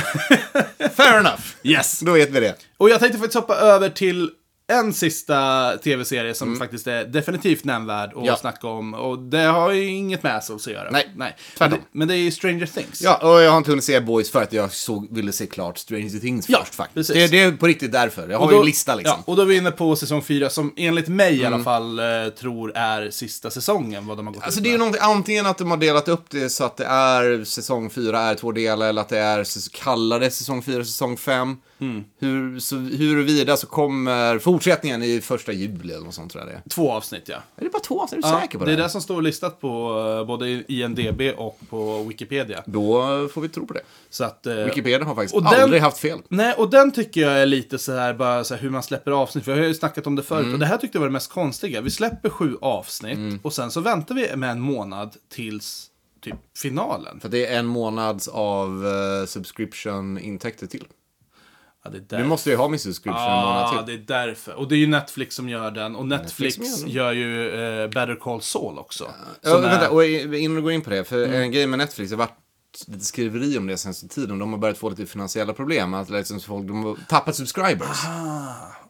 Speaker 2: Fair enough.
Speaker 1: Yes.
Speaker 2: Då vet vi det.
Speaker 1: Och jag tänkte faktiskt hoppa över till en sista tv-serie som faktiskt är definitivt nämnvärd att
Speaker 2: Mm. Ja.
Speaker 1: snacka om. Och det har ju inget med Assholes att göra. Nej, Nej.
Speaker 2: tvärtom.
Speaker 1: Men det- Men det är ju Stranger Things.
Speaker 2: Ja, och jag har inte hunnit se Boys för att jag såg, ville se klart Stranger Things först faktiskt. Det,
Speaker 1: precis.
Speaker 2: det är på riktigt därför. Jag har
Speaker 1: Och
Speaker 2: ju
Speaker 1: då-
Speaker 2: en lista liksom.
Speaker 1: Ja, och då är vi inne på säsong fyra som enligt mig i alla
Speaker 2: Mm.
Speaker 1: fall eh, tror är sista säsongen. Vad de har gått
Speaker 2: Alltså
Speaker 1: ut
Speaker 2: det är ju någonting, antingen att de har delat upp det så att det är säsong 4 är två delar eller att det är så kallade säsong 4, säsong 5.
Speaker 1: Mm.
Speaker 2: Hur, så, huruvida så kommer fortsättningen i första juli eller något sånt tror jag det är.
Speaker 1: Två avsnitt ja.
Speaker 2: Är det bara två avsnitt? Är du säker på
Speaker 1: det?
Speaker 2: det?
Speaker 1: är det som står listat på eh, både i IMDB och på Wikipedia.
Speaker 2: Då får vi tro på det.
Speaker 1: Så att, eh,
Speaker 2: Wikipedia har faktiskt
Speaker 1: och
Speaker 2: aldrig haft fel.
Speaker 1: Nej, och den tycker jag är lite så här, bara så här hur man släpper avsnitt. För jag har ju snackat om det förut.
Speaker 2: Mm.
Speaker 1: Och det här tyckte jag var det mest konstiga. Vi släpper sju avsnitt och sen så väntar vi med en månad tills typ finalen.
Speaker 2: För det är en månads av eh, subscription-intäkter till.
Speaker 1: Ja, det är
Speaker 2: Du måste ju ha min subscription en
Speaker 1: Ja,
Speaker 2: månad
Speaker 1: det
Speaker 2: till.
Speaker 1: är därför. Och det är ju Netflix som gör den. Och Netflix,
Speaker 2: Netflix som
Speaker 1: gör ju eh, Better Call Saul också.
Speaker 2: Ja,
Speaker 1: som
Speaker 2: vänta,
Speaker 1: är-
Speaker 2: och i- innan du går in på det, för
Speaker 1: Mm.
Speaker 2: en grej med Netflix, det har varit lite skriveri om det senaste tiden, de har börjat få lite finansiella problem, att liksom folk, de har tappat subscribers.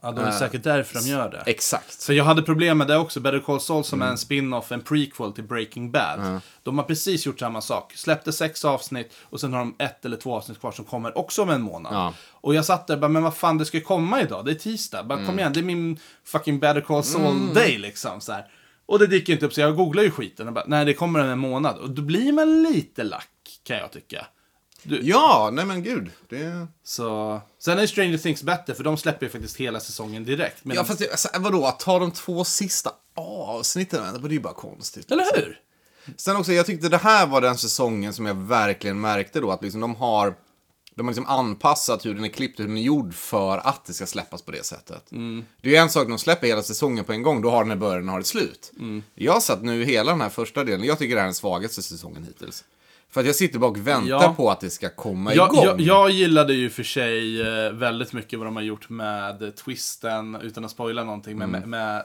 Speaker 1: Ja, då är det
Speaker 2: Eh,
Speaker 1: säkert därför de gör det.
Speaker 2: Exakt.
Speaker 1: För jag hade problem med det också. Better Call Saul som
Speaker 2: Mm.
Speaker 1: är en spin-off, en prequel till Breaking Bad.
Speaker 2: Ja.
Speaker 1: De har precis gjort samma sak. Släppte sex avsnitt och sen har de ett eller två avsnitt kvar som kommer också om en månad.
Speaker 2: Ja.
Speaker 1: Och jag satt där och bara, men vad fan det ska komma idag? Det är tisdag. Bara, Kom
Speaker 2: Mm.
Speaker 1: igen, det är min fucking Better Call Saul
Speaker 2: Mm.
Speaker 1: day liksom. Så här. Och det dyker inte upp så jag googlar ju skiten och bara, nej det kommer om en månad. Och då blir man lite lack kan jag tycka.
Speaker 2: Ja, nej men gud. Det...
Speaker 1: Så... Sen är Stranger Things bättre för de släpper ju faktiskt hela säsongen direkt.
Speaker 2: Ja,
Speaker 1: medan-
Speaker 2: fast det, alltså, vadå, att ta de två sista avsnitten, det var ju bara konstigt. liksom.
Speaker 1: Eller hur?
Speaker 2: Sen också, jag tyckte det här var den säsongen som jag verkligen märkte då, att liksom de har, de har liksom anpassat hur den är klippt, hur den är gjord för att det ska släppas på det sättet. Det är ju en sak, de släpper hela säsongen på en gång, då har den en början och har ett slut. Jag har satt nu hela den här första delen, jag tycker det här är den svagaste säsongen hittills. För att jag sitter bara och väntar
Speaker 1: Ja.
Speaker 2: på att det ska komma
Speaker 1: Jag,
Speaker 2: igång.
Speaker 1: jag, jag gillade ju för sig eh, väldigt mycket vad de har gjort med eh, twisten, utan att spoila någonting, men
Speaker 2: Mm.
Speaker 1: med, med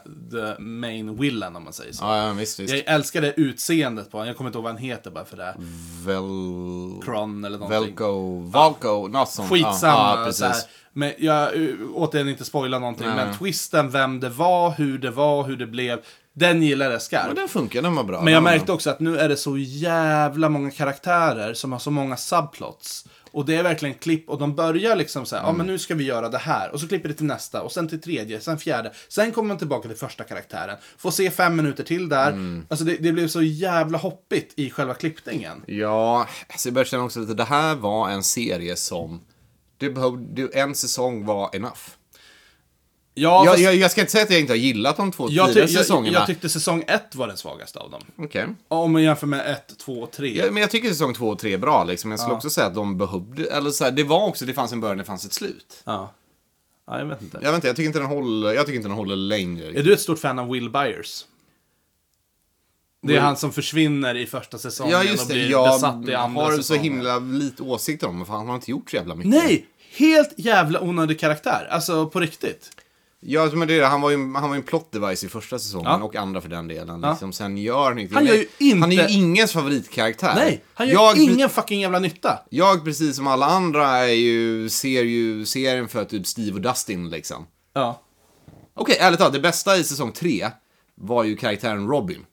Speaker 1: the main villain om man säger så.
Speaker 2: Ja, ja, visst, visst.
Speaker 1: Jag älskade utseendet på honom, jag kommer inte ihåg vad han heter bara för det.
Speaker 2: Mm. Vel...
Speaker 1: Kron eller någonting.
Speaker 2: Velko, Valko, något sånt.
Speaker 1: Skitsamma.
Speaker 2: Ja, ja,
Speaker 1: så här.
Speaker 2: precis.
Speaker 1: Men jag, eh, återigen inte spoila någonting,
Speaker 2: Nej.
Speaker 1: men twisten, vem det var, hur det var, hur det blev. Den gillade jag skarpt.
Speaker 2: Men den funkar, den var bra.
Speaker 1: Men jag
Speaker 2: Den var
Speaker 1: märkte
Speaker 2: bra.
Speaker 1: också att nu är det så jävla många karaktärer som har så många subplots. Och det är verkligen klipp och de börjar liksom så här, ja men nu ska vi göra det här. Och så klipper det till nästa och sen till tredje, sen fjärde. Sen kommer man tillbaka till första karaktären. Får se fem minuter till där. Alltså det, det blev så jävla hoppigt i själva klippningen.
Speaker 2: Ja, alltså jag börjar känna också lite, det här var en serie som, det behövde, det- en säsong var enough.
Speaker 1: Ja,
Speaker 2: jag,
Speaker 1: fast-
Speaker 2: jag, jag ska inte säga att jag inte har gillat de två
Speaker 1: Jag,
Speaker 2: tidigare
Speaker 1: ty- jag,
Speaker 2: säsongerna.
Speaker 1: jag tyckte säsong 1 var den svagaste av dem.
Speaker 2: Okej.
Speaker 1: Om man jämför med 1, 2 och 3.
Speaker 2: Ja, men jag tycker säsong två och tre är bra liksom. Jag skulle
Speaker 1: Ja.
Speaker 2: också säga att de behövde, eller så här, det var också, det fanns en början, det fanns ett slut.
Speaker 1: Ja. jag vet inte.
Speaker 2: Jag vet inte, jag tycker inte den håller, jag tycker inte den håller längre.
Speaker 1: Är du ett stort fan av Will Byers? Det är
Speaker 2: Will-
Speaker 1: han som försvinner i första säsongen
Speaker 2: Ja, just
Speaker 1: och
Speaker 2: det.
Speaker 1: blir
Speaker 2: Jag
Speaker 1: besatt i andra
Speaker 2: har så
Speaker 1: säsongen.
Speaker 2: himla lite åsikter om honom, för han har inte gjort så jävla mycket.
Speaker 1: Nej! Helt jävla onödig karaktär. Alltså, på riktigt.
Speaker 2: Ja, men det är det. Han var ju, han var ju en plot device i första säsongen
Speaker 1: Ja.
Speaker 2: och andra för den delen.
Speaker 1: Ja.
Speaker 2: Liksom. Sen gör han inte
Speaker 1: Han gör ju
Speaker 2: Han är
Speaker 1: inte-
Speaker 2: ju ingens favoritkaraktär.
Speaker 1: Nej, han gör
Speaker 2: jag,
Speaker 1: ingen fucking jävla nytta.
Speaker 2: Jag, precis som alla andra, är ju, ser ju serien för typ Steve och Dustin liksom.
Speaker 1: Ja.
Speaker 2: Okej, ärligt talat, det bästa i säsong tre var ju karaktären Robin.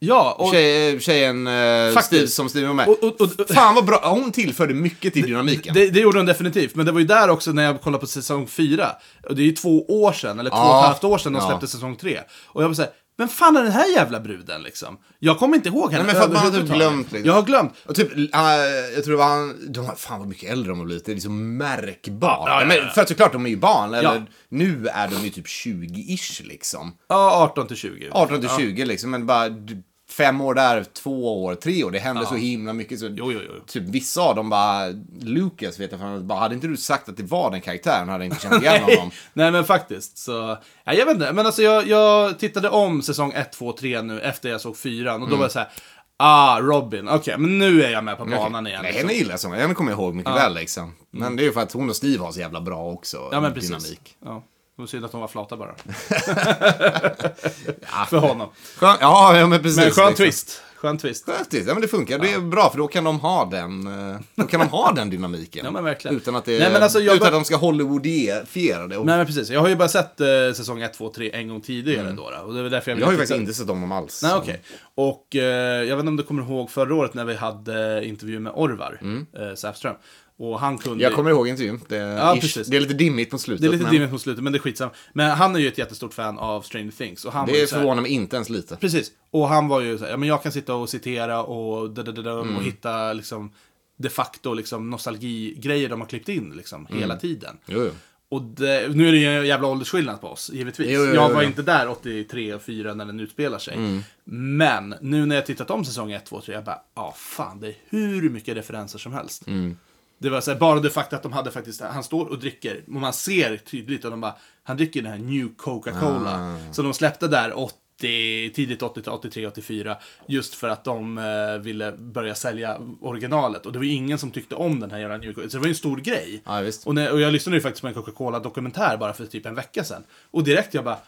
Speaker 1: Ja, och...
Speaker 2: Tjej, tjejen eh,
Speaker 1: Faktiskt.
Speaker 2: Steve, som Steve var med.
Speaker 1: Och- och- och-
Speaker 2: Fan vad bra, hon tillförde mycket till dynamiken.
Speaker 1: Det, det gjorde hon definitivt, men det var ju där också när jag kollade på säsong 4. Och det är ju två år sedan, eller två
Speaker 2: Ja.
Speaker 1: och ett halvt år sedan de
Speaker 2: Ja.
Speaker 1: släppte säsong 3. Och jag var såhär, men fan är den här jävla bruden liksom? Jag kommer inte ihåg henne
Speaker 2: Nej, men för att man har typ
Speaker 1: överhuvudtaget.
Speaker 2: glömt. Liksom.
Speaker 1: Jag har glömt.
Speaker 2: Och typ, eh, jag tror det var han, de, fan vad mycket äldre de har blivit. Det är liksom märkbart.
Speaker 1: Ja, ja,
Speaker 2: men,
Speaker 1: ja.
Speaker 2: För att såklart, de är ju barn. Eller,
Speaker 1: Ja.
Speaker 2: Nu är de ju typ 20-ish liksom.
Speaker 1: Ja, 18 till 20.
Speaker 2: 18 till
Speaker 1: Ja.
Speaker 2: 20 liksom. Men bara d- fem år där, två år, tre år. Det händer
Speaker 1: Ja.
Speaker 2: så himla mycket. Så Typ vissa av dem bara, Lucas vet jag fan, bara, hade inte du sagt att det var den karaktären hade jag inte känt igen
Speaker 1: Nej.
Speaker 2: honom.
Speaker 1: Nej, men faktiskt. Så, ja, jag vet inte, men alltså jag, jag tittade om säsong 1, 2, 3 nu efter jag såg 4 och då
Speaker 2: Mm.
Speaker 1: var jag såhär, ah, Robin, okej, men nu är jag med på
Speaker 2: Men okej.
Speaker 1: banan igen.
Speaker 2: Nej,
Speaker 1: liksom.
Speaker 2: henne gillar jag som, henne kommer jag ihåg mycket
Speaker 1: Ja.
Speaker 2: väl liksom. Men
Speaker 1: Mm.
Speaker 2: det är ju för att hon och Steve har så jävla bra också.
Speaker 1: Ja, men precis.
Speaker 2: Dynamik.
Speaker 1: Ja. Det var synd att de var flata bara. För honom.
Speaker 2: Skön, ja, ja, men precis.
Speaker 1: Men skön
Speaker 2: liksom.
Speaker 1: twist. Skön twist.
Speaker 2: Skön twist, ja men det funkar. Det är bra för då kan de ha den, eh, då kan de ha den dynamiken.
Speaker 1: Ja, men verkligen.
Speaker 2: Utan att, det,
Speaker 1: Nej, men alltså, jag
Speaker 2: utan
Speaker 1: bör-
Speaker 2: att de ska Hollywoodifiera det. Och,
Speaker 1: Nej men precis, jag har ju bara sett eh, säsong 1, 2, 3 en gång tidigare
Speaker 2: Mm.
Speaker 1: då, då. Och det var därför jag
Speaker 2: jag har ju
Speaker 1: ville
Speaker 2: faktiskt
Speaker 1: titta-
Speaker 2: inte sett dem om alls.
Speaker 1: Nej
Speaker 2: så.
Speaker 1: okej. Och eh, jag vet inte om du kommer ihåg förra året när vi hade intervju med Orvar eh, Säfström. Och han kunde...
Speaker 2: Mm. Jag kommer ihåg intervjun. Det, är-
Speaker 1: Ja,
Speaker 2: ish.
Speaker 1: precis.
Speaker 2: det är lite dimmigt på slutet.
Speaker 1: Det är lite
Speaker 2: Typ, men
Speaker 1: dimmigt på slutet, men det är skitsamma. Men han är ju ett jättestort fan av Stranger Things. Och han var ju
Speaker 2: Det
Speaker 1: så här-
Speaker 2: förvånar mig inte ens lite.
Speaker 1: Precis. Och han var ju så här, ja men jag kan sitta och citera och da, da, da, da,
Speaker 2: Mm.
Speaker 1: och hitta liksom de facto liksom nostalgigrejer de har klippt in liksom
Speaker 2: Mm.
Speaker 1: hela tiden.
Speaker 2: Jo, jo.
Speaker 1: Och det, nu är det ju en jävla åldersskillnad på oss, givetvis.
Speaker 2: Jo, jo,
Speaker 1: jag
Speaker 2: jo,
Speaker 1: var
Speaker 2: jo.
Speaker 1: inte där 83 och 4 när den utspelar sig.
Speaker 2: Mm.
Speaker 1: Men nu när jag tittat om säsong 1, 2, 3, jag bara, ja fan, det är hur mycket referenser som helst.
Speaker 2: Mm.
Speaker 1: Det var så här, bara det faktum att de hade faktiskt, han står och dricker, och man ser tydligt, och de bara, han dricker den här New Coca-Cola.
Speaker 2: Ah.
Speaker 1: Som de släppte där 80, tidigt 80, 83, 84. Just för att de eh, ville börja sälja originalet. Och det var ju ingen som tyckte om den här jävla New Coca-Cola. Så det var ju en stor grej.
Speaker 2: Ja, visst.
Speaker 1: Och, när, och jag lyssnade ju faktiskt på en Coca-Cola-dokumentär bara för typ en vecka sedan. Och direkt jag bara,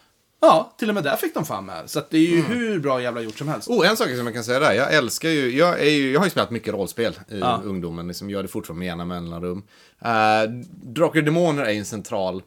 Speaker 1: ja, till och med där fick de fan med. Så att det är ju
Speaker 2: Mm.
Speaker 1: hur bra jävla gjort som helst.
Speaker 2: Oh, en sak som jag kan säga där. Jag älskar ju, jag, är ju, jag har ju spelat mycket rollspel i
Speaker 1: Ja.
Speaker 2: ungdomen, liksom, gör det fortfarande med jämna mellanrum. Uh, Drakar och Demoner är ju en central,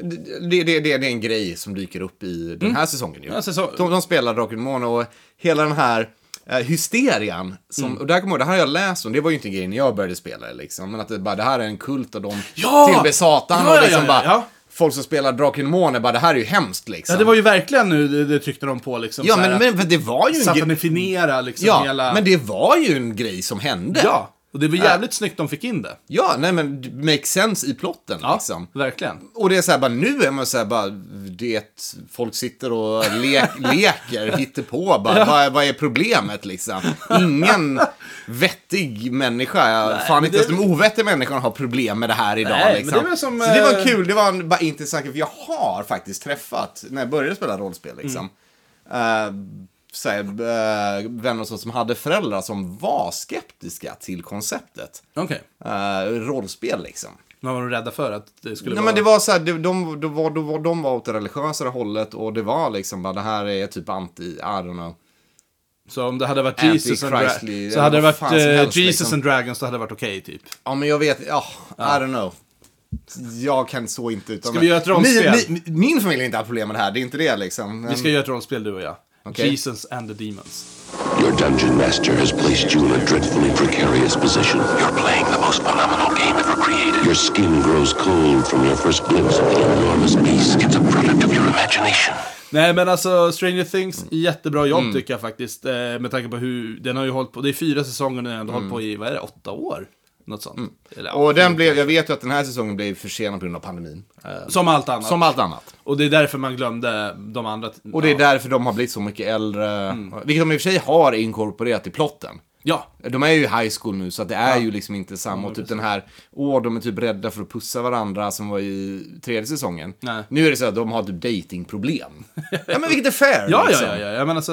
Speaker 2: det, det, det, det är en grej som dyker upp i den här
Speaker 1: Mm.
Speaker 2: säsongen ju.
Speaker 1: Ja, säsong-
Speaker 2: De, de spelar Drakar och Demoner och hela den här eh, hysterian, som,
Speaker 1: Mm.
Speaker 2: och där kommer jag ihåg, det här har jag läst om, det var ju inte en grej när jag började spela det, liksom, men att det, bara, det här är en kult och de
Speaker 1: Ja!
Speaker 2: tillber Satan
Speaker 1: Ja, ja,
Speaker 2: och liksom
Speaker 1: ja, ja,
Speaker 2: bara, folk som spelar Drakar och Demoner bara, det här är ju hemskt liksom.
Speaker 1: Ja, det var ju verkligen nu det, det tryckte de på liksom.
Speaker 2: Ja,
Speaker 1: så här
Speaker 2: men-
Speaker 1: att
Speaker 2: men- men det var ju en gre-
Speaker 1: Satanifiniera liksom
Speaker 2: ja,
Speaker 1: hela...
Speaker 2: men det var ju en grej som hände.
Speaker 1: Ja, och det var jävligt snyggt de fick in det.
Speaker 2: Ja, nej men det makes sense i plotten liksom.
Speaker 1: verkligen.
Speaker 2: Och det är så här bara nu är man så här bara, det folk sitter och le leker, hittar på bara,
Speaker 1: Ja.
Speaker 2: vad, vad är problemet liksom? Ingen vettig människa,
Speaker 1: Nej,
Speaker 2: fan
Speaker 1: men
Speaker 2: inte
Speaker 1: det-
Speaker 2: ens de ovettiga människorna har problem med det här idag
Speaker 1: Nej, men
Speaker 2: liksom.
Speaker 1: det är väl som,
Speaker 2: så det var
Speaker 1: eh,
Speaker 2: kul, det var en, bara intressant grej, för jag har faktiskt träffat, när jag började spela
Speaker 1: Mm.
Speaker 2: rollspel liksom, eh, så här, eh, vänner och så som hade föräldrar som var skeptiska till konceptet.
Speaker 1: Okej.
Speaker 2: Eh, rollspel liksom.
Speaker 1: Vad var de rädda för? Att det skulle
Speaker 2: Nej,
Speaker 1: vara...
Speaker 2: men det var så här, de, de, de, var, de, var, de var åt det religiösare hållet och det var liksom bara, det här är typ anti, I don't know.
Speaker 1: Så om det hade varit Jesus and,
Speaker 2: Antichristly,
Speaker 1: Dra- så hade det
Speaker 2: vad
Speaker 1: varit
Speaker 2: fan som
Speaker 1: eh,
Speaker 2: helst,
Speaker 1: Jesus
Speaker 2: liksom.
Speaker 1: and Dragons, då hade det varit okej typ.
Speaker 2: Ja, men jag vet, ja, I don't know. Jag kan så inte utan
Speaker 1: Ska vi göra ett rollspel?
Speaker 2: Min, min, min familj har inte haft problem med det här, det är inte det liksom.
Speaker 1: Vi ska göra ett rollspel du och jag.
Speaker 2: Okej.
Speaker 1: Jesus and the Demons.
Speaker 14: Your dungeon master has placed you in a dreadfully precarious position. You're playing the most phenomenal game ever created. Your skin grows cold from your first glimpse of the enormous beast. It's a product of your imagination.
Speaker 1: Nej men alltså Stranger Things, jättebra jobb
Speaker 2: Mm.
Speaker 1: tycker jag faktiskt. Eh, med tanke på hur, den har ju hållit på, det är fyra säsonger nu, den har hållit på i, vad är det, åtta år? Något sånt. Eller, ja,
Speaker 2: Mm. Och den blev, jag vet ju att den här säsongen blev försenad på grund av pandemin. Eh,
Speaker 1: Som allt annat.
Speaker 2: Som allt annat.
Speaker 1: Och det är därför man glömde de andra.
Speaker 2: Och det är därför de har blivit så mycket äldre.
Speaker 1: Mm.
Speaker 2: Vilket de i och för sig har inkorporerat i plotten.
Speaker 1: Ja.
Speaker 2: De är ju i high school nu så att det är ju liksom inte samma. Och typ den här, åh de är typ rädda för att pussa varandra som var i tredje säsongen.
Speaker 1: Nej.
Speaker 2: Nu är det så att de har typ datingproblem. ja men vilket är fair
Speaker 1: Ja, ja,
Speaker 2: liksom.
Speaker 1: ja, ja. Jag menar alltså,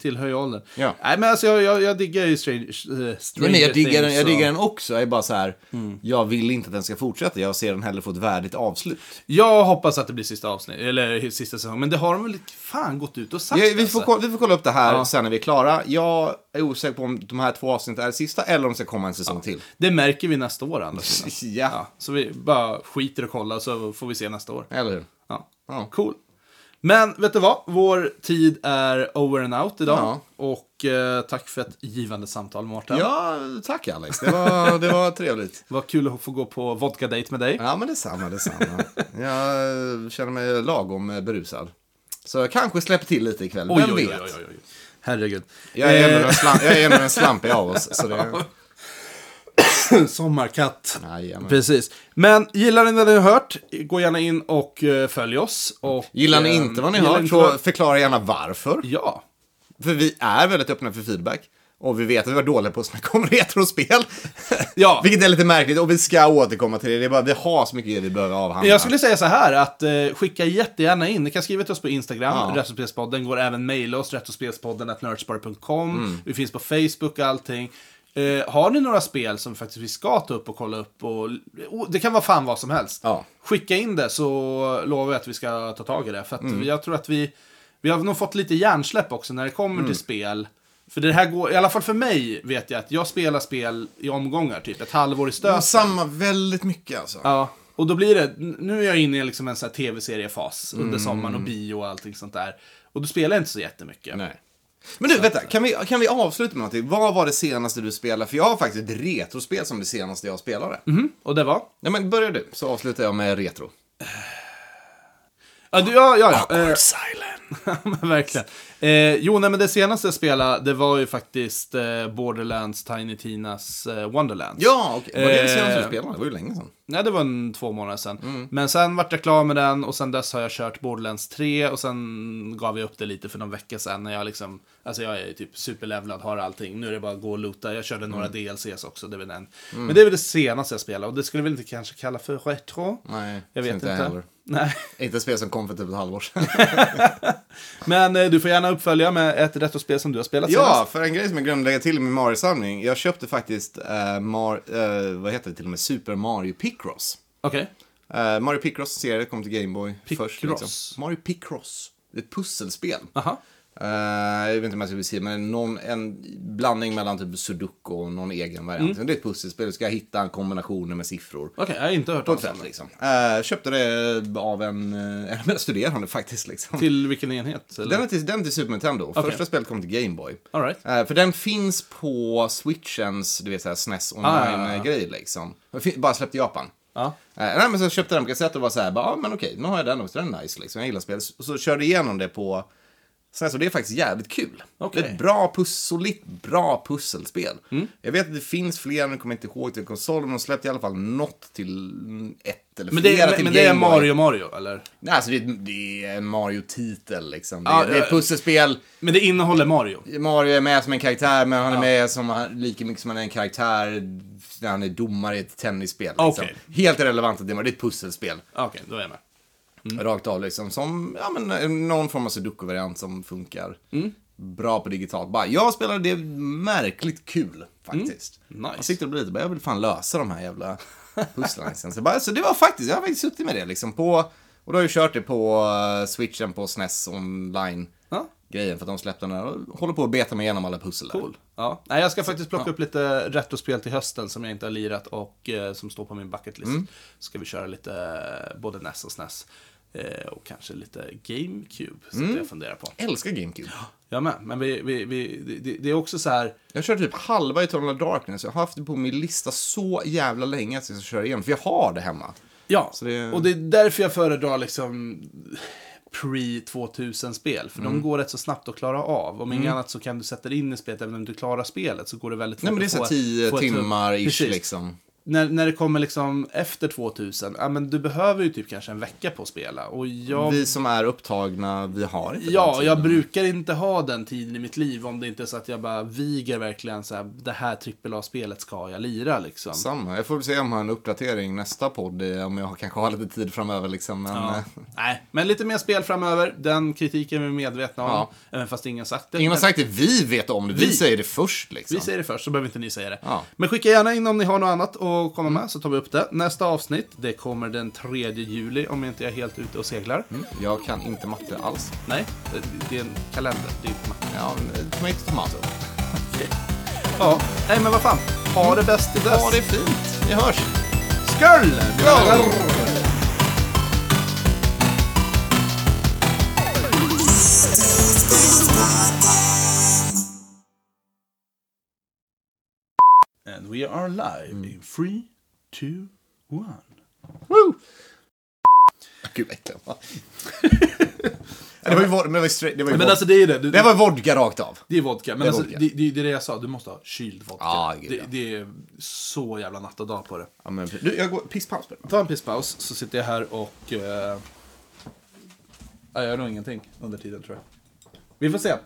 Speaker 1: tillhör ju åldern. Nej, men alltså jag, jag, jag diggar ju Strange, eh, Stranger
Speaker 2: Nej, men jag diggar, den,
Speaker 1: Things
Speaker 2: jag
Speaker 1: och-
Speaker 2: diggar den också. Jag är bara så här,
Speaker 1: Mm.
Speaker 2: jag vill inte att den ska fortsätta. Jag ser den hellre få ett värdigt avslut.
Speaker 1: Jag hoppas att det blir sista avsnitt, eller sista säsongen. Men det har de väl fan gått ut och sagt.
Speaker 2: Ja, vi, får,
Speaker 1: alltså.
Speaker 2: ko- vi får kolla upp det här
Speaker 1: Ja.
Speaker 2: sen när vi är klara. Jag är osäker på om de här två avsnitten är sista eller om det ska komma en säsong till.
Speaker 1: Det märker vi nästa år andra sidan.
Speaker 2: ja.
Speaker 1: Så vi bara skiter och kollar så får vi se nästa år.
Speaker 2: Eller hur?
Speaker 1: Ja. Cool. Men vet du vad? Vår tid är over and out idag.
Speaker 2: Ja.
Speaker 1: Och eh, tack för ett givande samtal, Mårten.
Speaker 2: Ja, tack Alex. Det var, det var trevligt.
Speaker 1: Vad kul att få gå på vodka-date med dig.
Speaker 2: Ja, men detsamma, detsamma. Jag känner mig lagom eh, berusad. Så jag kanske släpper till lite ikväll,
Speaker 1: Oj,
Speaker 2: vem
Speaker 1: oj,
Speaker 2: vet?
Speaker 1: oj, oj, oj, oj. Herregud.
Speaker 2: Jag är ändå
Speaker 1: Eh.
Speaker 2: den slam- jag är ändå den slampiga av oss, så det-
Speaker 1: Sommarkatt.
Speaker 2: Jajamän.
Speaker 1: Precis. Men gillar ni det ni har hört, gå gärna in och eh, följ oss. Och,
Speaker 2: Gillar ni
Speaker 1: eh,
Speaker 2: inte vad ni
Speaker 1: gillar
Speaker 2: hört
Speaker 1: inte
Speaker 2: så
Speaker 1: vad-
Speaker 2: förklara gärna varför.
Speaker 1: Ja.
Speaker 2: För vi är väldigt öppna för feedback. Och vi vet att vi var dåliga på att snacka om retrospel.
Speaker 1: Ja.
Speaker 2: Vilket är lite märkligt och vi ska återkomma till det. Det är bara, vi har så mycket vi behöver avhandla.
Speaker 1: Jag skulle säga så här att eh, skicka jättegärna in. Ni kan skriva till oss på Instagram,
Speaker 2: Ja.
Speaker 1: Retrospelspodden. Går även mejla oss, retrospelspodden at nerdspar.com.
Speaker 2: Mm.
Speaker 1: Vi finns på Facebook och allting. Eh, har ni några spel som faktiskt vi ska ta upp och kolla upp? Och, och, det kan vara fan vad som helst. Skicka in det så lovar jag att vi ska ta tag i det. För att
Speaker 2: Mm.
Speaker 1: jag tror att vi, vi har nog fått lite hjärnsläpp också när det kommer
Speaker 2: Mm.
Speaker 1: till spel. För det här går, i alla fall för mig vet jag att jag spelar spel i omgångar, typ ett halvår i stöten.
Speaker 2: Samma väldigt mycket alltså.
Speaker 1: Ja, och då blir det, nu är jag inne i liksom en sån här tv-seriefas under
Speaker 2: Mm.
Speaker 1: sommaren och bio och allting sånt där. Och då spelar jag inte så jättemycket.
Speaker 2: Nej. eh, Men du, vänta, kan vi, kan vi avsluta med någonting? Vad var det senaste du spelade? För jag har faktiskt ett retrospel som det senaste jag spelade.
Speaker 1: Och det var?
Speaker 2: Ja, men börjar du, så avslutar jag med retro.
Speaker 1: Ja, du, ja, ja. ja. Awkward silence. men verkligen. Eh, jo, nej, men det senaste jag spelade, det var ju faktiskt eh, Borderlands Tiny Tinas eh, Wonderlands.
Speaker 2: Ja, okej. Var det det senaste du
Speaker 1: Eh,
Speaker 2: spelade? Det var ju länge sedan.
Speaker 1: Nej, det var en två månader sedan.
Speaker 2: Mm.
Speaker 1: Men sen vart jag klar med den och sen dess har jag kört Borderlands 3 och sen gav jag upp det lite för någon vecka sedan när jag liksom, alltså jag är typ superlevlad, har allting. Nu är det bara att gå och loota. Jag körde några
Speaker 2: Mm.
Speaker 1: DLCs också, det är väl den.
Speaker 2: Mm.
Speaker 1: Men det är väl det senaste jag spelade och det skulle jag väl inte kanske kalla för retro.
Speaker 2: Nej,
Speaker 1: jag vet
Speaker 2: inte
Speaker 1: inte.
Speaker 2: jag heller.
Speaker 1: Nej.
Speaker 2: Inte ett spel som kom för typ ett halvår sedan.
Speaker 1: Men eh, du får gärna uppfölja med ett retrospel som du har spelat
Speaker 2: Ja,
Speaker 1: senast.
Speaker 2: för en grej som jag glömde lägga till i min Mario-samling. Jag köpte faktiskt, eh, Mar- eh, vad heter det till och med, Super Mario Picross.
Speaker 1: Okej.
Speaker 2: Eh, Mario Picross-serien kom till Gameboy först.
Speaker 1: Picross?
Speaker 2: Liksom. Mario Picross. Det är ett pusselspel. Eh, jag vet inte om jag ska beskriva, men någon, en blandning mellan typ sudoku och någon egen variant.
Speaker 1: Mm.
Speaker 2: Det är ett pusselspel, du ska hitta kombinationer med siffror.
Speaker 1: Okej, jag har inte hört
Speaker 2: På
Speaker 1: om
Speaker 2: ett sätt, liksom. Eh, köpte det av en, eh, en av mina studerande faktiskt. Liksom.
Speaker 1: Till vilken enhet? eller?
Speaker 2: Den är till, den är till Super Nintendo.
Speaker 1: Okej.
Speaker 2: Första spelet kom till Game Boy.
Speaker 1: All right.
Speaker 2: Eh, för den finns på Switchens, du vet såhär SNES
Speaker 1: Ah, ja, ja, ja.
Speaker 2: E online-grej liksom. Den fin- Bara släppt i Japan.
Speaker 1: Ja.
Speaker 2: Eh, nej, men så köpte jag den på kassett och var såhär, ja ah, men okej, nu har jag den också, den är nice liksom. Jag gillar spel. Och så körde jag igenom det på SNES och det är faktiskt jävligt kul.
Speaker 1: Okej. Mm.
Speaker 2: Det är ett bra, pus- solitt bra pusselspel. Jag vet att det finns fler, men jag kommer inte ihåg till konsol, men de släppte i alla fall något till mm, ett eller
Speaker 1: Men det,
Speaker 2: flera
Speaker 1: är-
Speaker 2: till
Speaker 1: men det är
Speaker 2: Game Boy.
Speaker 1: Mario Mario, eller?
Speaker 2: Nej, alltså det, är- det är en Mario-titel liksom. Det,
Speaker 1: Ja, eh,
Speaker 2: det är ett pusselspel.
Speaker 1: Men det innehåller Mario.
Speaker 2: Mario är med som en karaktär, men han är med som, han- lika mycket som han är en karaktär när han är domare i ett tennisspel. Liksom.
Speaker 1: Okej.
Speaker 2: Helt irrelevant att det är det är ett pusselspel.
Speaker 1: Okej, då är jag med.
Speaker 2: Rakt av liksom. Som, ja men någon form av sudoku-variant som funkar. Bra på digitalt. Bara, jag spelade det märkligt kul faktiskt. Jag sitter och blir lite, bara, jag vill fan lösa de här jävla pusslen. liksom. så, bara, så det var faktiskt, jag har faktiskt suttit med det liksom. På, och då har jag kört det på eh, switchen på SNES online. Grejen för att de släppte den här och håller på att beta mig igenom alla pussel där.
Speaker 1: Ja. Nej, jag ska faktiskt plocka upp lite retrospel till hösten som jag inte har lirat och eh, som står på min bucketlist.
Speaker 2: Mm.
Speaker 1: Ska vi köra lite eh, både NES och SNES. Eh, och kanske lite GameCube. Så
Speaker 2: Mm.
Speaker 1: det jag funderar på.
Speaker 2: Älskar GameCube.
Speaker 1: Jag med, men vi, vi, vi, det- det, det är också så här.
Speaker 2: Jag kör typ halva Eternal Darkness. Jag har haft det på min lista så jävla länge att jag ska köra igen. För jag har det hemma.
Speaker 1: Ja,
Speaker 2: Så det-
Speaker 1: och det är därför jag föredrar liksom pre-2000-spel. För de
Speaker 2: Mm.
Speaker 1: går rätt så snabbt att klara av. Om inget
Speaker 2: Mm.
Speaker 1: annat så kan du sätta dig in i spelet, även om du klarar spelet så går det väldigt fort
Speaker 2: Nej men det är
Speaker 1: att
Speaker 2: så
Speaker 1: få-
Speaker 2: här tio
Speaker 1: få ett-
Speaker 2: timmar-ish
Speaker 1: Precis.
Speaker 2: liksom.
Speaker 1: När, när det kommer liksom efter 2000, ja men du behöver ju typ kanske en vecka på att spela. Och jag...
Speaker 2: Vi som är upptagna, vi har inte den
Speaker 1: Ja, och
Speaker 2: tiden.
Speaker 1: jag brukar inte ha den tiden i mitt liv om det inte är så att jag bara viger verkligen så här, det här AAA-spelet ska jag lira liksom.
Speaker 2: Samma. Jag får väl se om jag har en uppdatering nästa podd, eh, om jag kanske har lite tid framöver liksom. Men,
Speaker 1: Ja.
Speaker 2: eh,
Speaker 1: Nej, men lite mer spel framöver. Den kritiken är vi medvetna om.
Speaker 2: Ja.
Speaker 1: Även fast ingen sagt det.
Speaker 2: Ingen har
Speaker 1: Men-
Speaker 2: sagt det, vi vet om det. Vi,
Speaker 1: Vi.
Speaker 2: säger det först liksom.
Speaker 1: Vi säger det först, så behöver inte ni säga det.
Speaker 2: Ja. Mm.
Speaker 1: Men skicka gärna in om ni har något annat att komma med, så tar vi upp det. Nästa avsnitt, det kommer den 3 juli, om jag inte är helt ute och seglar.
Speaker 2: Jag kan inte matte alls.
Speaker 1: Nej, det, det är en kalender, det är inte matte.
Speaker 2: Ja, eh, tomato, tomato.
Speaker 1: ja, nej men vad fan. Ha det bäst i dess.
Speaker 2: Mm. Ha det fint. Vi hörs.
Speaker 1: Skål! And we are live in 3, 2, 1.
Speaker 2: Woo! Gud vad äckligt. Ja, det var ju vod- men det var ju stra- det var ju
Speaker 1: Men
Speaker 2: vod-
Speaker 1: alltså, det är det. Du-
Speaker 2: Det var vodka rakt av.
Speaker 1: Det är vodka, men
Speaker 2: Det är
Speaker 1: alltså,
Speaker 2: vodka.
Speaker 1: Det, det, det är det jag sa, du måste ha kyld vodka.
Speaker 2: Ja, gud,
Speaker 1: det,
Speaker 2: ja.
Speaker 1: det är så jävla natt och dag på det.
Speaker 2: Ja, men, du, jag går pisspaus.
Speaker 1: Ta en pisspaus, så sitter jag här och... Eh, jag gör nog ingenting under tiden, tror jag. Vi får se.